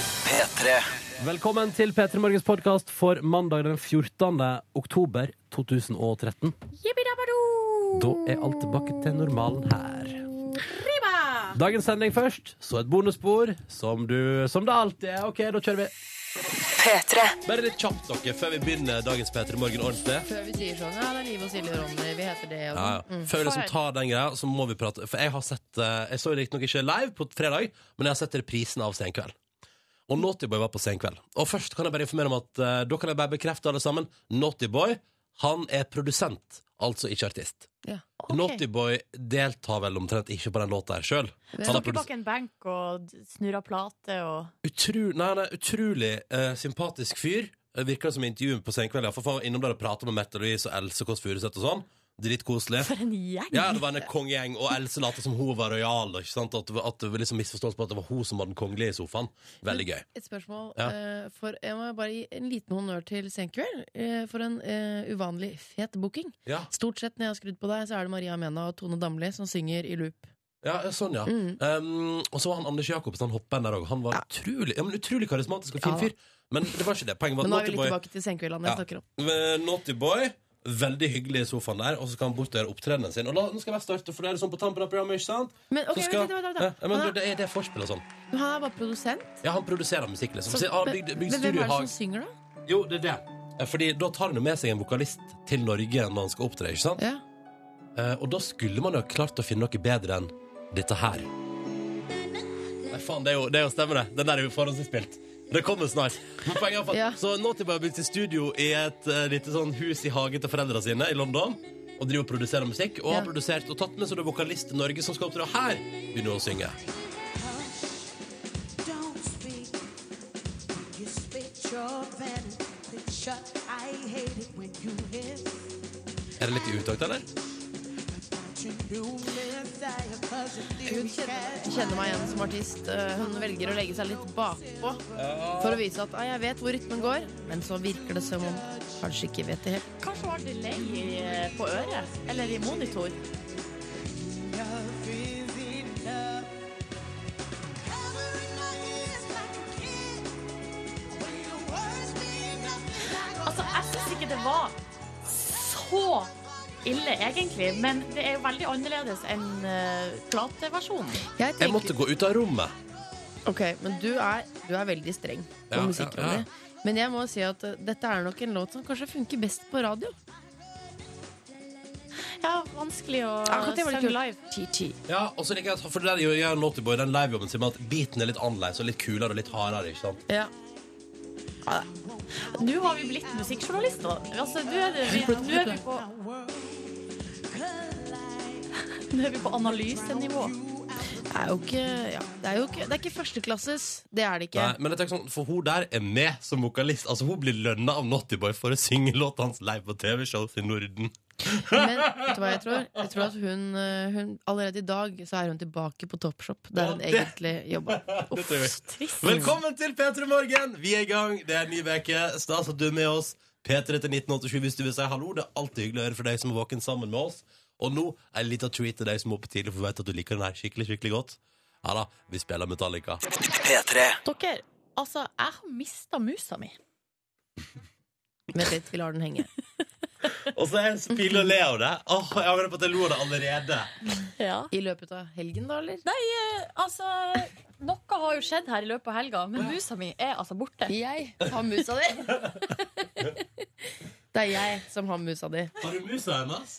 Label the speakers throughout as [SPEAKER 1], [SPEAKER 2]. [SPEAKER 1] P3.
[SPEAKER 2] Velkommen til P3 Morgens podkast for mandag den 14. oktober 2013. Da er alt tilbake til normalen her. Dagens sending først, så et bonusspor, som, du, som det alltid er. OK, da kjører vi.
[SPEAKER 3] P3.
[SPEAKER 2] Bare litt kjapt, dere, før vi begynner dagens P3 Morgen ordentlig.
[SPEAKER 4] Før vi sier sånn, ja, det er Liv og Silje og Ronny, vi heter det og
[SPEAKER 2] Ja, ja. Før vi liksom tar den greia, så må vi prate. For jeg har sett eh, Jeg så riktignok ikke live på fredag, men jeg har sett reprisen av Senkveld. Og Naughty Boy var på Senkveld. Og først kan jeg bare informere om at eh, da kan jeg bare bekrefte alle sammen. Naughty Boy han er produsent, altså ikke artist.
[SPEAKER 4] Ja.
[SPEAKER 2] Naughty Boy deltar vel omtrent ikke på den låta her sjøl.
[SPEAKER 5] Står ikke bak en benk og snurrer plate og
[SPEAKER 2] Utru, nei, nei, utrolig eh, sympatisk fyr. Eh, Virker det som i intervjuet på Senkveld. Ja. For faen, innom der og prater med Mette Louise og Else Kåss Furuseth og sånn. Dritkoselig.
[SPEAKER 5] For en gjeng!
[SPEAKER 2] Ja, det var en kongegjeng, og Else lot som hun var rojal. Ikke sant? At, det var- at det var liksom misforståelse på at det var hun som var den kongelige i sofaen. Veldig gøy.
[SPEAKER 4] Et spørsmål.
[SPEAKER 2] Ja.
[SPEAKER 4] eh, For jeg må bare gi en liten honnør til Senkveld eh, for en eh, uvanlig fet booking.
[SPEAKER 2] Ja,
[SPEAKER 4] Stort sett når jeg har skrudd på deg, så er det Maria Mena og Tone Damli som synger i loop.
[SPEAKER 2] ja ja, sånn, ja.
[SPEAKER 4] Mm.
[SPEAKER 2] Um, og så var han Anders Jacobsen, han hopperen der òg. Han var utrolig, ja, men utrolig karismatisk og fin
[SPEAKER 4] Ja.
[SPEAKER 2] fyr. Men det var ikke det. Poenget var
[SPEAKER 4] Men
[SPEAKER 2] at
[SPEAKER 4] nå er
[SPEAKER 2] Naughty
[SPEAKER 4] vi litt
[SPEAKER 2] Boy,
[SPEAKER 4] tilbake til Senkveld.
[SPEAKER 2] Ja.
[SPEAKER 4] Ja. snakker om.
[SPEAKER 2] eh, Naughty Boy Veldig hyggelig i sofaen der, og så skal han bort og gjøre opptredenen sin. Og la, nå skal jeg starte, for det er sånn på tampen av programmet, ikke sant?
[SPEAKER 4] Men, ok,
[SPEAKER 2] Så skal,
[SPEAKER 4] vent, vent, vent,
[SPEAKER 2] ja,
[SPEAKER 4] vent.
[SPEAKER 2] men,
[SPEAKER 4] Han
[SPEAKER 2] du,
[SPEAKER 4] er-
[SPEAKER 2] det er det er forspill og sånn.
[SPEAKER 4] Men han er bare produsent.
[SPEAKER 2] Ja, han produserer musikk, liksom. Så,
[SPEAKER 4] Så-
[SPEAKER 2] han
[SPEAKER 4] men,
[SPEAKER 2] bygde,
[SPEAKER 4] men
[SPEAKER 2] bygde
[SPEAKER 4] hvem er det
[SPEAKER 2] studiohag.
[SPEAKER 4] som synger, da?
[SPEAKER 2] Jo, det er det. Eh, Fordi da tar han jo med seg en vokalist til Norge når han skal opptre, ikke sant?
[SPEAKER 4] Ja.
[SPEAKER 2] Eh, og da skulle man jo ha klart å finne noe bedre enn dette her. Nei, faen, det er jo, det er jo stemmer det. Den der er jo forhåndsinnspilt. Det kommer snart. Men poenget er i hvert fall-
[SPEAKER 4] Ja.
[SPEAKER 2] Så Naughty Boy har begynt i studio i et eh, lite sånn hus i hagen til foreldrene sine i London. Og driver og produserer musikk. Og har
[SPEAKER 4] Ja.
[SPEAKER 2] produsert og tatt med seg det vokalist til Norge som skal opptre. Og her begynner hun å synge. Er det litt i utakt, eller?
[SPEAKER 4] Hun kjenner, kjenner meg igjen som artist. Eh, Hun velger å legge seg litt bakpå for å vise at «Ah, jeg vet hvor rytmen går, men så virker det som om kanskje ikke vet det helt.
[SPEAKER 5] Kanskje hun har delay i- eh, på øret? Eller i monitor? Altså, jeg syns ikke det var så ille, egentlig. Men det er jo veldig annerledes enn eh, plateversjonen.
[SPEAKER 4] Jeg
[SPEAKER 2] Jeg
[SPEAKER 4] tenker,
[SPEAKER 2] måtte gå ut av rommet.
[SPEAKER 4] ok, men du er, du er veldig streng på
[SPEAKER 2] Ja, ja,
[SPEAKER 4] musikkrådet.
[SPEAKER 2] ja.
[SPEAKER 4] Men jeg må si at eh, dette er nok en låt som kanskje funker best på radio.
[SPEAKER 5] Ja, vanskelig å
[SPEAKER 4] Akkurat det var litt
[SPEAKER 5] synge
[SPEAKER 4] kult.
[SPEAKER 5] live. TT.
[SPEAKER 2] Ja, og så liker jeg at- For der gjør jeg Naughty Boy den livejobben sin med at beaten er litt annerledes og litt kulere og litt hardere. ikke sant?
[SPEAKER 4] Ja.
[SPEAKER 5] Nå har vi blitt musikkjournalister. Altså, nå er, det, vi, nå er vi på Nå er vi på analysenivå.
[SPEAKER 4] Det er jo ikke, ja, det er jo ikke, det er ikke førsteklasses. Det er det ikke.
[SPEAKER 2] Nei, men jeg tenker sånn, For hun der er med som vokalist. Altså Hun blir lønna av Naughty Boy for å synge låta hans live på TV-shows i Norden.
[SPEAKER 4] Men vet du hva jeg tror? Jeg tror at hun, eh, hun Allerede i dag så er hun tilbake på Toppshop, der hun
[SPEAKER 2] Ja, det-
[SPEAKER 4] egentlig jobba.
[SPEAKER 2] Det tror jeg. Velkommen til P3 Morgen! Vi er i gang. Det er en ny uke. Stas at du er med oss. P3 til 1987 hvis du vil si hallo. Det er alltid hyggelig å høre fra deg som er våken sammen med oss. Og nå en liten treat til deg som er oppe tidlig, for vi vet at du liker den her skikkelig skikkelig godt. Ja da, vi spiller Metallica.
[SPEAKER 1] P3.
[SPEAKER 5] Dere, altså, jeg har mista musa mi.
[SPEAKER 4] Vent litt, vi lar den henge.
[SPEAKER 2] Og så er jeg spill og le av det. Åh, Jeg angrer på at jeg lo av det allerede.
[SPEAKER 5] Ja.
[SPEAKER 4] I løpet av helgen, da, eller?
[SPEAKER 5] Nei, eh, altså Noe har jo skjedd her i løpet av helga, men musa mi er altså borte.
[SPEAKER 4] Jeg har musa di! Det er jeg som har musa di.
[SPEAKER 2] Har du musa hennes?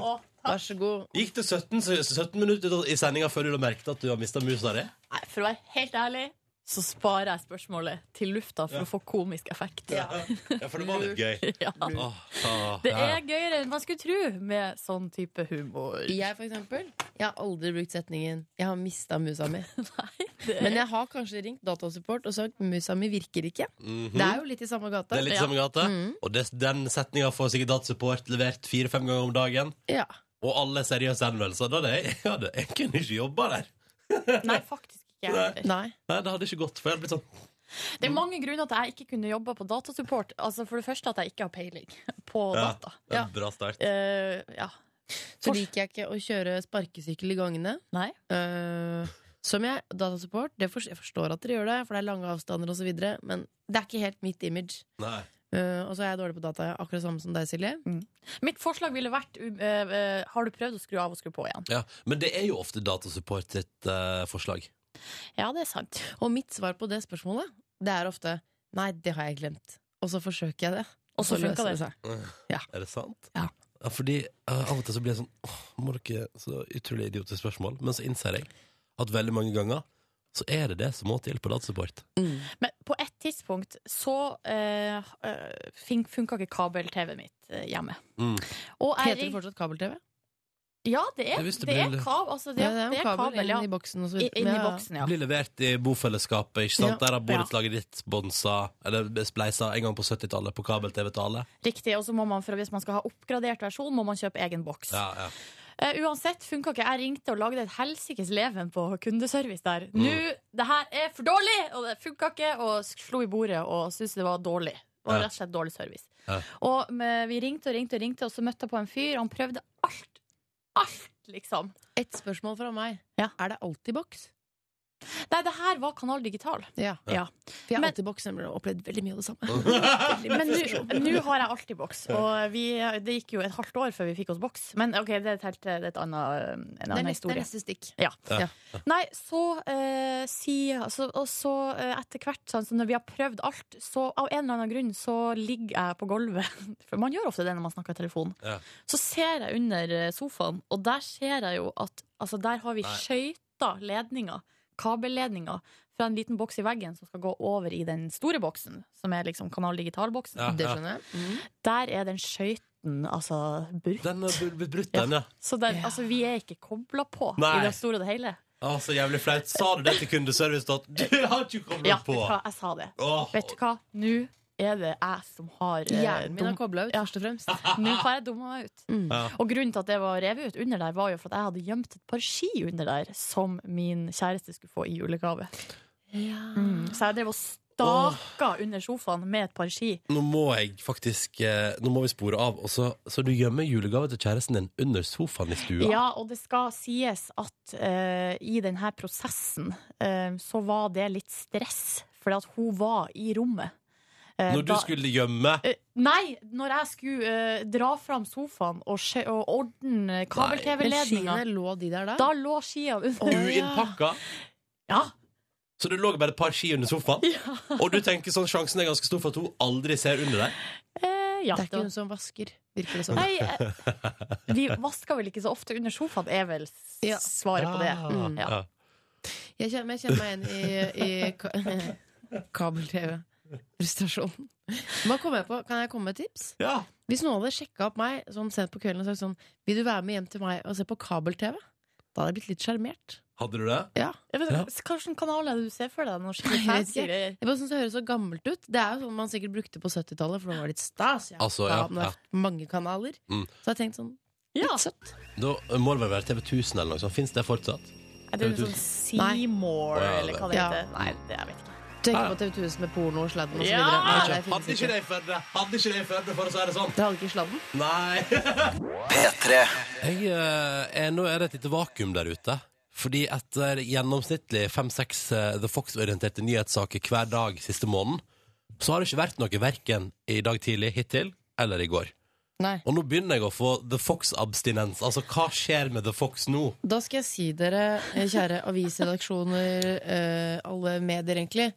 [SPEAKER 5] Og
[SPEAKER 4] Vær så god.
[SPEAKER 2] Gikk det 17, så- 17 minutter i sendinga før du merket at du har mista musa di?
[SPEAKER 5] Nei, for å være helt ærlig så sparer jeg spørsmålet til lufta for å få komisk effekt. Ja.
[SPEAKER 2] Ja, for det var litt gøy. Åh, åh,
[SPEAKER 5] Det
[SPEAKER 2] ja, ja.
[SPEAKER 5] er gøyere enn man skulle tro med sånn type humor.
[SPEAKER 4] Jeg, for eksempel, jeg har aldri brukt setningen 'jeg har mista musa mi'.
[SPEAKER 5] Nei, det
[SPEAKER 4] Men jeg har kanskje ringt Datasupport og sagt 'musa mi virker ikke'.
[SPEAKER 2] Mhm.
[SPEAKER 4] Det er jo litt i samme gata.
[SPEAKER 2] Det er litt samme gate. Og det, den setninga får sikkert Datsupport levert fire-fem ganger om dagen.
[SPEAKER 4] Ja.
[SPEAKER 2] Og alle seriøse henvendelser. Da hadde jeg, jeg, hadde, jeg kunne ikke jobba der.
[SPEAKER 5] Nei, faktisk ikke. jeg.
[SPEAKER 4] Nei.
[SPEAKER 2] Nei, Det hadde ikke gått. For jeg hadde blitt sånn
[SPEAKER 5] Det er mange grunner til at jeg ikke kunne jobba på datasupport. Altså For det første at jeg ikke har peiling på
[SPEAKER 2] Ja.
[SPEAKER 5] data.
[SPEAKER 2] det er
[SPEAKER 4] Ja.
[SPEAKER 2] en Bra start.
[SPEAKER 5] Eh, ja.
[SPEAKER 4] Så liker jeg ikke å kjøre sparkesykkel i gangene.
[SPEAKER 5] Nei.
[SPEAKER 4] Eh, Som jeg, datasupport, det for, jeg forstår at dere gjør det, for det er lange avstander og så videre men det er ikke helt mitt image.
[SPEAKER 2] Nei.
[SPEAKER 4] Eh, og så er jeg dårlig på data, ja. akkurat samme som deg, Silje.
[SPEAKER 5] Mitt forslag ville vært um, eh, eh, Har du prøvd å skru av og skru på igjen?
[SPEAKER 2] Ja, men det er jo ofte datasupport sitt eh, forslag.
[SPEAKER 5] Ja, det er sant.
[SPEAKER 4] Og mitt svar på det spørsmålet, det er ofte nei, det har jeg glemt. Og så forsøker jeg det.
[SPEAKER 5] Og så funka
[SPEAKER 4] løser
[SPEAKER 5] det.
[SPEAKER 4] seg.
[SPEAKER 2] Er det sant?
[SPEAKER 4] Ja.
[SPEAKER 2] fordi eh, av og til så blir jeg sånn Åh, må dere Så utrolig idiotisk spørsmål. Men så innser jeg at veldig mange ganger så er det det som må til på datasupport.
[SPEAKER 5] Men på et tidspunkt så uh, funka ikke kabel-TV-en mitt eh, hjemme.
[SPEAKER 2] Mm.
[SPEAKER 5] Og jeg
[SPEAKER 4] Heter det
[SPEAKER 5] ring-
[SPEAKER 4] fortsatt kabel-tv?
[SPEAKER 5] Ja, det
[SPEAKER 2] Jeg
[SPEAKER 5] er,
[SPEAKER 2] visste
[SPEAKER 5] det
[SPEAKER 2] det
[SPEAKER 5] er
[SPEAKER 2] ble-
[SPEAKER 5] kabel. Altså, det,
[SPEAKER 4] Ja,
[SPEAKER 5] det er kabel, ja.
[SPEAKER 4] inn i boksen og så
[SPEAKER 5] I-
[SPEAKER 4] videre.
[SPEAKER 5] Inni
[SPEAKER 4] Ja, ja.
[SPEAKER 5] boksen, ja.
[SPEAKER 2] Blir levert i bofellesskapet. ikke sant?
[SPEAKER 4] Ja.
[SPEAKER 2] Der har borettslaget ditt bonsa, eller spleisa, en gang på 70-tallet på kabel-TV til alle.
[SPEAKER 5] Riktig. Og så må man, for hvis man skal ha oppgradert versjon, må man kjøpe egen boks.
[SPEAKER 2] Ja, ja.
[SPEAKER 5] Eh, uansett funka ikke. Jeg ringte og lagde et helsikes leven på kundeservice der.
[SPEAKER 2] Mm.
[SPEAKER 5] Nå, det her er for dårlig! Og det funka ikke, og slo i bordet og syntes det var dårlig. Det var
[SPEAKER 2] Ja.
[SPEAKER 5] rett og slett dårlig service.
[SPEAKER 2] Ja.
[SPEAKER 5] Og men vi ringte og ringte og ringte, og så møtte jeg på en fyr. Han prøvde alt. Alt, liksom.
[SPEAKER 4] Et spørsmål fra meg.
[SPEAKER 5] Ja.
[SPEAKER 4] Er det alltid boks?
[SPEAKER 5] Nei, det her var Kanal Digital.
[SPEAKER 4] Ja.
[SPEAKER 5] Ja.
[SPEAKER 4] For jeg har
[SPEAKER 5] Men-
[SPEAKER 4] alltid boks, nemlig, og opplevd veldig mye av det samme.
[SPEAKER 5] Men nå nå har jeg alltid boks, og vi, det gikk jo et halvt år før vi fikk oss boks. Men ok, det er, et helt, det er et annet, en
[SPEAKER 4] Det er
[SPEAKER 5] annen
[SPEAKER 4] neste, det er
[SPEAKER 5] historie.
[SPEAKER 4] neste stikk.
[SPEAKER 5] Ja.
[SPEAKER 2] Ja.
[SPEAKER 5] Nei, så eh, si altså, Og så eh, etter hvert, sånn, så når vi har prøvd alt, så av en eller annen grunn så ligger jeg på gulvet. For man gjør ofte det når man snakker i telefon.
[SPEAKER 2] Ja.
[SPEAKER 5] Så ser jeg under eh, sofaen, og der ser jeg jo at altså, der har vi
[SPEAKER 2] Nei.
[SPEAKER 5] skøyta ledninga, kabelledninga, fra en liten boks i veggen som skal gå over i den store boksen, som er liksom Kanal Digital-boksen.
[SPEAKER 2] Ja,
[SPEAKER 4] Det
[SPEAKER 2] ja.
[SPEAKER 4] skjønner jeg.
[SPEAKER 5] Der er den skøyten altså brutt.
[SPEAKER 2] Den har bl- blitt brutt, den, ja.
[SPEAKER 5] Så den,
[SPEAKER 4] Ja.
[SPEAKER 5] altså, vi er ikke kobla på
[SPEAKER 2] Nei.
[SPEAKER 5] i det store og det hele.
[SPEAKER 2] Å, så jævlig flaut. Sa du det til kundeservice? at Du har ikke kommet
[SPEAKER 5] Ja,
[SPEAKER 2] på!
[SPEAKER 5] vet du hva, jeg sa det.
[SPEAKER 2] Åh,
[SPEAKER 5] Vet du hva? Nå er det jeg som har eh,
[SPEAKER 4] Hjernen min
[SPEAKER 5] dum-
[SPEAKER 4] har kobla ut, først og fremst.
[SPEAKER 5] Nå har jeg dumma meg ut.
[SPEAKER 4] Mm.
[SPEAKER 2] Ja.
[SPEAKER 5] Og grunnen til at det var revet ut under der, var jo for at jeg hadde gjemt et par ski under der som min kjæreste skulle få i julegave. Mm. Så jeg drev og staka under sofaen med et par ski.
[SPEAKER 2] Nå må jeg faktisk eh, Nå må vi spore av. Og så, så du gjemmer julegave til kjæresten din under sofaen i stua?
[SPEAKER 5] Ja, og det skal sies at eh, i denne prosessen eh, så var det litt stress, fordi at hun var i rommet. Eh,
[SPEAKER 2] Når du
[SPEAKER 5] da-
[SPEAKER 2] skulle gjemme
[SPEAKER 5] Eh, Nei, når jeg skulle eh, dra fram sofaen og, skje- og ordne
[SPEAKER 4] Men
[SPEAKER 5] kabel-TV-ledninga
[SPEAKER 4] skiene lå de der da?
[SPEAKER 5] Da lå skia under.
[SPEAKER 4] Å,
[SPEAKER 2] uinnpakka,
[SPEAKER 5] Ja.
[SPEAKER 2] så det lå bare et par ski under sofaen, og du tenker sånn sjansen er ganske stor for at hun aldri ser under deg?
[SPEAKER 5] Eh, ja.
[SPEAKER 4] Det er
[SPEAKER 5] det
[SPEAKER 4] ikke
[SPEAKER 5] var-
[SPEAKER 4] hun som vasker, virker det som.
[SPEAKER 5] Nei, eh, vi vasker vel ikke så ofte under sofaen, er vel s-
[SPEAKER 4] Ja.
[SPEAKER 5] svaret på det.
[SPEAKER 2] Ah,
[SPEAKER 4] Mm,
[SPEAKER 5] ja.
[SPEAKER 2] ja.
[SPEAKER 4] Jeg kjenner, jeg kjenner meg igjen i, i ka kabel-TV-frustrasjon. Hva kom jeg på? Kan jeg komme med et tips?
[SPEAKER 2] Ja.
[SPEAKER 4] Hvis noen hadde sjekka opp meg sånn sent på kvelden og sagt sånn Vil du være med hjem til meg og se på kabel-TV? Da hadde jeg blitt litt sjarmert.
[SPEAKER 2] Hadde du det?
[SPEAKER 4] Ja.
[SPEAKER 5] Jeg vet
[SPEAKER 2] Ja.
[SPEAKER 5] ikke, Hvilken kanal er det du ser for deg? Når
[SPEAKER 4] Nei,
[SPEAKER 5] skiene
[SPEAKER 4] jeg vet
[SPEAKER 5] fancy
[SPEAKER 4] ikke.
[SPEAKER 5] greier?
[SPEAKER 4] Jeg bare synes det høres så gammelt ut. Det er jo sånn man sikkert brukte på 70-tallet, for det var litt stas. Ja.
[SPEAKER 2] Altså, ja,
[SPEAKER 4] Da hadde man
[SPEAKER 2] ja.
[SPEAKER 4] hatt mange kanaler.
[SPEAKER 2] Mm.
[SPEAKER 4] Så jeg tenkte sånn
[SPEAKER 5] Ja.
[SPEAKER 4] Litt søtt.
[SPEAKER 2] Da må det vel være TV 1000 eller noe sånt. Fins det fortsatt?
[SPEAKER 5] Er det sånn
[SPEAKER 4] Nei.
[SPEAKER 5] Seymour,
[SPEAKER 2] Å, ja,
[SPEAKER 5] eller hva det
[SPEAKER 4] ja.
[SPEAKER 5] heter? Nei, det jeg vet ikke.
[SPEAKER 4] Tenker på TV 1000 med porno og sladden og så
[SPEAKER 5] Ja!
[SPEAKER 4] videre. Nei, det, finnes
[SPEAKER 2] Hadde ikke
[SPEAKER 4] ikke.
[SPEAKER 2] det i Førde! Hadde ikke det i Førde, for å si det sånn!
[SPEAKER 4] det hadde ikke sladden.
[SPEAKER 2] Nei Jeg, eh, er, Nå er det et lite vakuum der ute Fordi etter gjennomsnittlig 5-6 eh, The Fox-orienterte nyhetssaker hver dag siste måneden Så har det ikke vært noe verken i dag tidlig hittil eller i går
[SPEAKER 4] Nei.
[SPEAKER 2] Og nå begynner jeg å få The Fox-abstinens Altså, hva skjer med The Fox nå?
[SPEAKER 4] Da skal jeg si dere, eh, kjære avisredaksjoner, eh, alle medier egentlig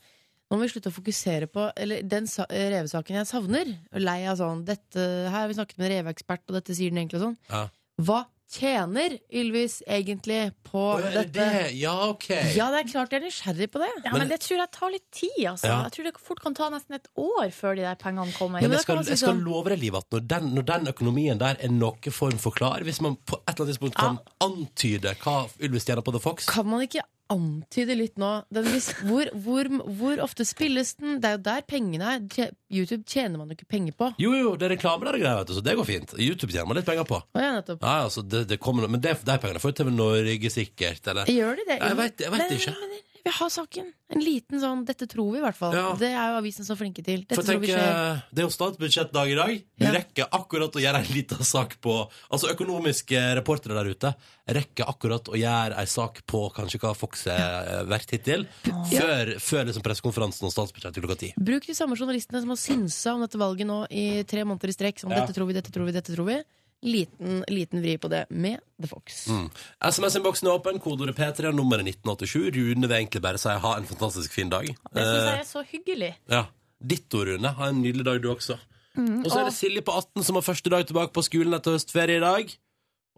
[SPEAKER 4] Nå må vi slutte å fokusere på Eller den sa eh, revesaken jeg savner. og Lei av sånn dette, Her har vi snakket med en reveekspert, og dette sier den egentlig og sånn.
[SPEAKER 2] Ja.
[SPEAKER 4] Hva tjener Ylvis egentlig på
[SPEAKER 2] Å, er det
[SPEAKER 4] dette?
[SPEAKER 2] det? Ja, ok
[SPEAKER 4] Ja, det er klart jeg er nysgjerrig på det.
[SPEAKER 5] Ja,
[SPEAKER 2] Men-
[SPEAKER 5] men det tror jeg tar litt tid, altså.
[SPEAKER 2] Ja.
[SPEAKER 5] Jeg tror det fort kan ta nesten et år før de der pengene kommer.
[SPEAKER 2] Men
[SPEAKER 4] men da
[SPEAKER 2] jeg
[SPEAKER 4] kan
[SPEAKER 2] skal,
[SPEAKER 4] man si
[SPEAKER 2] jeg skal
[SPEAKER 4] sånn-
[SPEAKER 2] love deg, Liv, at når den, når den økonomien der er noe form for klar Hvis man på et eller annet tidspunkt kan
[SPEAKER 4] Ah.
[SPEAKER 2] antyde hva Ulvis tjener på The Fox
[SPEAKER 4] Kan man ikke antyde litt nå? Den, hvis, hvor, hvor, hvor ofte spilles den? Det er jo der pengene er. Tje- YouTube tjener man jo ikke penger på.
[SPEAKER 2] Jo, jo, det er reklame der og greier, vet du, så det går fint. YouTube tjener man litt penger på.
[SPEAKER 4] Å, ja, nettopp.
[SPEAKER 2] Ja, altså, det, det kommer noe, Men det, de pengene får jo TV Norge sikkert, eller
[SPEAKER 4] Gjør de det?
[SPEAKER 2] Jeg vet- jeg vet
[SPEAKER 4] Nei,
[SPEAKER 2] ikke.
[SPEAKER 4] nei, nei, nei, Vi har saken. En liten sånn 'dette tror vi', i hvert fall.
[SPEAKER 2] Ja.
[SPEAKER 4] Det er jo avisen så flinke til. Dette
[SPEAKER 2] For
[SPEAKER 4] tror
[SPEAKER 2] tenk,
[SPEAKER 4] vi skjer.
[SPEAKER 2] eh, det er jo statsbudsjettdag i dag. Du
[SPEAKER 4] Ja.
[SPEAKER 2] rekker akkurat å gjøre en liten sak på Altså økonomiske reportere der ute rekker akkurat å gjøre en sak på kanskje hva Fox har eh, vært hittil, før, før liksom pressekonferansen og statsbudsjettet klokka ti.
[SPEAKER 4] Bruk de samme journalistene som har synsa om dette valget nå i tre måneder i strekk. Som
[SPEAKER 2] Ja.
[SPEAKER 4] 'dette tror vi, dette tror vi, dette tror vi'. Liten, liten vri på det med The Fox.
[SPEAKER 2] Mm. SMS-innboksen er åpen, kodeordet P3, nummeret 1987. Rune vil egentlig bare si ha en fantastisk fin dag.
[SPEAKER 5] Det syns
[SPEAKER 2] Eh,
[SPEAKER 5] jeg er så hyggelig.
[SPEAKER 2] Ja. Ditto, Rune. Ha en nydelig dag, du også.
[SPEAKER 4] Mm,
[SPEAKER 2] og så er det Silje på 18 som har første dag tilbake på skolen etter høstferie i dag.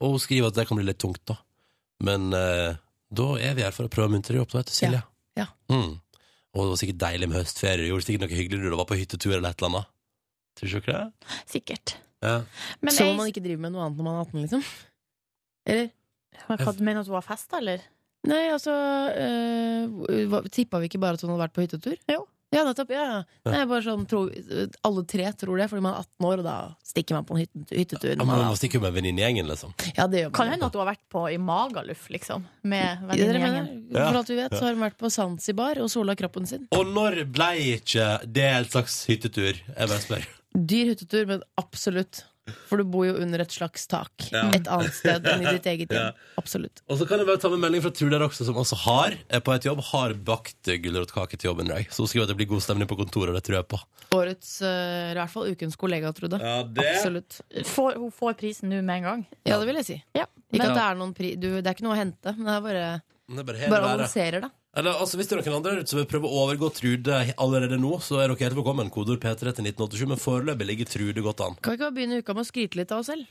[SPEAKER 2] Og hun skriver at det kan bli litt tungt, da. Men eh, da er vi her for å prøve å muntre deg opp, da, vet du, Silje.
[SPEAKER 4] Ja.
[SPEAKER 2] Mm. Og det var sikkert deilig med høstferie. Du gjorde sikkert noe hyggelig du da var på hyttetur eller et eller annet. Tror du ikke det?
[SPEAKER 5] Sikkert.
[SPEAKER 2] Ja.
[SPEAKER 5] Men
[SPEAKER 4] Som om man
[SPEAKER 5] jeg,
[SPEAKER 4] ikke driver med noe annet når man er 18, liksom. Eller?
[SPEAKER 5] hva, mener du at hun har festa, eller?
[SPEAKER 4] Nei, altså øh, Tippa vi ikke bare at hun hadde vært på hyttetur? Jo. Ja, nettopp. Ja, ja.
[SPEAKER 2] Ja.
[SPEAKER 4] Nei, bare sånn, tro, alle tre tror det, fordi man er 18 år, og da stikker man på en hytte, hyttetur. når
[SPEAKER 2] Ja, men
[SPEAKER 4] man er
[SPEAKER 2] Man må stikke med venninnegjengen, liksom.
[SPEAKER 4] 18. ja, det gjør man.
[SPEAKER 5] Kan hende at hun har vært på i Magaluf, liksom. Med
[SPEAKER 4] Ja, dere mener,
[SPEAKER 5] venninnegjengen.
[SPEAKER 2] Ja.
[SPEAKER 4] For alt vi vet, så har hun vært på Zanzibar og sola kroppen sin.
[SPEAKER 2] Og når ble ikke det en slags hyttetur? Jeg bare spør.
[SPEAKER 4] Dyr hyttetur, men absolutt. For du bor jo under et slags tak
[SPEAKER 2] Ja.
[SPEAKER 4] et annet sted enn i ditt eget
[SPEAKER 2] Ja.
[SPEAKER 4] hjem. Absolutt.
[SPEAKER 2] Og så kan jeg bare ta med melding fra Trude der også, som også har er på et jobb, har bakt gulrotkake til jobben i dag. Så hun skriver at det blir god stemning på kontoret, og det tror jeg på.
[SPEAKER 4] Årets, øh, eller i hvert fall ukens kollega, Trude.
[SPEAKER 2] Ja,
[SPEAKER 4] Absolutt.
[SPEAKER 5] Får, hun får prisen nå med en gang.
[SPEAKER 4] Ja, det vil jeg si.
[SPEAKER 5] Ja.
[SPEAKER 4] Ikke
[SPEAKER 5] Men,
[SPEAKER 4] at det er noen pri... Du, det er ikke noe å hente, men det er bare,
[SPEAKER 2] Det er bare hele
[SPEAKER 4] bare
[SPEAKER 2] været.
[SPEAKER 4] annonserer, da.
[SPEAKER 2] Eller, altså, hvis det er noen andre der ute som vil prøve å overgå Trude allerede nå, så er dere helt velkommen. Kodord P3 til 1987, men foreløpig ligger Trude godt an.
[SPEAKER 4] Kan vi ikke bare begynne uka med å skryte litt av oss selv?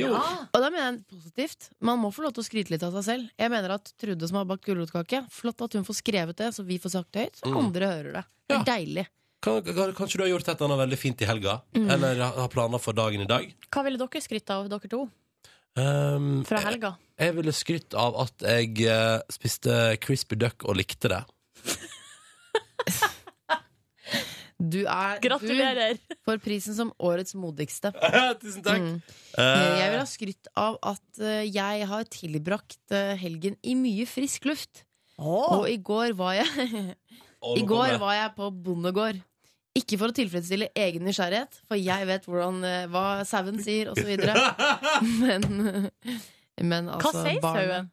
[SPEAKER 2] Jo.
[SPEAKER 4] Og da mener jeg positivt. Man må få lov til å skryte litt av seg selv. Jeg mener at Trude som har bakt gulrotkake, flott at hun får skrevet det, så vi får sagt det høyt, så
[SPEAKER 2] Mm.
[SPEAKER 4] andre hører det. Det
[SPEAKER 2] Ja.
[SPEAKER 4] er deilig.
[SPEAKER 2] Kan, kan, kanskje du har gjort et eller annet veldig fint i helga?
[SPEAKER 4] Mm.
[SPEAKER 2] Eller har har planer for dagen i dag?
[SPEAKER 5] hva ville dere skrytt av, dere to?
[SPEAKER 2] Um,
[SPEAKER 4] Eh,
[SPEAKER 5] Fra helga?
[SPEAKER 2] Jeg ville skrytt av at jeg eh, spiste crispy duck og likte det.
[SPEAKER 4] Du er
[SPEAKER 5] Gratulerer!
[SPEAKER 4] Du får prisen som årets modigste.
[SPEAKER 2] Tusen takk.
[SPEAKER 4] Mm.
[SPEAKER 2] Eh,
[SPEAKER 4] Jeg vil ha skrytt av at eh, jeg har tilbrakt eh, helgen i mye frisk luft. Og i går var jeg
[SPEAKER 2] og nå
[SPEAKER 4] I
[SPEAKER 2] kommer
[SPEAKER 4] går
[SPEAKER 2] jeg.
[SPEAKER 4] var jeg på bondegård. Ikke for å tilfredsstille egen nysgjerrighet, for jeg vet hvordan, eh, hva sauen sier, osv. Men, men
[SPEAKER 5] Hva
[SPEAKER 4] altså
[SPEAKER 5] sier
[SPEAKER 4] barn-
[SPEAKER 5] sauen?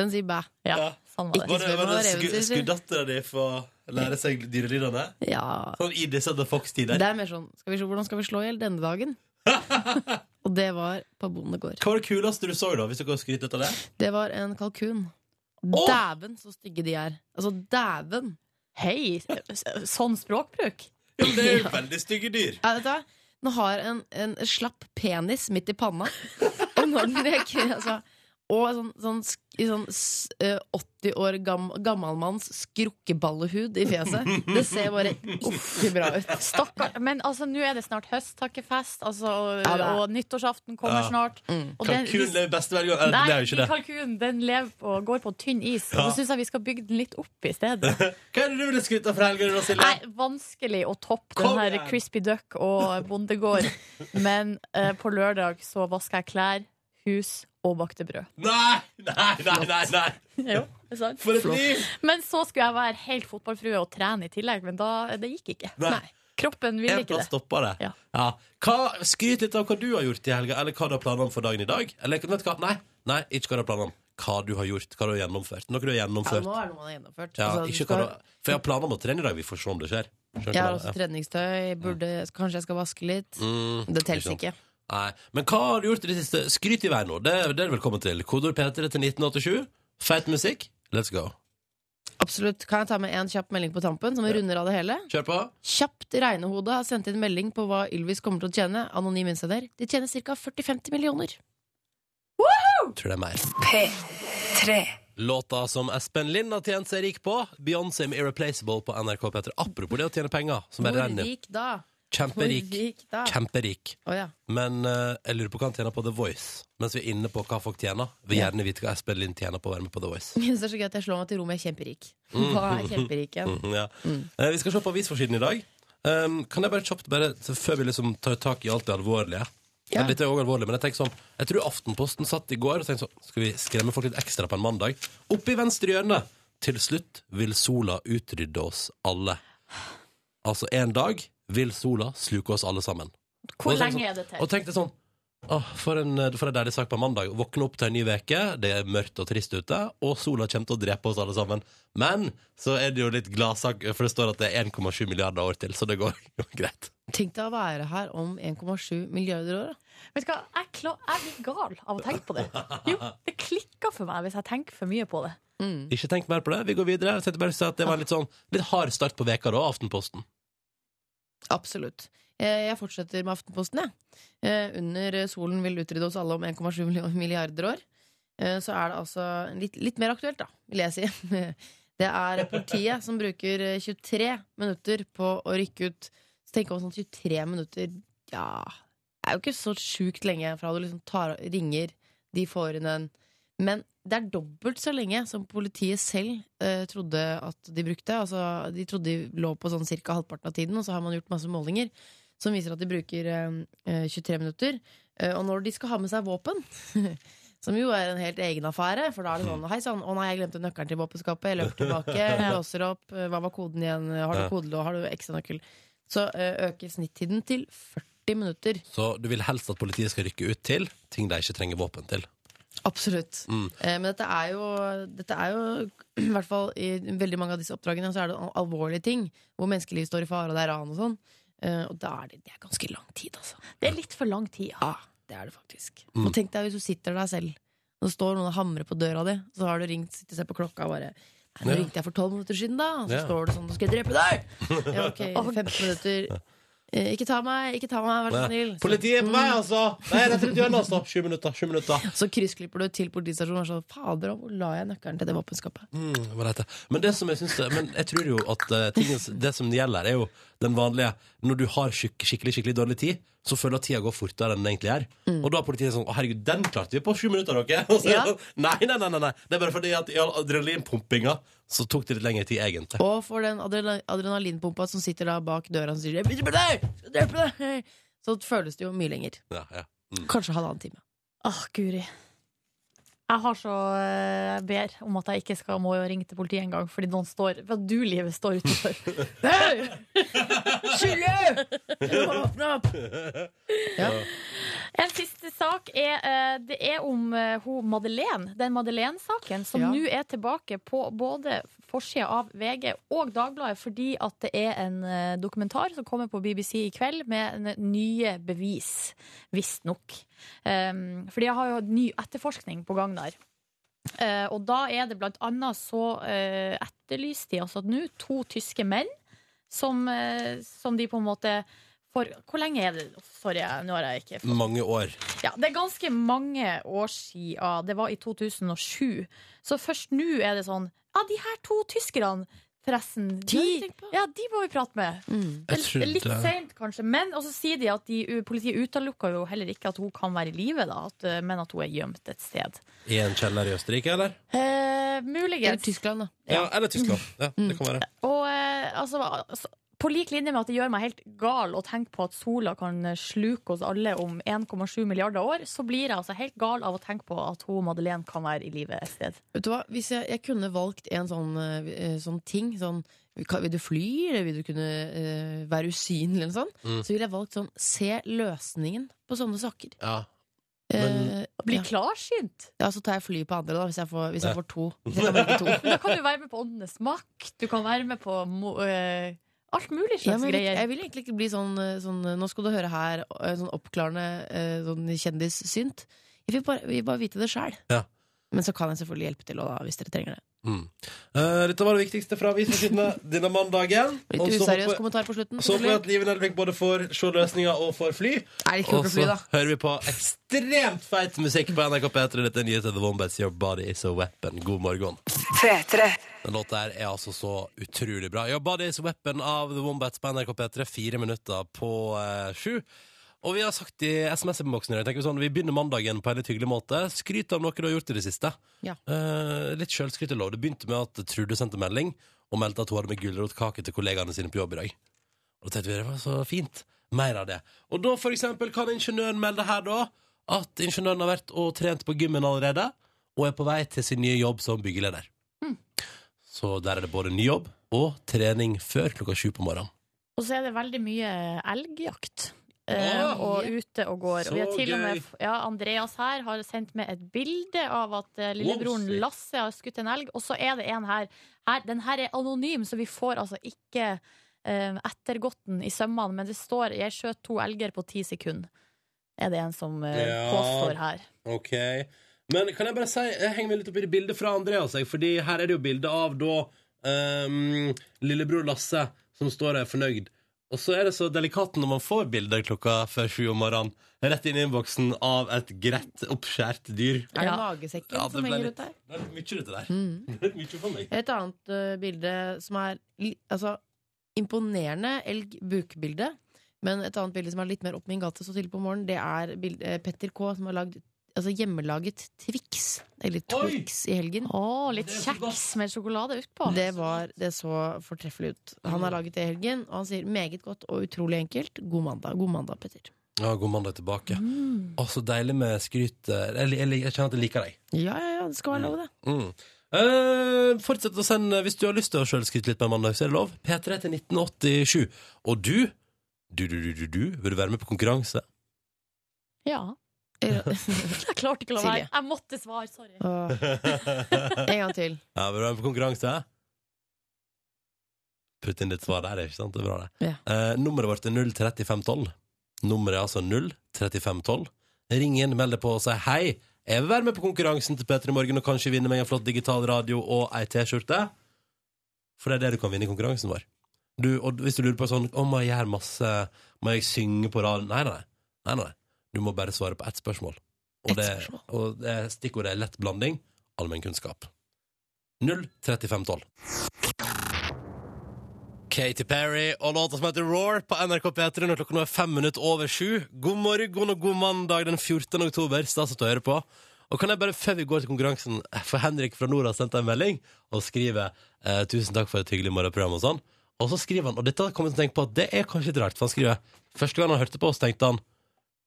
[SPEAKER 4] Den sier bæ.
[SPEAKER 5] Ja,
[SPEAKER 2] Ja.
[SPEAKER 5] sånn var det.
[SPEAKER 2] Var det, var det
[SPEAKER 4] Reven,
[SPEAKER 2] sku,
[SPEAKER 4] sier du?
[SPEAKER 2] skudddattera di få lære seg dyrelydene?
[SPEAKER 4] Ja.
[SPEAKER 2] Sånn i disse The
[SPEAKER 4] Det
[SPEAKER 2] Fox-tider.
[SPEAKER 4] er mer sånn skal vi se, Hvordan skal vi slå i hjel denne dagen? Og det var på bondegård.
[SPEAKER 2] Hva var det kuleste du så, da? Hvis du kan skryte litt av det?
[SPEAKER 4] Det var en kalkun.
[SPEAKER 2] Åh!
[SPEAKER 4] Dæven, så stygge de er. Altså, dæven.
[SPEAKER 5] Hei, s- sånn språkbruk?
[SPEAKER 2] Ja, men det er jo veldig stygge dyr.
[SPEAKER 4] Ja, vet du hva? Den har en, en slapp penis midt i panna. Og når den reker altså, Og sånn, sånn, sk- i sånn s- eh, 80 år gam, gammel manns skrukkeballehud i fjeset. Det ser bare ikke bra ut.
[SPEAKER 5] Stakkar. Men altså, nå er det snart høsttakkefest, altså,
[SPEAKER 4] Ja, det er-
[SPEAKER 5] og nyttårsaften kommer
[SPEAKER 2] Ja.
[SPEAKER 5] snart.
[SPEAKER 4] Mm.
[SPEAKER 5] Og den-
[SPEAKER 2] Kalkunen er beste velgå... Nei,
[SPEAKER 5] Nei,
[SPEAKER 2] det er jo ikke det.
[SPEAKER 5] kalkunen den lever på, går på tynn is.
[SPEAKER 2] Ja.
[SPEAKER 5] Og så syns jeg vi skal bygge den litt opp i stedet.
[SPEAKER 2] Hva er det du ville skryte av fra helga, da, Silje?
[SPEAKER 5] Nei, vanskelig å toppe
[SPEAKER 2] Kom
[SPEAKER 5] den her
[SPEAKER 2] igjen!
[SPEAKER 5] Crispy Duck og Bondegård. Men eh, på lørdag så vaska jeg klær, hus og bakte brød.
[SPEAKER 2] Nei, nei, nei, nei, nei.
[SPEAKER 5] Jo, det er sant.
[SPEAKER 2] For et liv!
[SPEAKER 5] Men så skulle jeg være helt fotballfrue og trene i tillegg, men da, det gikk ikke.
[SPEAKER 2] Nei.
[SPEAKER 5] Kroppen ville
[SPEAKER 2] En
[SPEAKER 5] ikke
[SPEAKER 2] plass
[SPEAKER 5] det.
[SPEAKER 2] stoppa det.
[SPEAKER 5] Ja.
[SPEAKER 2] Ja. Hva, skryt litt av hva du har gjort i helga, eller hva du har planer om for dagen i dag. Eller vet du hva? Nei, nei, ikke hva du har planer om. Hva du har gjort, hva du har gjennomført. Noe du har
[SPEAKER 4] Ja,
[SPEAKER 2] gjennomført.
[SPEAKER 4] nå er det noe man har gjennomført.
[SPEAKER 2] Ja,
[SPEAKER 4] Altså, du
[SPEAKER 2] ikke
[SPEAKER 4] skal- altså,
[SPEAKER 2] hva du, for jeg har planer om å trene i dag. Vi får se om det skjer. Skjønner du
[SPEAKER 4] jeg har
[SPEAKER 2] hva
[SPEAKER 4] også
[SPEAKER 2] jeg-
[SPEAKER 4] treningstøy. Burde, kanskje jeg skal vaske litt.
[SPEAKER 2] Mm,
[SPEAKER 4] Det telles
[SPEAKER 2] sant.
[SPEAKER 4] ikke.
[SPEAKER 2] Nei. Men hva har du gjort i det siste? Skryt i vei nå. Det, det er du velkommen til. Kodord P3 til 1987. Feit musikk. Let's go.
[SPEAKER 4] Absolutt. Kan jeg ta med en kjapp melding på tampen, som runder av det hele?
[SPEAKER 2] Kjør på.
[SPEAKER 4] Kjapt regnehode har sendt inn melding på hva Ylvis kommer til å tjene. Anonym innsender. De tjener ca. 40-50 millioner.
[SPEAKER 2] Tror det er mer. Låta som Espen Lind har tjent seg rik på. Beyoncé med Irreplaceable på NRK P3. Apropos det å tjene penger. Som er
[SPEAKER 4] Hvor
[SPEAKER 2] renner.
[SPEAKER 4] rik da? Hvor
[SPEAKER 2] Kjemperik.
[SPEAKER 4] rik da?
[SPEAKER 2] Kjemperik.
[SPEAKER 4] Å ja.
[SPEAKER 2] Men eh, jeg lurer på hva han tjener på The Voice. Mens vi er inne på hva folk tjener. Vil gjerne vite hva Espen Lind tjener på å være med på The Voice.
[SPEAKER 4] Jeg synes det er så gøy at jeg slår meg til ro med kjemperik. Hva er kjemperik igjen?
[SPEAKER 2] Mm, Ja. Eh, vi skal se på avisforsiden i dag. Um, kan jeg bare kjapt, bare, så før vi liksom tar tak i alt det alvorlige
[SPEAKER 4] Ja.
[SPEAKER 2] Dette er jo også alvorlig, men jeg tenker sånn Jeg tror Aftenposten satt i går og tenkte sånn Skal vi skremme folk litt ekstra på en mandag? Oppe i venstre hjørne Til slutt vil sola utrydde oss alle. Altså, en dag vil sola sluke oss alle sammen.
[SPEAKER 5] Hvor
[SPEAKER 2] Og tenk
[SPEAKER 5] lenge
[SPEAKER 2] sånn-
[SPEAKER 5] er det
[SPEAKER 2] Og
[SPEAKER 5] til?
[SPEAKER 2] tenkte sånn Åh, for en, for en deilig sak på mandag. Våkne opp til en ny veke det er mørkt og trist ute, og sola kommer til å drepe oss alle sammen. Men så er det jo litt gladsak, for det står at det er 1,7 milliarder år til, så det går jo greit.
[SPEAKER 4] Tenk deg å være her om 1,7 milliarder år. Da.
[SPEAKER 5] Vet du hva, jeg, kla- jeg blir gal av å tenke på det. Jo, det klikker for meg hvis jeg tenker for mye på det.
[SPEAKER 2] Ikke tenk mer på det. Vi går videre. Jeg tenkte bare å si at Det var en litt sånn litt hard start på veka da, Aftenposten.
[SPEAKER 4] Absolutt. Eh, Jeg fortsetter med Aftenposten, jeg. Eh, Under solen vil utrydde oss alle om 1,7 million- milliarder år. Eh, Så er det altså litt, litt mer aktuelt, da, vil jeg si. Det er politiet som bruker eh, 23 minutter på å rykke ut. Så tenker man sånn 23 minutter Ja, det er jo ikke så sjukt lenge fra du liksom tar, ringer, de får inn en Men det er dobbelt så lenge som politiet selv eh, trodde at de brukte. Altså, de trodde de lå på sånn ca. halvparten av tiden, og så har man gjort masse målinger som viser at de bruker eh, eh, 23 minutter. Eh, og når de skal ha med seg våpen Som jo er en helt egen affære, for da er det sånn Hei sann, å nei, jeg glemte nøkkelen til våpenskapet. Jeg løper tilbake, låser opp. eh, Hva var koden igjen? Har du
[SPEAKER 2] Ja.
[SPEAKER 4] kodelås? Har du ekstra nøkkel? Så eh, øker snittiden til 40 minutter.
[SPEAKER 2] Så du vil helst at politiet skal rykke ut til ting de ikke trenger våpen til.
[SPEAKER 4] Absolutt.
[SPEAKER 2] Mm.
[SPEAKER 4] Eh, Men dette er jo, dette er jo i hvert fall i veldig mange av disse oppdragene så er det al- alvorlige ting. Hvor menneskeliv står i fare, og det er ran og sånn. Eh, Og da er det, det er ganske lang tid, altså.
[SPEAKER 5] Det er litt for lang tid.
[SPEAKER 4] Ja, det er det faktisk.
[SPEAKER 2] Mm.
[SPEAKER 4] Og tenk deg hvis du sitter der selv, og det står noen og hamrer på døra di, så har du ringt, sitter og ser på klokka og bare Nei, nå
[SPEAKER 2] Ja.
[SPEAKER 4] ringte jeg for tolv minutter siden, da. Og så
[SPEAKER 2] Ja.
[SPEAKER 4] står det sånn, nå skal jeg drepe deg! Ja, ok, 15 minutter. Eh, Ikke ta meg, ikke ta meg, vær så snill. Så-
[SPEAKER 2] Politiet er på vei, altså! Nei, rett rundt hjørnet, altså! Sju minutter. Sju minutter.
[SPEAKER 4] Så kryssklipper du til politistasjonen og er sånn Fader, hvor la jeg nøkkelen til det våpenskapet?
[SPEAKER 2] Mm, hva det heter. Men det som jeg syns Men jeg tror jo at eh, tingens, det som gjelder, er jo den vanlige Når du har skik skikkelig skikkelig dårlig tid, så føler jeg at tida går fortere enn den egentlig er. Og da er politiet sånn Å, herregud, den klarte vi på sju minutter, dere! Og så er det
[SPEAKER 4] Ja.
[SPEAKER 2] sånn, nei, nei, nei, nei, nei. Det er bare fordi at i all adrenalinpumpinga så tok det litt lengre tid, egentlig.
[SPEAKER 4] Og for den adrena- adrenalinpumpa som sitter da bak døra og sier «Jeg biter på deg! Skal drepe deg!» Så føles det jo mye lenger.
[SPEAKER 2] Ja, ja. Mm.
[SPEAKER 4] Kanskje halvannen time.
[SPEAKER 5] Åh, guri. Jeg har så eh, jeg ber om at jeg ikke skal må jo ringe til politiet en gang, fordi noen står Hva du, livet, står utenfor.
[SPEAKER 4] Hei! Silje! Åpne opp!
[SPEAKER 5] En siste sak er eh, Det er om eh, hun Madeleine. Den Madeleine-saken som
[SPEAKER 4] Ja.
[SPEAKER 5] nå er tilbake på både forsida av VG og Dagbladet, fordi at det er en eh, dokumentar som kommer på BBC i kveld med en- eh, nye bevis, visstnok. Um, for de har jo hatt ny etterforskning på gang der. Eh, og da er det blant annet så uh, etterlyst de altså nå to tyske menn som, eh, som de på en måte for, Hvor lenge er det? Sorry, jeg- nå har jeg ikke
[SPEAKER 2] Mange år.
[SPEAKER 5] ja, Det er ganske mange år siden. Det var i 2007. Så først nå er det sånn Ja, de her to tyskerne, forresten.
[SPEAKER 4] har jeg
[SPEAKER 5] De,
[SPEAKER 4] tenkt på.
[SPEAKER 5] ja, de må vi prate med. Det
[SPEAKER 2] Jeg
[SPEAKER 5] er litt
[SPEAKER 2] trodde-
[SPEAKER 5] seint, kanskje. Men og så sier de at de, politiet utelukka jo heller ikke at hun kan være i live, da, at, eh, men at hun er gjemt et sted.
[SPEAKER 2] I en kjeller i Østerrike, eller?
[SPEAKER 5] Eh,
[SPEAKER 4] Eller
[SPEAKER 5] muligens.
[SPEAKER 4] Tyskland, da.
[SPEAKER 2] Ja, eller Tyskland. Ja, det kan være.
[SPEAKER 5] Og eh, altså, altså på lik linje med at det gjør meg helt gal å tenke på at sola kan eh, sluke oss alle om 1,7 milliarder år, så blir jeg altså helt gal av å tenke på at hun Madeleine kan være i live et sted.
[SPEAKER 4] Vet du hva, Hvis jeg, jeg kunne valgt en sånn, eh, sånn ting sånn, kan- Vil du fly, eller vil du kunne eh, være usynlig, eller sånn,
[SPEAKER 2] Mm.
[SPEAKER 4] så ville jeg valgt sånn Se løsningen på sånne saker.
[SPEAKER 2] Ja.
[SPEAKER 4] Eh,
[SPEAKER 2] Men-
[SPEAKER 5] Bli
[SPEAKER 4] ja.
[SPEAKER 5] klarsynt!
[SPEAKER 4] ja, Så tar jeg fly på andre, da, hvis jeg får, hvis jeg
[SPEAKER 2] Ja.
[SPEAKER 4] får to. Hvis jeg kan velge to.
[SPEAKER 5] Men da kan du være med på Åndenes makt, du kan være med på mo eh, alt mulig
[SPEAKER 4] Ja,
[SPEAKER 5] slags
[SPEAKER 4] men jeg,
[SPEAKER 5] greier.
[SPEAKER 4] jeg vil egentlig ikke bli sånn, eh, sånn eh, Nå skal du høre her, eh, sånn oppklarende eh, sånn kjendissynt. Jeg vil bare, vil bare vite det sjæl.
[SPEAKER 2] Ja.
[SPEAKER 4] Men så kan jeg selvfølgelig hjelpe til også, da, hvis dere trenger det.
[SPEAKER 2] Mm. Eh, dette var det viktigste fra avisforsidene denne mandagen.
[SPEAKER 4] Litt
[SPEAKER 2] Og så
[SPEAKER 4] useriøs
[SPEAKER 2] håper-
[SPEAKER 4] kommentar på slutten.
[SPEAKER 2] Så håper jeg
[SPEAKER 4] selvfølgelig.
[SPEAKER 2] at Liven Elvik både får se løsninger og får fly.
[SPEAKER 4] Er det ikke
[SPEAKER 2] Og
[SPEAKER 4] kult å fly,
[SPEAKER 2] så
[SPEAKER 4] da?
[SPEAKER 2] hører vi på ekstremt feit musikk på NRK P3. Dette er nyheter The Wombats Your Body Is A Weapon. God morgen. Den låta her er altså så utrolig bra. Your Body Is A Weapon av The Wombats på NRK P3. Fire minutter på eh, sju. Og vi har sagt i SMS-boksen i dag, tenker vi sånn, vi begynner mandagen på en litt hyggelig måte. Skryt av noe du har gjort i det siste.
[SPEAKER 4] Ja.
[SPEAKER 2] Eh, litt sjølskryt er lov. Det begynte med at Trude sendte melding og meldte at hun hadde med gulrotkake til kollegaene sine på jobb i dag. Og da tenkte vi det var så fint. Mer av det. Og da for eksempel kan ingeniøren melde her da at ingeniøren har vært og trent på gymmen allerede, og er på vei til sin nye jobb som byggeleder. Så der er det både ny jobb og trening før klokka sju på morgenen.
[SPEAKER 5] Og så er det veldig mye elgjakt.
[SPEAKER 2] Ja.
[SPEAKER 5] eh, og ute og går.
[SPEAKER 2] Så
[SPEAKER 5] Og vi har til og med,
[SPEAKER 2] gøy.
[SPEAKER 5] ja, Andreas her har sendt meg et bilde av at eh, lillebroren
[SPEAKER 2] Wow, sick.
[SPEAKER 5] Lasse har skutt en elg. Og så er det en her. her den her er anonym, så vi får altså ikke eh, ettergått den i sømmene. Men det står 'Jeg skjøt to elger på ti sekunder', er det en som eh,
[SPEAKER 2] Ja.
[SPEAKER 5] påstår her.
[SPEAKER 2] Ok Men kan jeg bare si, jeg henger meg litt opp i det bildet fra Andreas jeg, Fordi her er det jo bildet av da ehm, Lillebror Lasse Som står der fornøyd Og så er det så delikat når man får bilder klokka Før sju om morgenen Rett inn i innboksen av et greit oppskjært dyr
[SPEAKER 4] Er det
[SPEAKER 5] Ja.
[SPEAKER 4] magesekken
[SPEAKER 2] Ja,
[SPEAKER 4] som
[SPEAKER 2] ble litt,
[SPEAKER 4] henger ut der?
[SPEAKER 2] det er litt mye rundt det der
[SPEAKER 4] Mm.
[SPEAKER 2] Det er litt mye for meg
[SPEAKER 4] Et annet eh, bilde som er li- altså, imponerende elg-bukbilde, men et annet bilde som er litt mer opp min gate så tidlig på morgenen, det er bild- eh, Petter K. som har lagd altså, hjemmelaget Twix, eller Twix, i helgen.
[SPEAKER 5] Å, litt kjeks med sjokolade utpå.
[SPEAKER 4] Det, var, det så fortreffelig ut. Han har laget det i helgen, og han sier meget godt og utrolig enkelt. God mandag, god mandag, Petter.
[SPEAKER 2] Ja, god mandag tilbake
[SPEAKER 5] Mm.
[SPEAKER 2] Å, så deilig med skryt eh, jeg, jeg, jeg kjenner at jeg liker deg
[SPEAKER 4] Ja, ja, ja, det skal være lov, det.
[SPEAKER 2] Mm. Eh, fortsett å sende hvis du har lyst til å selv skryte litt med mandag, så er det lov. P3 til 1987. Og du, du, du, du, du, du vil du være med på konkurranse?
[SPEAKER 5] Ja. Jeg klarte ikke å la være.
[SPEAKER 4] Silje.
[SPEAKER 5] Jeg måtte svare, sorry.
[SPEAKER 4] Åh,
[SPEAKER 2] ja,
[SPEAKER 4] en gang til.
[SPEAKER 2] vil du være med på konkurranse? Putt inn ditt svar der, ikke sant? Det er bra, det. Eh, nummeret vårt er 03512. Nummeret er altså 03512. Ring inn, meld deg på og si hei. Jeg vil være med på konkurransen til P3 Morgen og kanskje vinne meg en flott digital radio og ei T-skjorte. For det er det du kan vinne i konkurransen vår. Du, og hvis du lurer på sånn Å, må jeg gjøre masse Må jeg synge på radioen? Nei, nei, nei. nei, nei. Du må bare svare på ett spørsmål. Og,
[SPEAKER 4] Ett
[SPEAKER 2] det,
[SPEAKER 4] spørsmål.
[SPEAKER 2] og det, stikkordet er lett blanding. Allmennkunnskap. 03512. Katy Perry og låta som heter Roar på NRK P3 når klokka nå er fem minutter over sju. God morgen og god mandag den 14. oktober. Stas at du hører på. Og kan jeg bare, før vi går til konkurransen, for Henrik fra Nord har sendt en melding og skriver eh, 'Tusen takk for et hyggelig morgenprogram' og sånn. Og så skriver han, og dette kommer jeg til å tenke på at det er kanskje litt rart, for han skriver Første gang han hørte på oss, tenkte han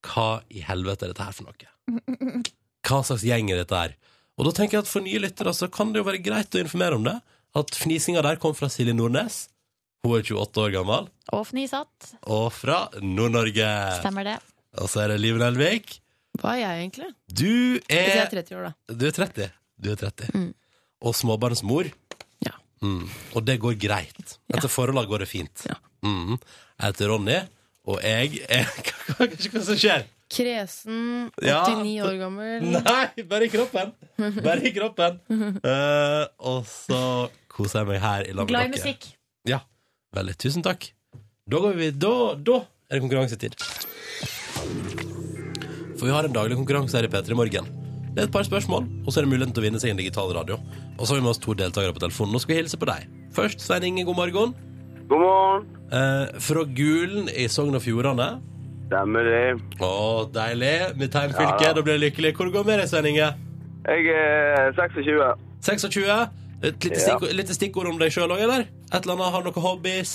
[SPEAKER 2] 'Hva i helvete er dette her for noe?' hva slags gjeng er dette her? Og da tenker jeg at for nye lyttere så kan det jo være greit å informere om det. At fnisinga der kom fra Silje Nordnes. Hun er 28 år gammel.
[SPEAKER 5] Og fnisatt.
[SPEAKER 2] Og fra Nord-Norge.
[SPEAKER 5] Stemmer det.
[SPEAKER 2] Og så er det Liven Elvik.
[SPEAKER 4] Hva er jeg egentlig?
[SPEAKER 2] Du
[SPEAKER 4] Hvis jeg er
[SPEAKER 2] er
[SPEAKER 4] 30 år, da.
[SPEAKER 2] Du er 30. Du er 30.
[SPEAKER 4] Mm.
[SPEAKER 2] Og småbarnsmor.
[SPEAKER 4] Ja.
[SPEAKER 2] Mm. Og det går greit. Etter forholdene går det fint.
[SPEAKER 4] Ja.
[SPEAKER 2] Mm. Jeg heter Ronny, og jeg er Hva er det som skjer?
[SPEAKER 4] Kresen,
[SPEAKER 2] Ja.
[SPEAKER 4] 89 år gammel.
[SPEAKER 2] Nei, bare i kroppen. Bare i kroppen. Eh, og så koser jeg meg her i lag
[SPEAKER 5] Glad
[SPEAKER 2] med
[SPEAKER 5] i
[SPEAKER 2] dere.
[SPEAKER 5] musikk.
[SPEAKER 2] Ja, veldig. Tusen takk. Da går vi Da, da er det konkurransetid. For vi har en daglig konkurranse her i P3 Morgen. Det er et par spørsmål, og så er det muligheten til å vinne seg en digital radio. Og så har vi med oss to deltakere på telefonen. Nå skal vi hilse på deg. Først Svein Inge, god morgen.
[SPEAKER 6] God morgen.
[SPEAKER 2] Eh, fra Gulen i Sogn og Fjordane.
[SPEAKER 6] Stemmer det.
[SPEAKER 2] Å, deilig. Mitt heimfylke.
[SPEAKER 6] Ja.
[SPEAKER 2] Da blir jeg lykkelig. Hvor går det med deg, Svein Inge?
[SPEAKER 6] Jeg er 26.
[SPEAKER 2] 26. Et lite,
[SPEAKER 6] Ja.
[SPEAKER 2] stikkord, lite stikkord om deg sjøl òg, eller? Et eller annet, Har noen hobbies?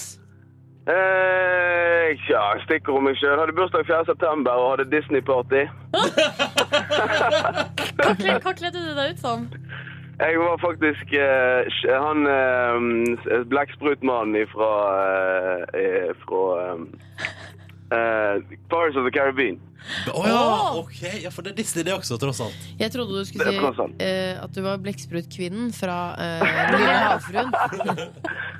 [SPEAKER 6] Eh, tja, stikkord om meg sjøl. Hadde bursdag 4. september og hadde Disney-party.
[SPEAKER 5] Hva kle- hva kledde du deg ut som?
[SPEAKER 6] Jeg var faktisk eh, sj- han eh, blekksprutmannen ifra eh, eh, fra eh, eh, Pirates of the Caribbean.
[SPEAKER 2] Å ja, ok. Ja, for det er Disney, det også, tross alt.
[SPEAKER 4] Jeg trodde du skulle
[SPEAKER 6] Det er
[SPEAKER 4] si
[SPEAKER 6] plassen.
[SPEAKER 4] eh, at du var blekksprutkvinnen fra eh, Den lille havfruen.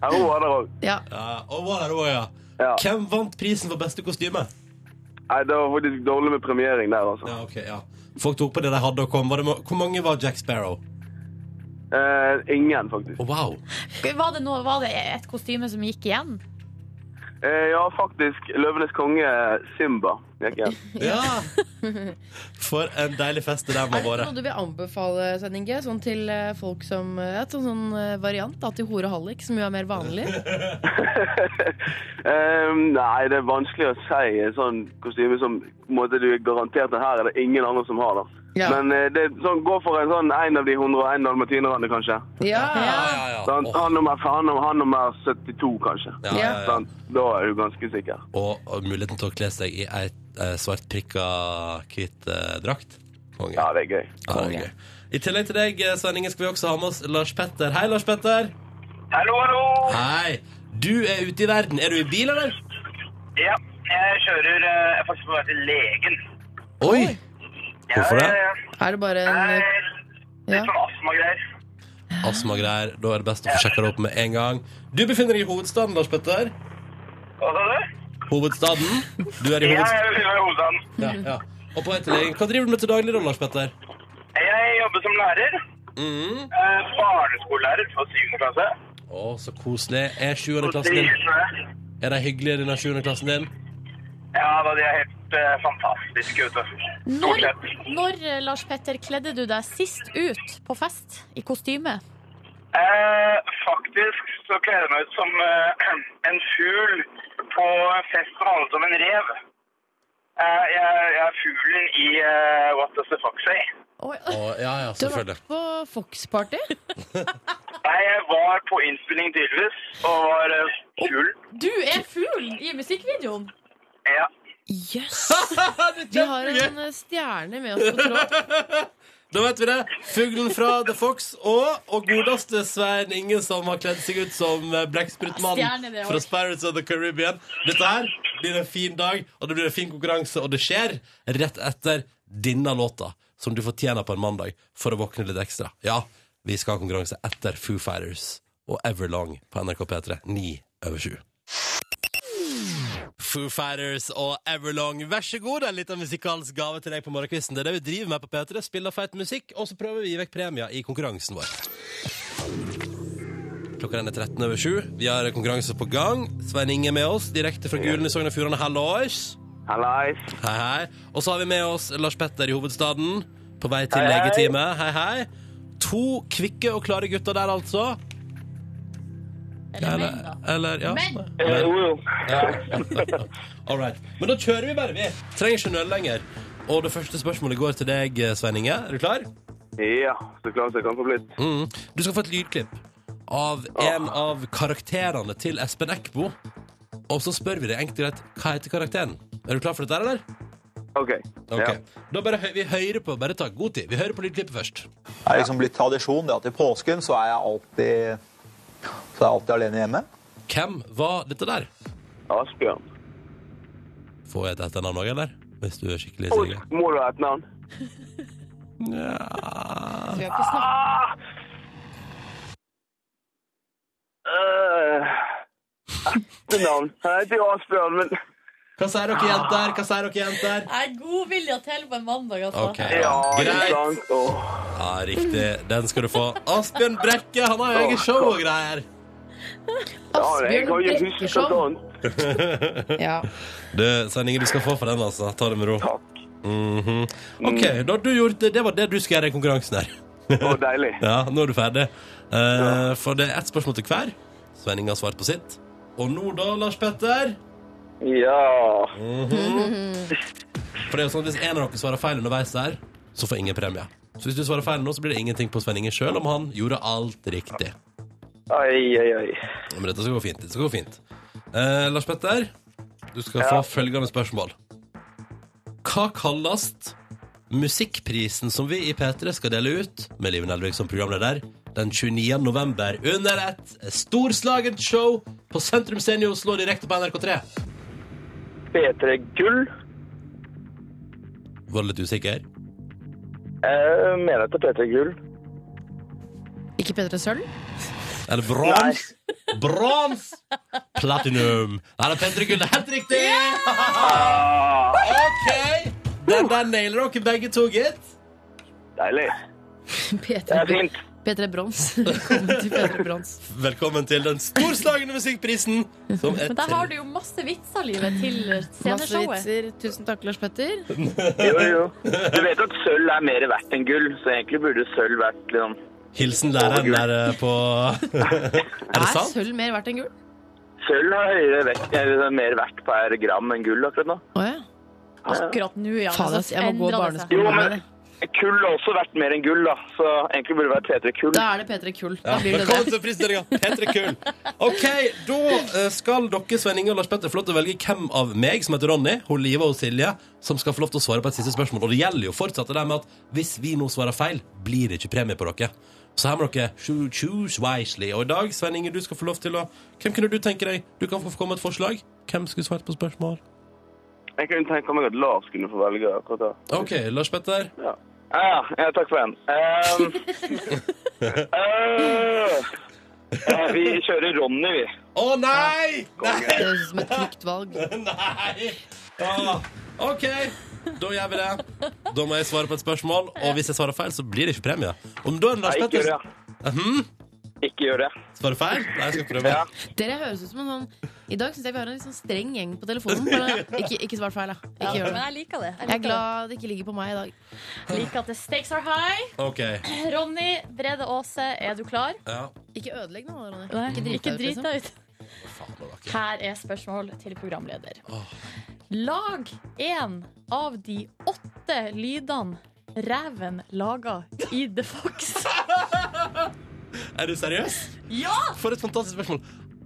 [SPEAKER 6] Ja, hun var der òg.
[SPEAKER 4] Ja.
[SPEAKER 2] Ja, og hva er det også, ja.
[SPEAKER 6] Ja.
[SPEAKER 2] Hvem vant prisen for beste kostyme?
[SPEAKER 6] Nei, Det var faktisk dårlig med premiering der, altså.
[SPEAKER 2] Ja, ok, ja. Folk tok på det de hadde og kom. Var det, ma- hvor mange var Jack Sparrow?
[SPEAKER 6] Eh, ingen, faktisk.
[SPEAKER 2] Å, wow.
[SPEAKER 5] Var det, noe, var det et kostyme som gikk igjen?
[SPEAKER 6] Eh, ja, faktisk. Løvenes konge, Simba, gikk igjen.
[SPEAKER 2] Ja! For en deilig fest det der må ha
[SPEAKER 4] Er det
[SPEAKER 2] vært.
[SPEAKER 4] noe du vil anbefale, Svein Inge? Sånn til eh, folk som eh, Et sånn, sånn eh, variant da, til hore og hallik, som jo er mer vanlig.
[SPEAKER 6] Ehm, nei, det er vanskelig å si en sånn kostyme som på en måte du er garantert at her er det ingen andre som har. da.
[SPEAKER 4] Ja.
[SPEAKER 6] Men eh, det er sånn, gå for en sånn en av de 101 dalmatinerne, kanskje.
[SPEAKER 4] Ja.
[SPEAKER 2] ja, ja.
[SPEAKER 6] Sånn,
[SPEAKER 2] Åh,
[SPEAKER 6] han, nummer, han, nummer- han nummer 72, kanskje.
[SPEAKER 2] ja, ja, ja.
[SPEAKER 6] Sånn, da er du ganske sikker.
[SPEAKER 2] Og, og muligheten til å kle seg i ei eh, svart prikka hvit eh, drakt. Konge.
[SPEAKER 6] Ja, det er gøy.
[SPEAKER 2] eh, Ja, det er gøy. I tillegg til deg Svenningen, skal vi også ha med oss Lars Petter. Hei, Lars Petter.
[SPEAKER 7] Hallo, hallo.
[SPEAKER 2] Hei, du er ute i verden. Er du i bil, eller?
[SPEAKER 7] Ja, jeg kjører eh, Jeg er faktisk på vei til legen.
[SPEAKER 2] Oi! Hvorfor det?
[SPEAKER 7] Ja,
[SPEAKER 4] Er det bare
[SPEAKER 7] ja,
[SPEAKER 4] en
[SPEAKER 7] ja. Nei,
[SPEAKER 4] Ja.
[SPEAKER 7] Litt sånn astmagreier.
[SPEAKER 2] Astmagreier. Da er det best å få sjekka det opp med en gang. Du befinner deg i hovedstaden, Lars Petter.
[SPEAKER 7] Hva sa du?
[SPEAKER 2] Hovedstaden. Du er i
[SPEAKER 7] Ja,
[SPEAKER 2] hovedstaden.
[SPEAKER 7] jeg vil være hovedstaden.
[SPEAKER 2] Ja, ja. Og på etterlegen. Hva driver du med til daglig, da, Lars Petter?
[SPEAKER 7] Jeg jobber som lærer.
[SPEAKER 2] Mm.
[SPEAKER 7] Eh, barneskolelærer for 7. klasse.
[SPEAKER 2] Å, så koselig. Er sjuende
[SPEAKER 7] Og
[SPEAKER 2] klassen din
[SPEAKER 7] drivende.
[SPEAKER 2] Er de hyggelige, denne sjuende klassen din?
[SPEAKER 7] Ja, da, de er helt eh, fantastiske, vet du. Stort
[SPEAKER 5] Når,
[SPEAKER 7] sett.
[SPEAKER 5] når eh, Lars Petter, kledde du deg sist ut på fest i kostyme?
[SPEAKER 7] Eh, faktisk så kler jeg meg ut som eh, en fugl på fest som handler om en rev. Eh, jeg, jeg er fuglen i eh, What Does The Fox Say.
[SPEAKER 5] Oi,
[SPEAKER 2] Å, ja, ja,
[SPEAKER 4] Du har
[SPEAKER 2] selvfølgelig.
[SPEAKER 4] vært på Fox-party?
[SPEAKER 7] Nei, jeg var på innspilling tydeligvis, og var eh, fugl.
[SPEAKER 5] Du er fugl i musikkvideoen!
[SPEAKER 7] Ja.
[SPEAKER 4] Jøss! Vi har en eh, stjerne med oss på tråd.
[SPEAKER 2] Da vet vi det. Fuglen fra The Fox og, og godeste Svein Inge, som har kledd seg ut som eh,
[SPEAKER 5] Stjerne,
[SPEAKER 2] blekksprutmannen
[SPEAKER 5] det også.
[SPEAKER 2] fra Spirits of the Caribbean. Dette her blir en fin dag, og det blir en fin konkurranse, og det skjer rett etter denne låta, som du fortjener på en mandag for å våkne litt ekstra. Ja, vi skal ha konkurranse etter Foo Fighters og Everlong på NRK P3 9 over 7. Foo Fighters og Everlong. Vær så god, en liten musikalsk gave til deg på morgenkvisten. Det er det vi driver med på P3. Spiller feit musikk, og så prøver vi å gi vekk premier i konkurransen vår. Klokka den er 13 over 7. Vi har konkurranse på gang. Svein Inge er med oss, direkte fra Gulen i Sogn og Fjordane. Hallois!
[SPEAKER 6] Hallais.
[SPEAKER 2] Hei, hei. Og så har vi med oss Lars Petter i hovedstaden, på vei til legetime. Hei, hei. To kvikke og klare gutter der, altså.
[SPEAKER 5] Eller menn, da.
[SPEAKER 2] Eller, ja.
[SPEAKER 5] Men.
[SPEAKER 2] Eller,
[SPEAKER 7] Jo, jo.
[SPEAKER 2] All right. Men da kjører vi bare, vi. Trenger ikke nøle lenger. Og det første spørsmålet går til deg, Svein Inge. Er du klar?
[SPEAKER 6] Ja, så klart jeg kan få blitt.
[SPEAKER 2] Mm. Du skal få et lydklipp av
[SPEAKER 6] Ah.
[SPEAKER 2] en av karakterene til Espen Eckbo. Og så spør vi deg enkelt og greit hva heter karakteren. Er du klar for dette, eller?
[SPEAKER 6] OK.
[SPEAKER 2] Ok.
[SPEAKER 6] Ja.
[SPEAKER 2] Da bare hø vi hører på. Bare ta god tid. Vi hører på lydklippet først.
[SPEAKER 8] Det er liksom blitt tradisjon det at i påsken så er jeg alltid, så er jeg alltid alene hjemme.
[SPEAKER 2] Hvem var dette der?
[SPEAKER 6] Asbjørn.
[SPEAKER 2] Får jeg et etternavn òg, eller? Hvis du er skikkelig
[SPEAKER 6] Oi,
[SPEAKER 2] sikker.
[SPEAKER 6] må du ha et navn?
[SPEAKER 4] Vi har ikke snakket
[SPEAKER 6] Uh, navn. Han heter jo Asbjørn, men
[SPEAKER 2] Hva sier dere, jenter? Hva sier dere, jenter?
[SPEAKER 5] Jeg er godvilja til på en mandag, altså.
[SPEAKER 2] Ok,
[SPEAKER 6] Ja,
[SPEAKER 2] greit.
[SPEAKER 6] ikke sant? Åh.
[SPEAKER 2] Ja, riktig. Den skal du få. Asbjørn Brekke, han har jo eget show og greier.
[SPEAKER 6] Ja, jeg kan jo sånn.
[SPEAKER 4] Asbjørn
[SPEAKER 6] huske
[SPEAKER 4] Brekkersson.
[SPEAKER 6] sånt.
[SPEAKER 4] Ja.
[SPEAKER 2] Du, Svein Inge, du skal få for den, altså. Ta det med ro.
[SPEAKER 6] Takk.
[SPEAKER 2] Mhm. OK, da har du gjort det. Det var det du skulle gjøre i konkurransen her.
[SPEAKER 6] Å, deilig.
[SPEAKER 2] Ja, nå er du ferdig. Eh, for det er ett spørsmål til hver. Svein Inge har svart på sitt. Og nå da, Lars Petter?
[SPEAKER 6] Ja.
[SPEAKER 2] For det er jo sånn at Hvis en av dere svarer feil underveis der, så får ingen premie. Så hvis du svarer feil nå, så blir det ingenting på Svenningen sjøl om han gjorde alt riktig.
[SPEAKER 6] Oi, oi, oi.
[SPEAKER 2] Men dette skal gå fint. Det skal gå fint. Eh, Lars Petter, du skal få følgende spørsmål. Hva kalles musikkprisen som vi i P3 skal dele ut, med Liven Elvik som programleder, den 29. november under et storslagent show på Sentrum Scene i Oslo direkte på NRK3?
[SPEAKER 6] P3 Gull.
[SPEAKER 2] Var du litt usikker?
[SPEAKER 6] Jeg Eh, mener at det er P3 Gull.
[SPEAKER 4] Ikke P3 Sølv?
[SPEAKER 2] Eller brons? Brons! Platinum. Nei, det er Petter Gull. Det er helt riktig! OK. Den der nailer dere begge to, gitt.
[SPEAKER 6] Deilig. Det
[SPEAKER 4] P3
[SPEAKER 6] er fint.
[SPEAKER 4] P3 Brons. Velkommen til P3 Brons.
[SPEAKER 2] Velkommen til den storslagne musikkprisen. Som er
[SPEAKER 5] Men der har du jo masse vitser, livet, til eh,
[SPEAKER 4] Masse
[SPEAKER 5] sceneshowet.
[SPEAKER 4] vitser. Tusen takk, Lars Petter.
[SPEAKER 6] Jo, jo. Du vet at sølv er mer verdt enn gull, så egentlig burde sølv vært liksom
[SPEAKER 2] Hilsen læreren der eh, på Er det
[SPEAKER 4] Er
[SPEAKER 2] sant?
[SPEAKER 4] sølv mer verdt enn gull?
[SPEAKER 6] Sølv har høyere vekt, eller mer verdt per gram enn gull akkurat nå.
[SPEAKER 4] Å ja.
[SPEAKER 5] Akkurat nå, ja.
[SPEAKER 2] altså,
[SPEAKER 4] Faen,
[SPEAKER 5] men
[SPEAKER 4] ass,
[SPEAKER 5] så
[SPEAKER 4] jeg må gå
[SPEAKER 5] endrer det seg.
[SPEAKER 4] barneskolen
[SPEAKER 6] Jo, men-
[SPEAKER 4] med det.
[SPEAKER 6] Kull har også vært mer enn gull, da. Så egentlig burde det vært P3 Kull.
[SPEAKER 4] Da er det P3 Kull. Da
[SPEAKER 2] Ja,
[SPEAKER 4] blir det det.
[SPEAKER 2] velkommen til prisdelinga. Petter Gull. OK, da eh, skal dere, Svein Inge og Lars Petter, få lov til å velge hvem av meg, som heter Ronny, hun Liva og Silje, som skal få lov til å svare på et siste spørsmål. Og det gjelder jo fortsatt det der med at hvis vi nå svarer feil, blir det ikke premie på dere. Så her må dere choo- choose wisely. Og i dag, Svein Inge, du skal få lov til å Hvem kunne du tenke deg? Du kan få komme med et forslag. Hvem skulle svart på spørsmål?
[SPEAKER 6] Jeg kunne tenke meg at Lars kunne få velge akkurat det.
[SPEAKER 2] OK, Lars Petter.
[SPEAKER 6] Ja. Ah, ja, takk for den. Ehm, eh, eh, vi kjører Ronny, vi.
[SPEAKER 2] Å nei! Nei!
[SPEAKER 4] Det høres ut som et trygt valg.
[SPEAKER 2] Nei! Ah, OK, da gjør vi det. Da må jeg svare på et spørsmål, og hvis jeg svarer feil, så blir det ikke premie. Om da er det
[SPEAKER 6] Nei,
[SPEAKER 2] Lars
[SPEAKER 6] ikke gjør
[SPEAKER 2] Petter
[SPEAKER 6] det. Mhm. Ikke gjør det.
[SPEAKER 2] svarer feil Nei, jeg skal prøve.
[SPEAKER 6] Ja.
[SPEAKER 4] Dere høres ut som en sånn I dag syns jeg vi har en litt sånn streng gjeng på telefonen. Bare, ikke, ikke svart feil, da. Ikke gjør
[SPEAKER 5] Men
[SPEAKER 4] det.
[SPEAKER 5] jeg liker det.
[SPEAKER 4] Jeg er glad det ikke ligger på meg i dag.
[SPEAKER 5] liker at the stakes are high.
[SPEAKER 2] OK.
[SPEAKER 5] Ronny Brede Aase, er du klar?
[SPEAKER 2] Ja.
[SPEAKER 4] Ikke ødelegg nå, Ronny.
[SPEAKER 5] Ikke
[SPEAKER 4] deg ut,
[SPEAKER 5] drit
[SPEAKER 4] liksom.
[SPEAKER 5] deg ut. Her er spørsmål til programleder. Lag en av de åtte lydene reven laga i The Fox.
[SPEAKER 2] Er du seriøs?
[SPEAKER 5] Ja!
[SPEAKER 2] For et fantastisk spørsmål.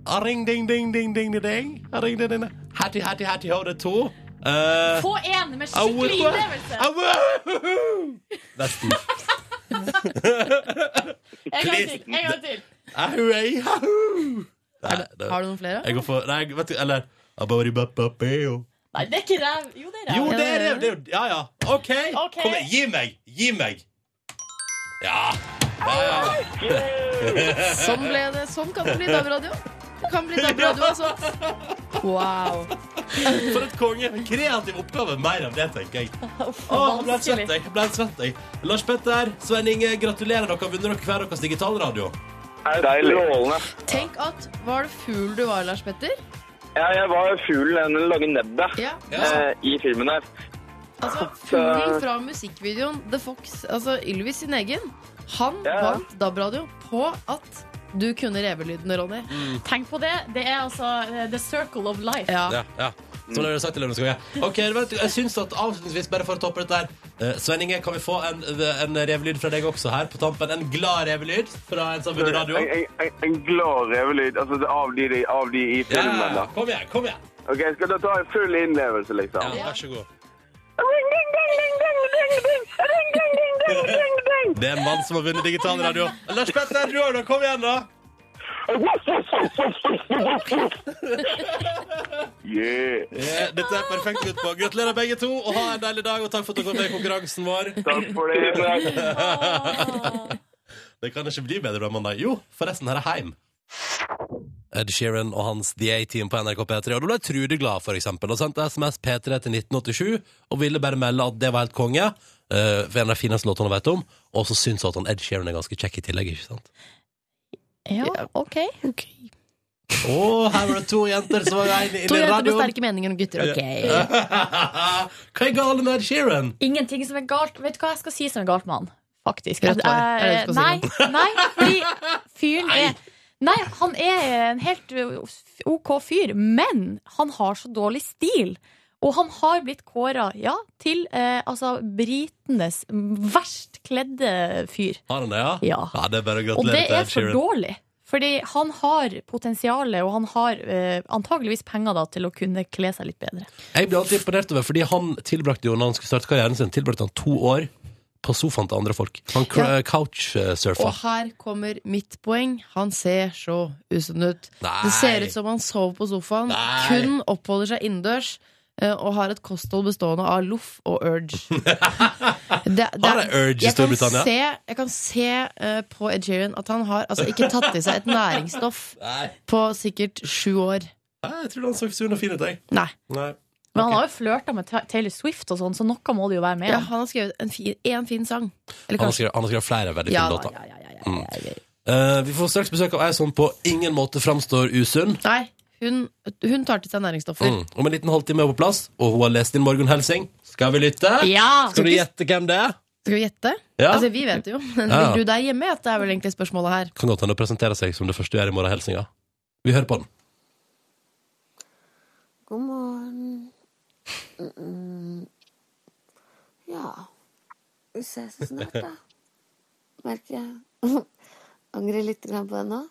[SPEAKER 2] Ah, Ring, ding, ding, ding, ding, ding, ding. Ring, ding, ding, ding. Hatty, hatty, hatty, hode to. Eh,
[SPEAKER 5] Få en med
[SPEAKER 2] I would-
[SPEAKER 5] skikkelig innlevelse.
[SPEAKER 2] I would- Vesten.
[SPEAKER 5] En gang til. En gang til.
[SPEAKER 2] Ahu, ei, ahu. Nei, det-
[SPEAKER 4] Har du noen flere?
[SPEAKER 2] Jeg går for Nei, vet du, eller Abadibababeo.
[SPEAKER 5] Nei, det er ikke rev. Jo, det er
[SPEAKER 2] Jo,
[SPEAKER 5] rev.
[SPEAKER 2] det er det! det er, jo- ja, ja. OK.
[SPEAKER 5] Ok.
[SPEAKER 2] Kom igjen. Gi meg. Gi meg. Ja.
[SPEAKER 4] Sånn ble det. Sånn kan det bli DAB-radio. Det kan bli DAB-radio og sånt. Wow.
[SPEAKER 2] For et konge. En kreativ oppgave. Mer av det, tenker jeg.
[SPEAKER 5] Uff,
[SPEAKER 2] Åh, jeg ble helt svett,
[SPEAKER 5] vanskelig.
[SPEAKER 2] jeg. Jeg ble helt svett, jeg. Lars Petter, Svein Inge, gratulerer. Dere har vunnet dere hver deres digitalradio.
[SPEAKER 6] Deilig.
[SPEAKER 4] Tenk at Var det fugl du var, Lars Petter?
[SPEAKER 6] Ja, jeg var fuglen den lange nebbet
[SPEAKER 4] Ja.
[SPEAKER 6] eh, i filmen der.
[SPEAKER 4] Altså, Fuglen fra musikkvideoen The Fox, altså Ylvis sin egen, han
[SPEAKER 6] Ja, ja.
[SPEAKER 4] vant DAB-radio på at du kunne revelydene, Ronny.
[SPEAKER 5] Tenk på det. Det er altså eh, the circle of life.
[SPEAKER 4] Ja.
[SPEAKER 2] Ja, ja. Sånn har dere sagt til Lønnes konge. Ok, vet du, jeg synes at avslutningsvis, bare for å toppe dette her eh, Svein Inge, kan vi få en, en revelyd fra deg også her på tampen? En glad revelyd fra en som har vunnet radio?
[SPEAKER 6] En, en, en- en glad revelyd altså, det er av, de, de- av de i
[SPEAKER 2] Ja,
[SPEAKER 6] filmen. da.
[SPEAKER 2] kom igjen, kom igjen.
[SPEAKER 6] Ok, Jeg skal da ta en full innlevelse, liksom.
[SPEAKER 2] Ja, vær så god. Det er en mann som har vunnet digital radio. Lars Petter, du òg, da. Kom igjen, da.
[SPEAKER 6] Yeah.
[SPEAKER 2] Eh, Dette er perfekt utpå. Gratulerer, begge to, og ha en deilig dag. Og takk for at dere var med i konkurransen vår.
[SPEAKER 6] Takk for det.
[SPEAKER 2] Det kan ikke bli bedre på en mandag. Jo, forresten, her er heim. Ed Sheeran og hans The A-Team på NRK P3. Og da ble Trude glad, for eksempel. Og sendte SMS P3 til 1987 og ville bare melde at det var helt konge. eh, for en av de fineste låtene hun vet om. Og så syns hun at han Ed Sheeran er ganske kjekk i tillegg, ikke sant?
[SPEAKER 5] Ja, OK.
[SPEAKER 2] Å, her var det to jenter som var enige
[SPEAKER 4] To
[SPEAKER 2] i
[SPEAKER 4] jenter med
[SPEAKER 2] radioen!
[SPEAKER 4] sterke meninger om gutter. Ok.
[SPEAKER 2] Hva er galt med Ed Sheeran?
[SPEAKER 5] Ingenting som er galt. Vet du hva jeg skal si som er galt med han? Faktisk.
[SPEAKER 4] Rødt hår.
[SPEAKER 5] Jeg- jeg-
[SPEAKER 4] Er det
[SPEAKER 5] nei,
[SPEAKER 4] det du
[SPEAKER 5] nei, fordi fyren er Nei, han er en helt uh, OK fyr, men han har så dårlig stil. Og han har blitt kåra ja, til eh, altså, britenes verst kledde fyr.
[SPEAKER 2] Har han det, ja?
[SPEAKER 5] Ja.
[SPEAKER 2] ja det er bare å
[SPEAKER 5] Og
[SPEAKER 2] gratulere
[SPEAKER 5] det
[SPEAKER 2] til
[SPEAKER 5] er
[SPEAKER 2] Ed
[SPEAKER 5] for
[SPEAKER 2] Sheeran.
[SPEAKER 5] dårlig. Fordi han har potensialet, og han har eh, antageligvis penger da, til å kunne kle seg litt bedre.
[SPEAKER 2] Jeg ble alltid imponert over, fordi han tilbrakte jo, når han skulle starte karrieren sin, tilbrakte han to år på sofaen til andre folk. Han
[SPEAKER 4] Ja.
[SPEAKER 2] cr- eh, couchsurfa.
[SPEAKER 4] Og her kommer mitt poeng. Han ser så usunn ut.
[SPEAKER 2] Nei.
[SPEAKER 4] Det ser ut som han sover på sofaen,
[SPEAKER 2] Nei.
[SPEAKER 4] kun oppholder seg innendørs eh, og har et kosthold bestående av loff og urge. Det- det-
[SPEAKER 2] Har de urge i
[SPEAKER 4] jeg kan
[SPEAKER 2] Storbritannia?
[SPEAKER 4] Se, jeg kan se eh, på Ed Sheeran at han har altså, ikke tatt i seg et næringsstoff
[SPEAKER 2] Nei,
[SPEAKER 4] på sikkert sju år.
[SPEAKER 2] jeg tror han så sunn og fin ut, jeg.
[SPEAKER 4] Nei.
[SPEAKER 2] Nei.
[SPEAKER 5] Men han har jo flørta med Ta- Taylor Swift, og sånn, så noe må det jo være med.
[SPEAKER 4] Ja, han har skrevet én en fin, en fin sang. Eller
[SPEAKER 2] Han har
[SPEAKER 4] kanskje
[SPEAKER 2] skrevet, han har skrevet flere veldig fine
[SPEAKER 4] Ja, da,
[SPEAKER 2] låter.
[SPEAKER 4] ja, ja, ja,
[SPEAKER 5] Mm.
[SPEAKER 4] ja, ja, ja.
[SPEAKER 2] Eh, vi får straks besøk av ei som på ingen måte framstår usunn.
[SPEAKER 4] Nei, hun, hun tar til seg næringsstoffer.
[SPEAKER 2] Mm. Om en liten halvtime er hun på plass, og hun har lest inn Morgan Helsing. Skal vi lytte?
[SPEAKER 5] Ja!
[SPEAKER 2] Skal du gjette hvem det er?
[SPEAKER 4] Skal vi gjette?
[SPEAKER 2] Ja.
[SPEAKER 4] Altså, vi vet det jo, men
[SPEAKER 2] Ja.
[SPEAKER 4] ligger du der hjemme? At det er vel egentlig spørsmålet her.
[SPEAKER 2] Kan godt hende å presentere seg som det første du gjør i morgen Helsinga. Vi hører på den.
[SPEAKER 9] God morgen. Mm, mm. Ja. Vi ses jo snart, da. Merker jeg. Angrer litt grann på det nå.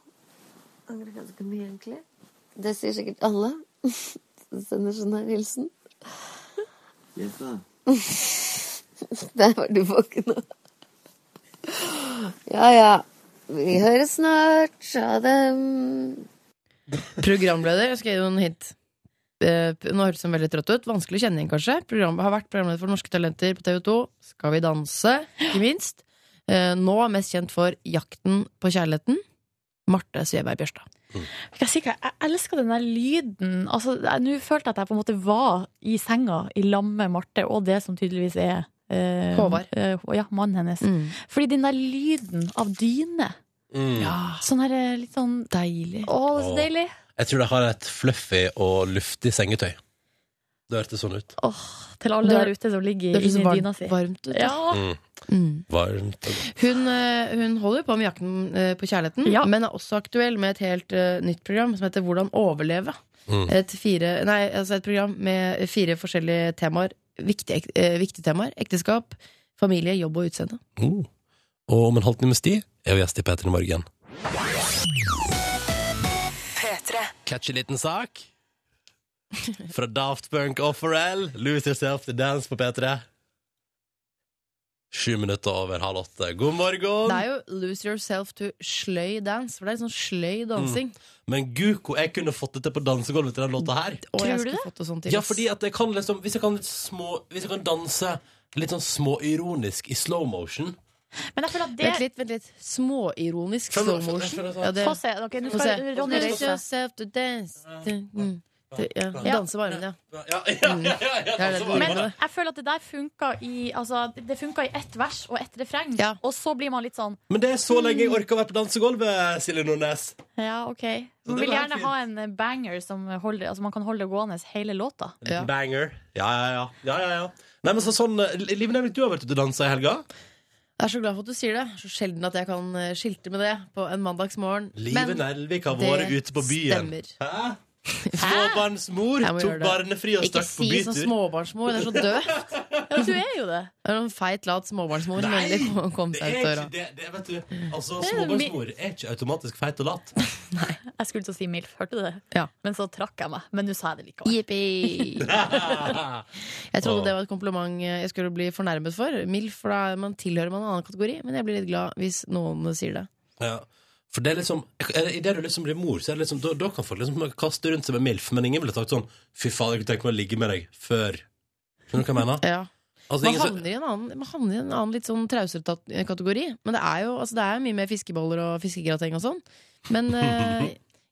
[SPEAKER 9] Angrer ganske mye, egentlig. Det sier sikkert alle som sender sånn her hilsen. Der var du våken nå. Ja ja. Vi høres snart. Ha det.
[SPEAKER 4] Programleder, jeg skal gi deg noen hint. Eh, p- nå høres han veldig trøtt ut. Vanskelig å kjenne igjen, kanskje. Program, har vært programleder for Norske Talenter på TV2. Skal vi danse, ikke minst. Eh, nå er mest kjent for Jakten på kjærligheten. Marte Sveberg Bjørstad.
[SPEAKER 5] Skal jeg si hva? Jeg elsker den der lyden. Altså, jeg- Nå følte jeg at jeg på en måte var i senga i lag med Marte, og det som tydeligvis er eh,
[SPEAKER 4] Håvard.
[SPEAKER 5] eh, ja, mannen hennes.
[SPEAKER 4] Mm.
[SPEAKER 5] Fordi den der lyden av dyne
[SPEAKER 2] Mm.
[SPEAKER 5] Sånn her eh, litt sånn
[SPEAKER 4] Deilig.
[SPEAKER 5] Å, så
[SPEAKER 2] Åh.
[SPEAKER 5] deilig.
[SPEAKER 2] Jeg tror de har et fluffy og luftig sengetøy. Det hørtes sånn ut.
[SPEAKER 5] Åh, til alle
[SPEAKER 4] Det er-
[SPEAKER 5] der ute som ligger
[SPEAKER 4] Det høres
[SPEAKER 5] inni dyna
[SPEAKER 4] varmt,
[SPEAKER 5] si.
[SPEAKER 4] varmt ut. da.
[SPEAKER 5] Ja.
[SPEAKER 2] Mm.
[SPEAKER 4] Mm.
[SPEAKER 2] Varmt. og-
[SPEAKER 4] Hun, eh, hun holder på med Jakten eh, på kjærligheten,
[SPEAKER 5] Ja.
[SPEAKER 4] men er også aktuell med et helt eh, nytt program som heter Hvordan overleve.
[SPEAKER 2] Mm.
[SPEAKER 4] Et, fire, nei, altså et program med fire forskjellige temaer. Viktige, ek- eh, viktige temaer. Ekteskap, familie, jobb og utseende.
[SPEAKER 2] Mm. Og om en halvtimes tid er vi gjest i P3 Morgen. Catch en liten sak. Fra Daft Punk og Pharrell. Lose yourself to dance på P3. Sju minutter over halv åtte. God morgen!
[SPEAKER 4] Det er jo Lose Yourself to Sløy Dance, for det er litt sånn
[SPEAKER 2] Mm.
[SPEAKER 4] sløy dansing.
[SPEAKER 2] Men gud, hvor jeg kunne fått det til på dansegulvet til den låta her.
[SPEAKER 4] Og
[SPEAKER 5] Tror
[SPEAKER 4] jeg
[SPEAKER 5] du
[SPEAKER 4] skulle
[SPEAKER 5] det?
[SPEAKER 4] fått det sånn til.
[SPEAKER 2] Ja, fordi at jeg kan liksom Hvis jeg kan, litt små, hvis jeg kan danse litt sånn småironisk i slow motion
[SPEAKER 5] Men jeg føler at det
[SPEAKER 4] Vent litt, vent litt. Småironisk
[SPEAKER 2] Kan du-
[SPEAKER 4] slow
[SPEAKER 2] kan
[SPEAKER 4] motion.
[SPEAKER 2] du- kan du-
[SPEAKER 4] Ja, det,
[SPEAKER 5] Få se. ok, nå
[SPEAKER 4] få se.
[SPEAKER 5] skal Ronny
[SPEAKER 4] Lose
[SPEAKER 5] reise seg.
[SPEAKER 4] yourself to dance mm. Det- ja.
[SPEAKER 2] Ja.
[SPEAKER 4] Danse med armene, ja.
[SPEAKER 2] Ja, ja, ja, ja, ja,
[SPEAKER 4] Det er det
[SPEAKER 2] så var det
[SPEAKER 4] du
[SPEAKER 5] Men
[SPEAKER 2] bare det.
[SPEAKER 5] jeg føler at det der funka i altså, Det funka i ett vers og ett refreng,
[SPEAKER 4] Ja.
[SPEAKER 5] og så blir man litt sånn
[SPEAKER 2] Men det er så lenge
[SPEAKER 4] Mm.
[SPEAKER 2] jeg orker å være på dansegulvet, Silje Nordnes.
[SPEAKER 5] Ja, OK. Man
[SPEAKER 2] det
[SPEAKER 5] vil
[SPEAKER 2] var
[SPEAKER 5] gjerne
[SPEAKER 2] fint.
[SPEAKER 5] ha en eh, banger som holder, altså man kan holde gående hele låta.
[SPEAKER 4] Ja.
[SPEAKER 2] Banger. Ja, ja, ja. ja, ja, ja. Nei, men så sånn eh, Liv Nelvik, du har vært ute og dansa i helga?
[SPEAKER 4] Jeg er så glad for at du sier det. Så sjelden at jeg kan eh, skilte med det på en mandagsmorgen.
[SPEAKER 2] Live Nelvik har vært ute på byen.
[SPEAKER 4] stemmer.
[SPEAKER 2] Hæ? Småbarnsmor
[SPEAKER 4] Jeg må
[SPEAKER 2] tok
[SPEAKER 4] gjøre det.
[SPEAKER 2] barnefri og
[SPEAKER 4] Ikke
[SPEAKER 2] stakk på
[SPEAKER 4] si sånn
[SPEAKER 2] bytur.
[SPEAKER 4] småbarnsmor. Det er så døvt.
[SPEAKER 5] Men du er jo det!
[SPEAKER 4] Det er en feit, lat småbarnsmor som
[SPEAKER 2] Nei,
[SPEAKER 4] endelig kom- kom
[SPEAKER 2] Det
[SPEAKER 4] seg
[SPEAKER 2] er
[SPEAKER 4] ut
[SPEAKER 2] ikke
[SPEAKER 4] døra.
[SPEAKER 2] det, det vet du. Altså,
[SPEAKER 5] Det er jo
[SPEAKER 2] småbarnsmor er ikke automatisk feit og latt.
[SPEAKER 5] Jeg skulle til å si MILF, hørte du det?
[SPEAKER 4] Ja.
[SPEAKER 5] Men så trakk jeg meg. Men nå sa jeg det likevel.
[SPEAKER 4] Jippi! Jeg trodde det var et kompliment eh, jeg skulle bli fornærmet for. Milf, for da er man tilhører man en annen kategori. Men jeg blir litt glad hvis noen sier det.
[SPEAKER 2] Ja. For det er liksom er det- i det du liksom blir mor, så er det liksom, da, da kan folk liksom kaste rundt seg med MILF, men ingen ville sagt sånn Fy faen, jeg kunne tenke meg å ligge med deg før Skjønner du hva jeg mener?
[SPEAKER 4] Ja.
[SPEAKER 2] Altså,
[SPEAKER 4] Man
[SPEAKER 2] ingen som-
[SPEAKER 4] havner, i en annen, man havner i en annen litt sånn trausere ta- kategori. Men det er jo altså det er mye mer fiskeboller og fiskegrateng og sånn. Men eh,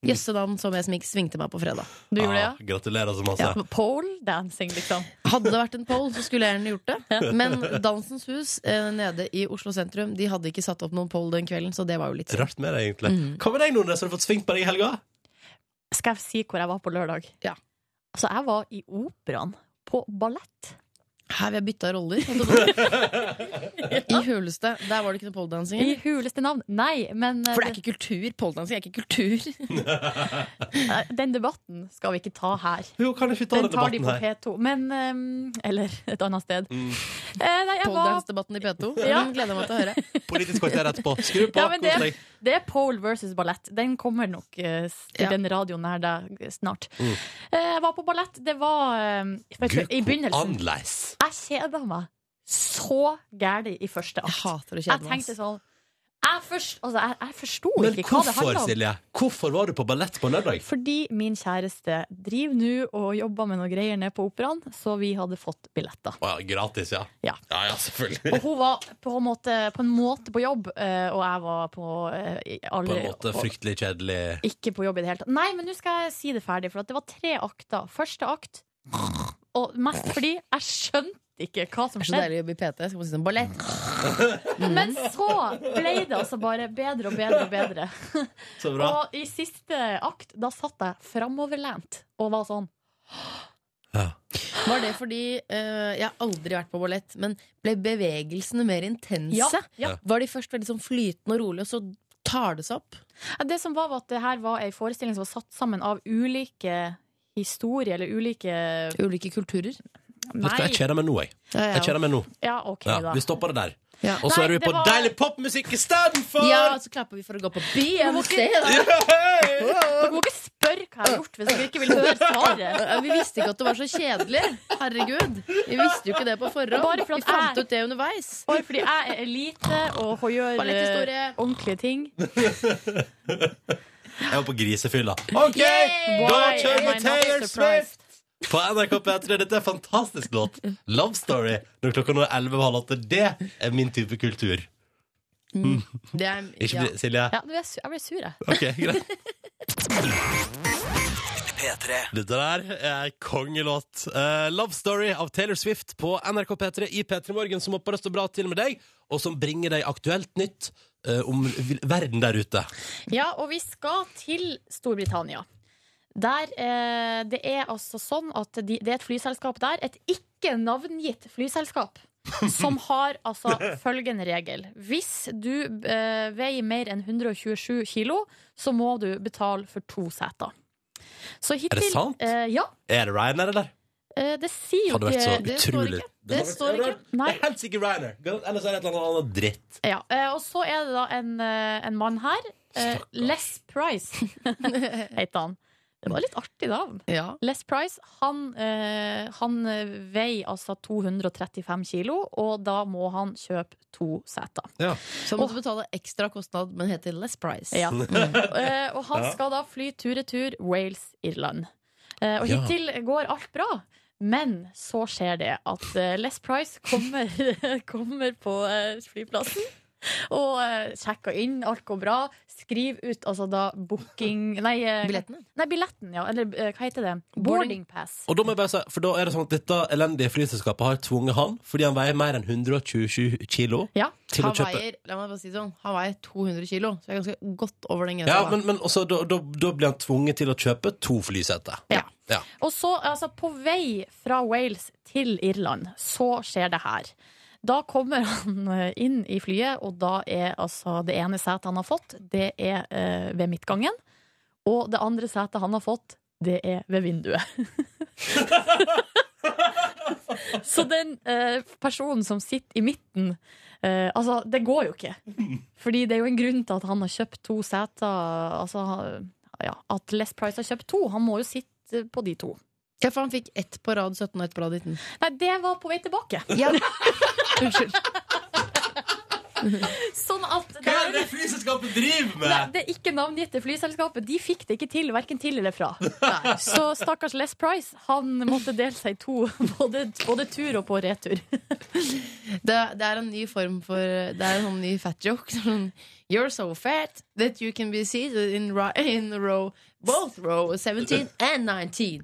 [SPEAKER 4] jøsse navn som jeg smik- svingte meg på fredag.
[SPEAKER 5] Du gjorde det,
[SPEAKER 2] Ah, gratulerer så masse.
[SPEAKER 5] ja? ja. Pole dancing, liksom.
[SPEAKER 4] Hadde det vært en poll, så skulle jeg gjerne gjort det. Men Dansens Hus eh, nede i Oslo sentrum De hadde ikke satt opp noen poll den kvelden, så det var jo litt synd.
[SPEAKER 2] Rart med det, egentlig. Hva med deg, Nordnes? Har du fått sving på deg i helga?
[SPEAKER 5] Skal jeg si hvor jeg var på lørdag?
[SPEAKER 4] Ja.
[SPEAKER 5] Altså, jeg var i operaen. På ballett.
[SPEAKER 4] Her vi har bytta roller. holdt jeg på å si. I huleste. Der var det ikke noe polldansing.
[SPEAKER 5] I
[SPEAKER 4] eller?
[SPEAKER 5] huleste navn. Nei, men eh,
[SPEAKER 4] For det er ikke kultur. Polldansing er ikke kultur.
[SPEAKER 5] Nei, Eh, Den debatten skal vi ikke ta her.
[SPEAKER 2] Jo, kan ikke ta
[SPEAKER 5] Den
[SPEAKER 2] den
[SPEAKER 5] tar de
[SPEAKER 2] debatten
[SPEAKER 5] på
[SPEAKER 2] her.
[SPEAKER 5] P2. Men ehm, Eller et annet sted.
[SPEAKER 4] Mm.
[SPEAKER 5] Eh, nei, jeg var,
[SPEAKER 4] Polldansdebatten i P2.
[SPEAKER 5] Ja.
[SPEAKER 4] Den gleder jeg meg til å høre.
[SPEAKER 2] Politisk kvarter etterpå. Skru på,
[SPEAKER 5] Ja, men
[SPEAKER 2] kos deg.
[SPEAKER 5] det er pole versus ballett. Den kommer nok eh, s- til
[SPEAKER 4] Ja.
[SPEAKER 5] den radioen nær deg snart.
[SPEAKER 2] Mm.
[SPEAKER 5] Eh, jeg var på ballett. Det var eh, vet du, I begynnelsen
[SPEAKER 2] Annerledes.
[SPEAKER 5] Jeg kjeda meg så gæli i første
[SPEAKER 4] Jeg
[SPEAKER 5] akt.
[SPEAKER 4] hater å
[SPEAKER 5] Jeg
[SPEAKER 4] kjede meg.
[SPEAKER 5] tenkte sånn Jeg, forst, altså, jeg, jeg forsto
[SPEAKER 2] Men
[SPEAKER 5] ikke hva det handla
[SPEAKER 2] hvorfor,
[SPEAKER 5] om.
[SPEAKER 2] Silje? Hvorfor var du på ballett på lørdag?
[SPEAKER 5] Fordi min kjæreste driver nå og jobber med noe greier nede på operaen, så vi hadde fått billetter.
[SPEAKER 2] Å ja, gratis, ja.
[SPEAKER 5] Ja.
[SPEAKER 2] Ja, ja, selvfølgelig.
[SPEAKER 5] Og hun var på en måte på, en måte på jobb, eh, og jeg var på eh, i
[SPEAKER 2] På
[SPEAKER 5] alle-
[SPEAKER 2] en måte fryktelig kjedelig.
[SPEAKER 5] Ikke på jobb i det hele tatt. Nei, men nå skal jeg si det ferdig, for at det var tre akter. Første akt Og mest fordi jeg skjønte ikke hva som
[SPEAKER 4] Det er så
[SPEAKER 5] skjedde.
[SPEAKER 4] deilig å jobbe i PT. Skal man si sånn ballett.
[SPEAKER 5] Men så ble det altså bare bedre og bedre og bedre.
[SPEAKER 2] Så bra.
[SPEAKER 5] Og i siste akt, da satt jeg framoverlent og var sånn
[SPEAKER 2] Ja.
[SPEAKER 4] Var det fordi eh, jeg har aldri vært på ballett, men ble bevegelsene mer intense?
[SPEAKER 5] Ja, ja.
[SPEAKER 4] Var de først veldig sånn flytende og rolig, og så tar det seg opp?
[SPEAKER 5] Det som var, var at det her var ei forestilling som var satt sammen av ulike historier eller ulike
[SPEAKER 4] Ulike kulturer.
[SPEAKER 2] Vet du hva, jeg
[SPEAKER 5] Nei.
[SPEAKER 2] kjeder meg nå, jeg.
[SPEAKER 4] Ja, ja.
[SPEAKER 2] Jeg kjeder meg nå.
[SPEAKER 5] Ja, OK,
[SPEAKER 2] Ja,
[SPEAKER 5] da.
[SPEAKER 2] vi stopper det der.
[SPEAKER 4] Ja.
[SPEAKER 2] Og så
[SPEAKER 5] Nei,
[SPEAKER 2] er vi
[SPEAKER 5] det
[SPEAKER 2] på
[SPEAKER 5] var-
[SPEAKER 2] deilig popmusikk istedenfor!
[SPEAKER 4] Ja, så klapper vi for å gå på Beyoncé, da.
[SPEAKER 5] Dere må ikke spørre hva jeg har gjort, hvis dere ikke vil høre svaret.
[SPEAKER 4] Ja, Vi visste ikke at det var så kjedelig. Herregud. Vi visste jo ikke det på forhånd.
[SPEAKER 5] Bare for at
[SPEAKER 4] vi fant
[SPEAKER 5] jeg-
[SPEAKER 4] ut det underveis.
[SPEAKER 5] Bare fordi jeg er elite og gjør eh,
[SPEAKER 4] Balletthistorie.
[SPEAKER 5] ordentlige ting.
[SPEAKER 2] Jeg var på grisefylla. OK, da
[SPEAKER 5] Why
[SPEAKER 2] kjører
[SPEAKER 5] am I
[SPEAKER 2] vi
[SPEAKER 5] not
[SPEAKER 2] Taylor
[SPEAKER 5] surprised?
[SPEAKER 2] Swift! På NRK P3. Dette er en fantastisk låt. Love Story. Når klokka nå er 11.30. Det er min type kultur.
[SPEAKER 4] Det er,
[SPEAKER 2] Ikke
[SPEAKER 4] ja.
[SPEAKER 2] bli- Silje?
[SPEAKER 5] Ja, du, jeg su- jeg ble sur, jeg.
[SPEAKER 2] Ok, greit. Dette der er kongelåt. Eh, Love Story av Taylor Swift på NRK P3 i P3 Morgen, som håper det står bra til med deg, og som bringer deg aktuelt nytt eh, om vil- verden der ute.
[SPEAKER 5] Ja, og vi skal til Storbritannia. Der, eh, det er altså sånn at de, det er et flyselskap der, et ikke navngitt flyselskap, som har altså følgende regel. Hvis du eh, veier mer enn 127 kilo, så må du betale for to seter. Så hittil,
[SPEAKER 2] sant?
[SPEAKER 5] Eh, ja,
[SPEAKER 2] Er det Ryanair, eller?
[SPEAKER 5] eh, det sier jo
[SPEAKER 2] Hadde vært så
[SPEAKER 5] ikke- det-
[SPEAKER 2] utrolig
[SPEAKER 4] Det står ikke.
[SPEAKER 5] Nei.
[SPEAKER 2] Det er helt sikkert Ryanair. Ellers er det et eller annet annet dritt.
[SPEAKER 5] Ja, eh, og så er det da en, eh, en mann her. eh, Les Price heter han. Det var litt artig navn.
[SPEAKER 4] Ja.
[SPEAKER 5] Les Price han, eh, han eh, veier altså 235 kilo, og da må han kjøpe to seter.
[SPEAKER 4] Så må du betale ekstra kostnad, men heter Less Price.
[SPEAKER 5] Ja. Eh, og han skal da fly tur-retur Wales-Irland. Eh, og
[SPEAKER 2] Ja.
[SPEAKER 5] hittil går alt bra. Men så skjer det at eh, Les Price kommer, kommer på eh, flyplassen. Og eh, sjekker inn, alt går bra. Skriver ut altså da booking Nei, eh,
[SPEAKER 4] Billettene.
[SPEAKER 5] nei billetten, ja. Eller eh, hva heter det?
[SPEAKER 4] Boarding.
[SPEAKER 5] Boarding pass.
[SPEAKER 2] Og da må jeg bare si, for da er det sånn at dette elendige flyselskapet har tvunget han, fordi han veier mer enn 127 kilo,
[SPEAKER 5] Ja.
[SPEAKER 2] til å
[SPEAKER 4] Han
[SPEAKER 2] kjøpe
[SPEAKER 4] veier, la meg bare si det sånn, han veier 200 kilo, så jeg er ganske godt over den grensa.
[SPEAKER 2] Ja,
[SPEAKER 4] da.
[SPEAKER 2] men, men også, da, da, da blir han tvunget til å kjøpe to flyseter.
[SPEAKER 5] Ja.
[SPEAKER 2] Ja.
[SPEAKER 5] Og så, altså på vei fra Wales til Irland, så skjer det her. Da kommer han eh, inn i flyet, og da er altså det ene setet han har fått, det er eh, ved midtgangen. Og det andre setet han har fått, det er ved vinduet. så den eh, personen som sitter i midten eh, Altså, det går jo ikke. Fordi det er jo en grunn til at han har kjøpt to seter. Altså, han- ja, at Les Price har kjøpt to. Han må jo sitte på de to.
[SPEAKER 4] Ja, for han fikk ett på rad 17 og ett på rad 19.
[SPEAKER 5] Nei, det var på vei tilbake.
[SPEAKER 4] Ja. Unnskyld.
[SPEAKER 5] Sånn at
[SPEAKER 2] Hva er
[SPEAKER 5] det,
[SPEAKER 2] det flyselskapet driver
[SPEAKER 5] det,
[SPEAKER 2] med?!
[SPEAKER 5] det ikke-navngitte flyselskapet De fikk det ikke til, verken til eller fra. Så stakkars Les Price Han måtte dele seg i to, både, både tur og på retur.
[SPEAKER 4] Det, det er en ny form for Det er en sånn ny fat joke. Sånn, You're so fat that you can be seated in, ri- in row both row 17 and 19.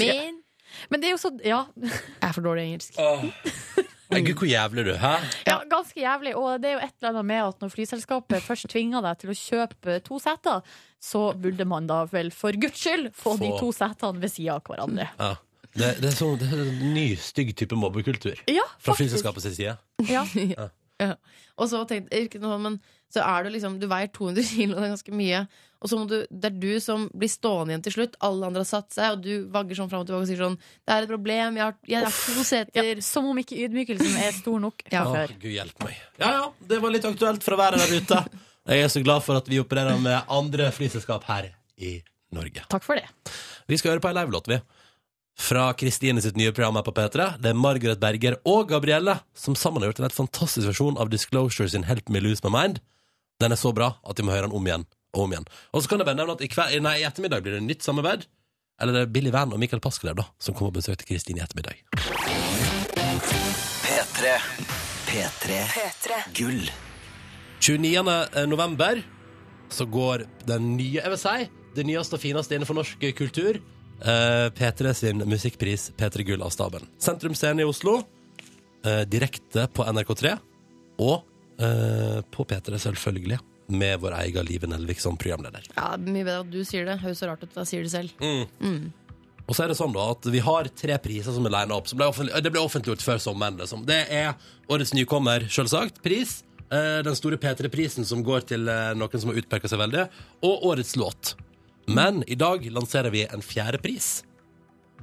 [SPEAKER 4] Min
[SPEAKER 5] Men det er jo så Ja,
[SPEAKER 4] Jeg er for dårlig i engelsk.
[SPEAKER 2] Nei, Gud, hvor jævlig du, hæ?
[SPEAKER 5] ja ganske jævlig. Og det er jo et eller annet med at når flyselskapet først tvinger deg til å kjøpe to seter, så burde man da vel for guds skyld få de
[SPEAKER 2] Få.
[SPEAKER 5] to setene ved sida av hverandre.
[SPEAKER 2] Ja. Det, det, er sånn, det er en ny, stygg type mobbekultur.
[SPEAKER 5] Ja,
[SPEAKER 2] Fra
[SPEAKER 5] faktisk.
[SPEAKER 2] flyselskapets side.
[SPEAKER 5] Ja.
[SPEAKER 4] Ja. Og så tenkte jeg ikke noe, men så er du liksom Du veier 200 kilo, det er ganske mye. Og så må du, det er du som blir stående igjen til slutt. Alle andre har satt seg, og du vagger sånn fram og tilbake og sier sånn Det er et problem, jeg har, jeg har to
[SPEAKER 5] Ja,
[SPEAKER 4] seter.
[SPEAKER 5] som om ikke ydmykelsen er stor nok fra
[SPEAKER 4] Ja.
[SPEAKER 2] Å,
[SPEAKER 5] før.
[SPEAKER 2] Gud hjelpe meg. Ja ja, det var litt aktuelt fra været der ute. Jeg er så glad for at vi opererer med andre flyselskap her i Norge.
[SPEAKER 5] Takk for det.
[SPEAKER 2] Vi skal høre på ei livelåt, vi. Fra Kristine sitt nye program her på P3. Det er Margaret Berger og Gabrielle som sammen har gjort en helt fantastisk versjon av Disclosure sin Help Me Lose My Mind. Den er så bra at vi må høre den om igjen og om igjen. Og så kan jeg bare nevne at i, kveld, nei, i ettermiddag blir det nytt samarbeid. Eller det er Billy Van og Michael Paskelev da, som kommer og besøker Kristine i ettermiddag.
[SPEAKER 10] P3. P3. Gull.
[SPEAKER 2] 29. eh, november så går den nye, jeg vil si, det nyeste og fineste innenfor norsk kultur, eh, P3 sin musikkpris P3 Gull av staben. Sentrum Scene i Oslo, eh, direkte på NRK3, og eh, på P3 selvfølgelig, med vår egen Live Nelvik som programleder.
[SPEAKER 4] Ja, Mye bedre at du sier det. Høres så rart ut, da sier du det selv.
[SPEAKER 2] Og så er det sånn da at vi har tre priser som er lina opp. Som ble offentlig, det ble offentliggjort før sommeren. Liksom. Det er årets nykommer, selvsagt. Pris. eh, Den store P3-prisen som går til eh, noen som har utpeka seg veldig. Og årets låt. Men i dag lanserer vi en fjerde pris.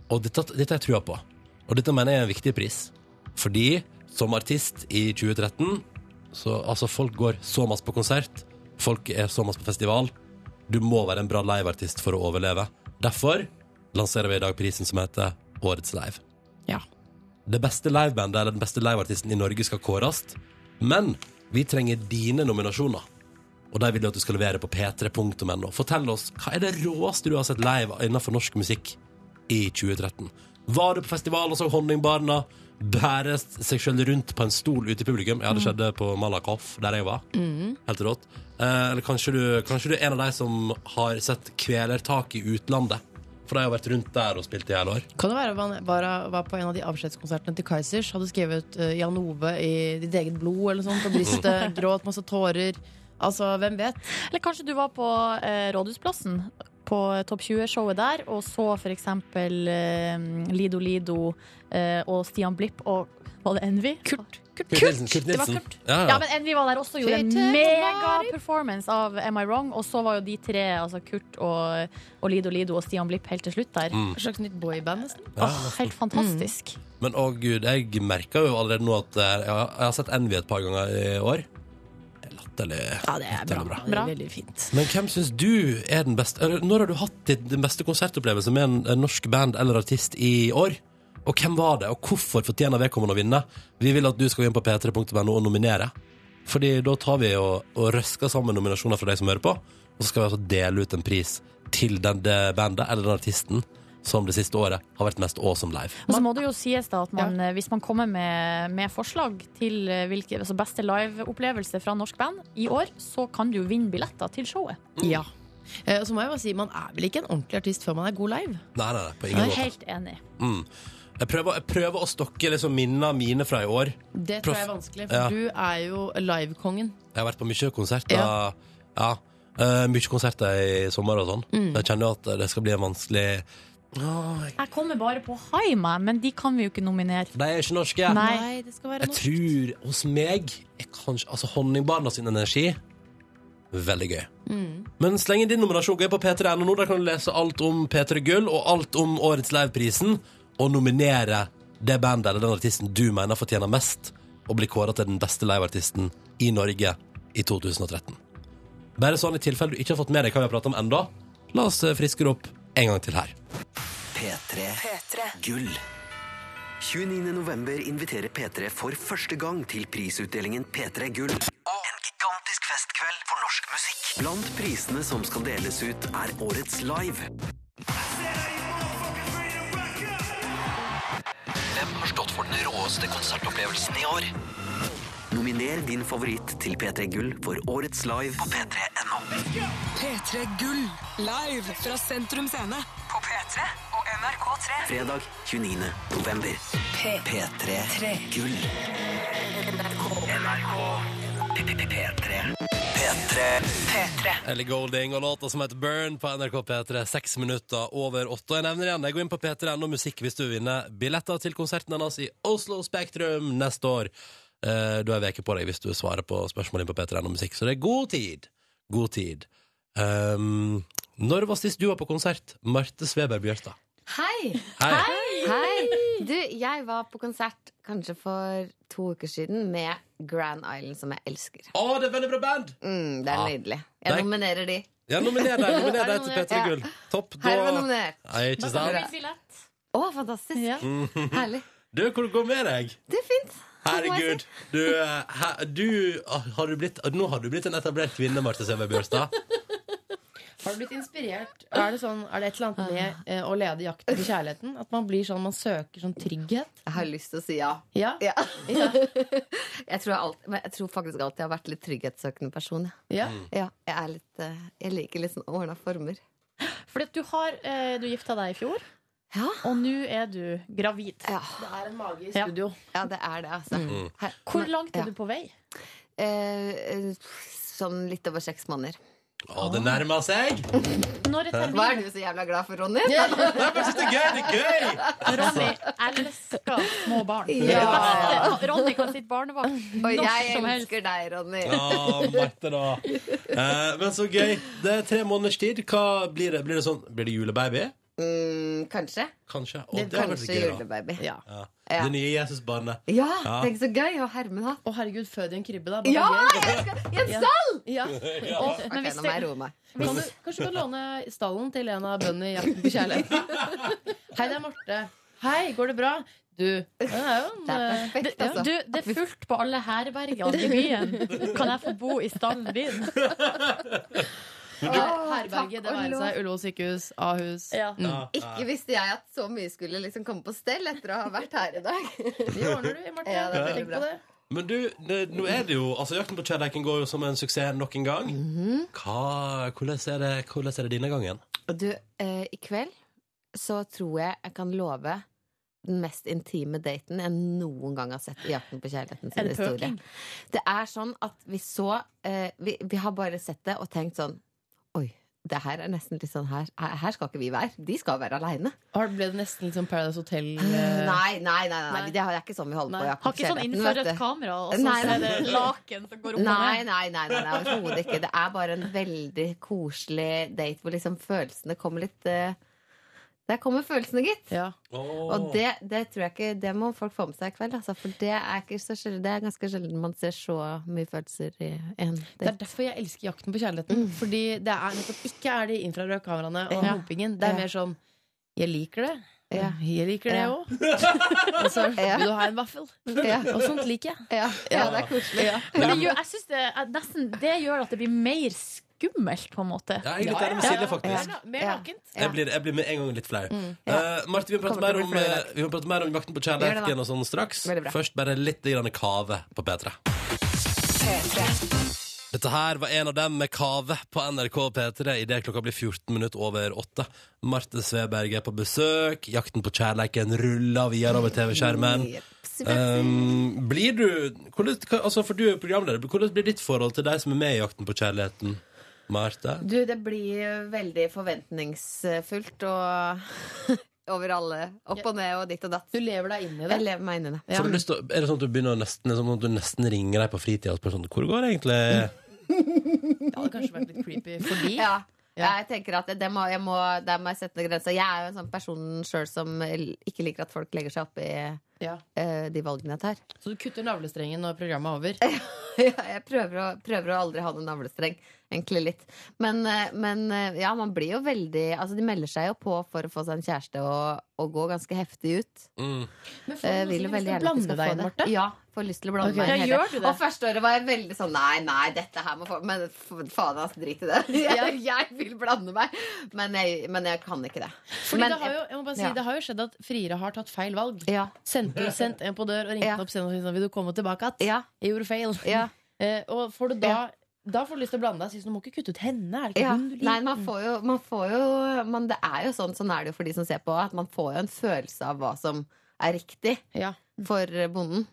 [SPEAKER 2] Og dette, dette har jeg trua på. Og dette mener jeg er en viktig pris. Fordi som artist i 2013 så, altså Folk går så masse på konsert, folk er så masse på festival. Du må være en bra liveartist for å overleve. Derfor lanserer vi i dag prisen som heter Årets live.
[SPEAKER 5] Ja.
[SPEAKER 2] Det beste livebandet eller den beste liveartisten i Norge skal kåres, men vi trenger dine nominasjoner. Og de vil jo at du skal levere på p3.no. Fortell oss, hva er det råeste du har sett live innenfor norsk musikk i 2013? Var du på festival og så Honningbarna bære seg selv rundt på en stol ute i publikum? Ja, det skjedde på Malakoff, der jeg var. Helt rått. Eh, eller kanskje du, kanskje du er en av de som har sett Kvelertak i utlandet? For de har vært rundt der og spilt i hele år.
[SPEAKER 4] Kan det være at han var, var på en av de avskjedskonsertene til Kaizers? Hadde skrevet eh, Jan Ove i ditt eget blod eller noe sånt på brystet. Gråt masse tårer. Altså, hvem vet?
[SPEAKER 5] Eller kanskje du var på eh, Rådhusplassen, på Topp 20-showet der, og så for eksempel eh, Lido Lido eh, og Stian Blipp og Var det Envy? Kurt. Kurt,
[SPEAKER 2] Nilsen, Kurt
[SPEAKER 5] Det var
[SPEAKER 2] Nilsen.
[SPEAKER 5] Kurt.
[SPEAKER 2] Ja, ja.
[SPEAKER 5] Ja, men Envy var der også og gjorde en
[SPEAKER 4] Kurt,
[SPEAKER 5] megaperformance av Am I Wrong. Og så var jo de tre, altså Kurt og, og Lido Lido og Stian Blipp, helt til slutt der.
[SPEAKER 4] Et slags nytt boyband, Mm. nesten.
[SPEAKER 2] Ja,
[SPEAKER 5] Åh, helt
[SPEAKER 4] Mm.
[SPEAKER 5] fantastisk.
[SPEAKER 2] Men å gud, jeg merker jo allerede nå at eh, jeg har, jeg har sett Envy et par ganger i år. Det er Latterlig.
[SPEAKER 4] Ja, det er bra.
[SPEAKER 2] bra.
[SPEAKER 4] Det er veldig fint.
[SPEAKER 2] Men hvem syns du er den beste eller, Når har du hatt ditt- den beste konsertopplevelsen med en, en norsk band eller artist i år? Og hvem var det, og hvorfor fortjener vedkommende å vinne? Vi vil at du skal gå inn på p3.no og nominere. Fordi da tar vi og, og røsker sammen nominasjoner fra deg som hører på, og så skal vi altså dele ut en pris til den det bandet eller den artisten som det siste året har vært mest awesome live.
[SPEAKER 5] Og så må det jo sies da at man, eh, hvis man kommer med, med forslag til eh, hvilke, altså beste liveopplevelse fra norsk band i år, så kan du jo vinne billetter til showet.
[SPEAKER 2] Mm.
[SPEAKER 4] Ja. Eh, Og så må jeg bare si, man er vel ikke en ordentlig artist før man er god live?
[SPEAKER 2] Nei, nei, nei, på
[SPEAKER 5] Jeg
[SPEAKER 2] ingen
[SPEAKER 5] er
[SPEAKER 2] måte.
[SPEAKER 5] helt enig.
[SPEAKER 2] Jeg prøver, jeg prøver å stokke liksom minnene mine fra i år.
[SPEAKER 4] Det
[SPEAKER 2] Proff.
[SPEAKER 4] tror jeg er vanskelig, for
[SPEAKER 2] Ja.
[SPEAKER 4] du er jo livekongen.
[SPEAKER 2] Jeg har vært på mye konserter. Ja. Eh, mye konserter i sommer og sånn. Jeg kjenner jo at det skal bli en vanskelig Åh, jeg-
[SPEAKER 5] Jeg kommer bare på Haima, men de kan vi jo ikke nominere.
[SPEAKER 2] De er ikke norske.
[SPEAKER 5] Nei.
[SPEAKER 4] det skal være
[SPEAKER 2] Jeg tror hos meg er kanskje Altså Honningbarna sin energi Veldig gøy. Men sleng inn din nominasjon. Gå inn på p3.no. nå, Der kan du lese alt om P3 Gull og alt om Årets Liveprisen. Og nominere det bandet eller den artisten du mener fortjener mest, og bli kåra til den beste liveartisten i Norge i 2013. Bare sånn i tilfelle du ikke har fått med deg hva vi har prata om enda la oss eh, friske det opp en gang til her.
[SPEAKER 10] P3. Gull. 29. november inviterer P3 for første gang til prisutdelingen P3 Gull. En gigantisk festkveld for norsk musikk. Blant prisene som skal deles ut, er årets live. Hvem har stått for den råeste konsertopplevelsen i år? Nominer din favoritt til P3 Gull for årets live på p3.no.
[SPEAKER 11] P3 Gull. Live fra Sentrum Scene. På P3 og NRK3.
[SPEAKER 10] Fredag 29. november. P3 Gull. NRK P3. P3.
[SPEAKER 2] Ellie Golding og låta som heter Burn på NRK P3. Seks minutter over åtte. Jeg nevner igjen, jeg går inn på P3.no musikk hvis du vil vinne billetter til konserten hennes i Oslo Spektrum neste år. Eh, Du har en uke på deg hvis du svarer på spørsmål inn på P3.no musikk, så det er god tid. God tid. Um, når var sist du var på konsert? Marte Sveberg Bjørstad.
[SPEAKER 12] Hei!
[SPEAKER 2] Hei.
[SPEAKER 12] Hei! Du, jeg var på konsert kanskje for to uker siden med Grand Island, som jeg elsker.
[SPEAKER 2] Å, det er veldig bra band!
[SPEAKER 12] Mm, det er
[SPEAKER 2] Ja.
[SPEAKER 12] nydelig.
[SPEAKER 2] Nei.
[SPEAKER 12] Jeg nominerer de.
[SPEAKER 2] Ja, nominer deg, nominer deg til
[SPEAKER 12] Ja.
[SPEAKER 2] P3 Gull. Topp. Da
[SPEAKER 12] Herved nominert.
[SPEAKER 2] Nei, ikke sant?
[SPEAKER 12] Å, fantastisk! Herlig.
[SPEAKER 2] Du, hvor går det med deg?
[SPEAKER 12] Det er fint. Det må jeg
[SPEAKER 2] Herregud.
[SPEAKER 12] si.
[SPEAKER 2] Du, eh, her, du, ah, har du blitt, nå har du blitt en etablert kvinne, Marte Søberg Bjørstad.
[SPEAKER 4] Har du blitt inspirert? Er det, sånn, er det et eller annet
[SPEAKER 2] Ah.
[SPEAKER 4] med eh, å lede jakten på kjærligheten? At man blir sånn, man søker sånn trygghet?
[SPEAKER 12] Jeg har lyst til å si ja.
[SPEAKER 4] Ja.
[SPEAKER 12] ja. jeg, tror jeg, alt, men jeg tror faktisk alltid jeg har vært litt trygghetssøkende person. Ja.
[SPEAKER 4] ja.
[SPEAKER 12] Ja, jeg, er litt, eh, jeg liker litt sånn ordna former.
[SPEAKER 5] Fordi at du har eh, Du gifta deg i fjor,
[SPEAKER 12] Ja.
[SPEAKER 5] og nå er du gravid.
[SPEAKER 12] Ja,
[SPEAKER 4] Det er en mage i
[SPEAKER 5] Ja.
[SPEAKER 4] studio.
[SPEAKER 12] ja det er det, altså. Her-
[SPEAKER 5] Hvor
[SPEAKER 12] men-
[SPEAKER 5] langt
[SPEAKER 12] ja.
[SPEAKER 5] er du på vei?
[SPEAKER 12] Eh, sånn litt over seks måneder.
[SPEAKER 2] Å, det nærmer seg!
[SPEAKER 5] Når er
[SPEAKER 12] Hva er
[SPEAKER 5] terminen?
[SPEAKER 12] du så jævla glad for, Ronny?
[SPEAKER 2] Nei, men jeg synes Det er gøy! det er gøy
[SPEAKER 5] Ronny elsker små barn.
[SPEAKER 12] Ja.
[SPEAKER 5] Ronny kan sitte barnevakt
[SPEAKER 12] Og
[SPEAKER 5] når
[SPEAKER 12] jeg
[SPEAKER 5] som helst.
[SPEAKER 12] elsker deg, Ronny.
[SPEAKER 2] Ja, Marte, da. Eh, men så gøy. Det er tre måneders tid. Hva blir det? Blir det, sånn, blir det julebaby?
[SPEAKER 12] Mm, kanskje.
[SPEAKER 2] Kanskje. Å,
[SPEAKER 12] Det
[SPEAKER 2] det hadde vært
[SPEAKER 12] kanskje
[SPEAKER 2] gøy, da.
[SPEAKER 12] julebaby.
[SPEAKER 4] Ja.
[SPEAKER 2] Ja.
[SPEAKER 12] Ja.
[SPEAKER 2] Det nye Jesusbarnet.
[SPEAKER 12] Ja, tenk så gøy å herme da.
[SPEAKER 4] Å herregud, fød i en krybbe, da. Bare
[SPEAKER 12] Ja!
[SPEAKER 4] gøy.
[SPEAKER 12] Jeg skal, I en
[SPEAKER 4] Ja.
[SPEAKER 12] stall!
[SPEAKER 4] Ja.
[SPEAKER 2] Ja.
[SPEAKER 4] Og-
[SPEAKER 12] Ok,
[SPEAKER 4] men hvis
[SPEAKER 12] nå må jeg
[SPEAKER 4] det-
[SPEAKER 12] roe meg.
[SPEAKER 4] Kan du, kanskje du kan låne stallen til en av bøndene i Jakten på kjærlighet? Hei, det er Marte. Hei, går det bra? Du, det er jo en
[SPEAKER 12] Det er
[SPEAKER 4] eh,
[SPEAKER 12] perfekt,
[SPEAKER 5] Du,
[SPEAKER 12] altså.
[SPEAKER 5] det er fullt på alle herbergene i byen. Kan jeg få bo i stallen din?
[SPEAKER 4] herberge, det
[SPEAKER 12] takk og
[SPEAKER 4] være
[SPEAKER 12] lov.
[SPEAKER 4] seg Ullevål sykehus, Ahus.
[SPEAKER 5] Ja.
[SPEAKER 2] Ja.
[SPEAKER 12] Ikke visste jeg at så mye skulle liksom komme på stell etter å ha vært her i dag.
[SPEAKER 4] Det ordner du, Marte.
[SPEAKER 12] Ja, det er veldig
[SPEAKER 4] Tenk på
[SPEAKER 12] bra.
[SPEAKER 4] det.
[SPEAKER 2] Men du, det, nå er det jo Altså, Jakten på kjærleiken går jo som en suksess nok en gang. Hva, hvordan, er det, hvordan er det denne gangen?
[SPEAKER 12] Mhm. Og Du, eh, i kveld så tror jeg jeg kan love den mest intime daten jeg noen gang har sett i Jakten på kjærligheten
[SPEAKER 5] Er
[SPEAKER 12] sin
[SPEAKER 5] det
[SPEAKER 12] historie.
[SPEAKER 5] pøking?
[SPEAKER 12] Det er sånn at vi så eh, vi, vi har bare sett det og tenkt sånn Oi, det her er nesten litt sånn her, her skal ikke vi være. De skal være aleine.
[SPEAKER 4] Har- Ble det nesten litt sånn Paradise Hotel?
[SPEAKER 12] Nei,
[SPEAKER 4] eh,
[SPEAKER 12] nei, nei, nei,
[SPEAKER 4] Nei.
[SPEAKER 12] Det er ikke sånn vi holder
[SPEAKER 4] Nei.
[SPEAKER 12] på. i Jakten
[SPEAKER 5] Har
[SPEAKER 12] på
[SPEAKER 5] ikke sånn
[SPEAKER 12] kjærligheten, vet
[SPEAKER 5] innført
[SPEAKER 12] du.
[SPEAKER 5] et kamera, og så
[SPEAKER 12] Nei, nei.
[SPEAKER 5] er det laken som går opp
[SPEAKER 12] Nei,
[SPEAKER 5] og ned?
[SPEAKER 12] nei, nei, nei, nei overhodet ikke. Det er bare en veldig koselig date hvor liksom følelsene kommer litt eh, Der kommer følelsene, gitt.
[SPEAKER 4] Ja.
[SPEAKER 12] Og det, det tror jeg ikke Det må folk få med seg i kveld, altså, for det er, ikke så sjelden, det er ganske sjelden man ser så mye følelser i en
[SPEAKER 4] Det er
[SPEAKER 12] date.
[SPEAKER 4] derfor jeg elsker Jakten på kjærligheten. Fordi det er nettopp ikke er de infrarøde kameraene og
[SPEAKER 12] Mm. Ja.
[SPEAKER 4] humpingen.
[SPEAKER 12] Ja.
[SPEAKER 4] Det er mer sånn Jeg liker det.
[SPEAKER 12] Ja.
[SPEAKER 4] Jeg liker det
[SPEAKER 12] Ja.
[SPEAKER 4] òg. Og så
[SPEAKER 12] Ja.
[SPEAKER 4] vil du ha en vaffel.
[SPEAKER 12] Ja,
[SPEAKER 4] Og sånt liker jeg.
[SPEAKER 12] ja, ja, det er koselig.
[SPEAKER 5] Men det gjør, jeg synes det, er nesten, det gjør at det blir mer skummelt, på en måte.
[SPEAKER 2] Ja, jeg er litt enig med Silje, faktisk.
[SPEAKER 4] Mer, mer
[SPEAKER 12] Ja. Mm,
[SPEAKER 4] nakent.
[SPEAKER 2] Jeg, blir, jeg blir med en gang litt flau. Eh, Marte, vi må prate
[SPEAKER 12] Kommer
[SPEAKER 2] mer
[SPEAKER 12] til å
[SPEAKER 2] om,
[SPEAKER 12] bli flau i dag.
[SPEAKER 2] eh, vi må prate mer om Jakten på
[SPEAKER 12] Gjør det
[SPEAKER 2] kjærleiken
[SPEAKER 12] da.
[SPEAKER 2] og sånn straks.
[SPEAKER 12] Veldig bra.
[SPEAKER 2] Først bare litt grann kave på P3. Dette her var en av dem med kave på NRK P3 idet klokka blir 14 minutter over åtte. Marte Sveberg er på besøk. Jakten på kjærleiken ruller videre over TV-skjermen. Um, blir du hvordan, hva- altså For du er jo programleder. Hvordan blir ditt forhold til deg som er med i Jakten på kjærligheten, Marte?
[SPEAKER 12] Du, det blir veldig forventningsfullt og over alle. Opp og ned og ditt og datt.
[SPEAKER 4] Du lever deg inn i det.
[SPEAKER 12] Jeg lever meg inn i det.
[SPEAKER 2] Får du lyst til, å- er det sånn at du begynner å nesten, liksom, at du nesten ringer deg på fritida og spør sånn Hvor går det
[SPEAKER 5] Mm.
[SPEAKER 2] egentlig?
[SPEAKER 4] Det hadde kanskje vært litt creepy fordi
[SPEAKER 12] Ja.
[SPEAKER 4] Ja.
[SPEAKER 12] Jeg tenker at det må, jeg må, der må jeg sette noen grenser. Jeg er jo en sånn person sjøl som l- ikke liker at folk legger seg opp i
[SPEAKER 4] Ja.
[SPEAKER 12] eh, de valgene jeg tar.
[SPEAKER 4] Så du kutter navlestrengen når programmet er over.
[SPEAKER 12] jeg prøver å, prøver å aldri ha noen navlestreng. Egentlig litt. Men, eh, men eh, ja, man blir jo veldig Altså, de melder seg jo på for å få seg en kjæreste og, og gå ganske heftig ut.
[SPEAKER 2] Mm.
[SPEAKER 4] Men får
[SPEAKER 12] Eh,
[SPEAKER 4] du
[SPEAKER 12] vil jo
[SPEAKER 4] lyst
[SPEAKER 12] veldig gjerne
[SPEAKER 4] til å
[SPEAKER 12] at de
[SPEAKER 4] blande
[SPEAKER 12] skal få
[SPEAKER 4] deg inn,
[SPEAKER 12] det.
[SPEAKER 4] Marte?
[SPEAKER 12] Ja, får lyst til å blande
[SPEAKER 4] Ok.
[SPEAKER 12] meg
[SPEAKER 5] Ja,
[SPEAKER 12] inn. hele
[SPEAKER 5] gjør du
[SPEAKER 12] tiden.
[SPEAKER 5] det?
[SPEAKER 12] Og første året var jeg veldig sånn Nei, nei, dette her må få Men f- faen, ass, drit i det. Jeg, jeg vil blande meg. Men jeg, men jeg kan ikke det.
[SPEAKER 4] Fordi
[SPEAKER 12] men,
[SPEAKER 4] det, har jo, jeg må bare si,
[SPEAKER 12] ja.
[SPEAKER 4] det har jo skjedd at friere har tatt feil valg.
[SPEAKER 12] Ja.
[SPEAKER 4] Sendte sendt en på dør og ringte
[SPEAKER 12] Ja.
[SPEAKER 4] opp senere og sa vil du komme tilbake igjen.
[SPEAKER 12] Ja,
[SPEAKER 4] Jeg gjorde feil.
[SPEAKER 12] ja,
[SPEAKER 4] Eh, og får du da, da får du lyst til å blande deg og si sånn, du må ikke kutte ut henne. Er det ikke
[SPEAKER 12] ja.
[SPEAKER 4] hun du liker?
[SPEAKER 12] Nei, man får jo, man får jo man, Det er jo sånn, sånn er det jo for de som ser på, at man får jo en følelse av hva som er riktig
[SPEAKER 4] ja.
[SPEAKER 12] for bonden.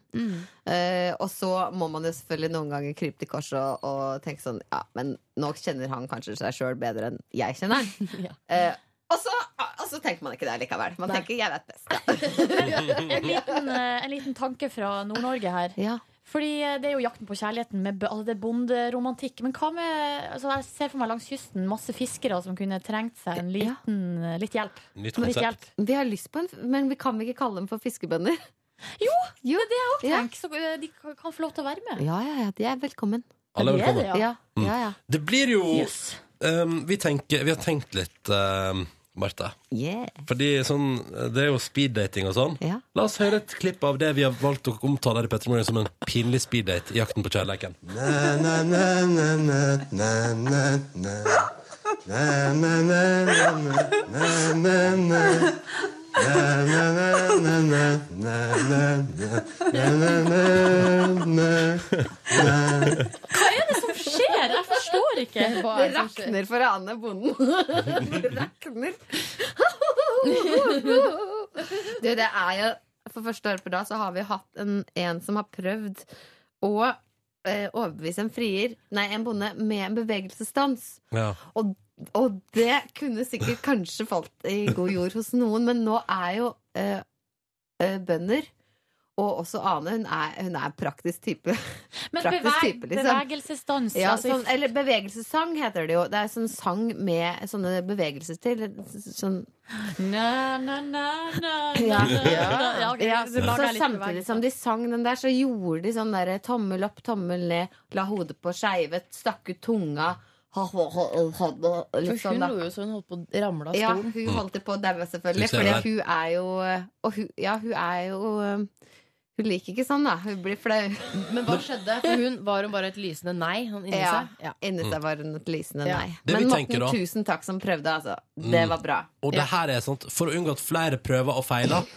[SPEAKER 12] Eh, og så må man jo selvfølgelig noen ganger krype til korset og, og tenke sånn Ja, men nå kjenner han kanskje seg sjøl bedre enn jeg kjenner han.
[SPEAKER 4] Ja.
[SPEAKER 12] Eh, og, så, og så tenker man ikke det likevel. Man
[SPEAKER 4] Nei.
[SPEAKER 12] tenker 'jeg vet best'.
[SPEAKER 5] En liten, eh, en liten tanke fra Nord-Norge her.
[SPEAKER 12] Ja.
[SPEAKER 5] Fordi eh, det er jo jakten på kjærligheten med b- altså det er bonderomantikk. Men hva med altså Jeg ser for meg langs kysten masse fiskere som kunne trengt seg en
[SPEAKER 12] Ja.
[SPEAKER 5] liten, eh, litt hjelp.
[SPEAKER 2] Nytt
[SPEAKER 5] Litt
[SPEAKER 2] konsept.
[SPEAKER 5] hjelp.
[SPEAKER 12] Vi har lyst på en, men vi kan ikke kalle dem for fiskebønder.
[SPEAKER 5] Jo,
[SPEAKER 12] Jo,
[SPEAKER 5] det er det jeg òg
[SPEAKER 12] Ja.
[SPEAKER 5] tenker. Så eh, de kan kan få lov til å være med.
[SPEAKER 12] Ja, ja, ja, de er velkommen.
[SPEAKER 2] Alle er
[SPEAKER 5] Det
[SPEAKER 2] velkommen.
[SPEAKER 5] det,
[SPEAKER 12] Ja, ja, ja.
[SPEAKER 2] Det blir jo
[SPEAKER 5] Yes.
[SPEAKER 2] um, vi, tenker, vi har tenkt litt, um, Marte.
[SPEAKER 12] Yeah.
[SPEAKER 2] Fordi sånn, det er jo speeddating og sånn.
[SPEAKER 12] Ja.
[SPEAKER 2] La oss høre et klipp av det vi har valgt å omtale her i Petter Morgen som en pinlig speeddate i Jakten på kjærleiken.
[SPEAKER 5] Skjer? Jeg forstår ikke.
[SPEAKER 4] Hva
[SPEAKER 12] Det
[SPEAKER 4] er det som skjer?
[SPEAKER 12] rakner for Ane bonden. Det rakner. Du, det er jo For første år på rad så har vi hatt en, en som har prøvd å eh, overbevise en frier, nei, en bonde, med en bevegelsesstans.
[SPEAKER 2] Ja.
[SPEAKER 12] Og, og det kunne sikkert kanskje falt i god jord hos noen, men nå er jo eh, eh, bønder Og også Ane. Hun er, hun er en praktisk type.
[SPEAKER 5] Men
[SPEAKER 12] Praktisk
[SPEAKER 5] beveg,
[SPEAKER 12] type, liksom.
[SPEAKER 5] bevegelsesdans
[SPEAKER 12] Ja,
[SPEAKER 5] altså,
[SPEAKER 12] sånn, eller bevegelsessang heter det jo. Det er sånn sang med sånne bevegelser til. Sånn
[SPEAKER 5] Na, na, na, na,
[SPEAKER 12] ja.
[SPEAKER 5] na, na, na. ok,
[SPEAKER 12] Ja, så, så
[SPEAKER 5] så lager jeg litt
[SPEAKER 12] samtidig
[SPEAKER 4] liksom.
[SPEAKER 5] bevegelse.
[SPEAKER 12] som de sang den der, så gjorde de sånn derre tommel opp, tommel ned, la hodet på skeivet, stakk ut tunga. ha, ha, ha, ha, ha, Litt
[SPEAKER 4] For
[SPEAKER 12] sånn,
[SPEAKER 4] hun
[SPEAKER 12] da.
[SPEAKER 4] lo jo så hun holdt på å ramle av
[SPEAKER 12] Ja,
[SPEAKER 4] stolen.
[SPEAKER 12] hun holdt det på å daue, selvfølgelig.
[SPEAKER 4] Synes jeg
[SPEAKER 12] Fordi
[SPEAKER 4] det er-
[SPEAKER 12] hun er jo eh, Og hun, ja, hun er jo um, Hun liker ikke sånn, da. Hun blir flau.
[SPEAKER 4] Men hva skjedde? For hun var hun bare et lysende nei sånn inni
[SPEAKER 12] ja,
[SPEAKER 4] seg? Ja.
[SPEAKER 12] Inni seg var hun et lysende
[SPEAKER 4] Ja.
[SPEAKER 12] nei.
[SPEAKER 2] Det vi
[SPEAKER 12] Men
[SPEAKER 2] tenker
[SPEAKER 12] Morten,
[SPEAKER 2] da-
[SPEAKER 12] tusen takk som prøvde, altså. Det
[SPEAKER 2] Mm.
[SPEAKER 12] var bra.
[SPEAKER 2] Og det her er sant, for å unngå at flere prøver og feiler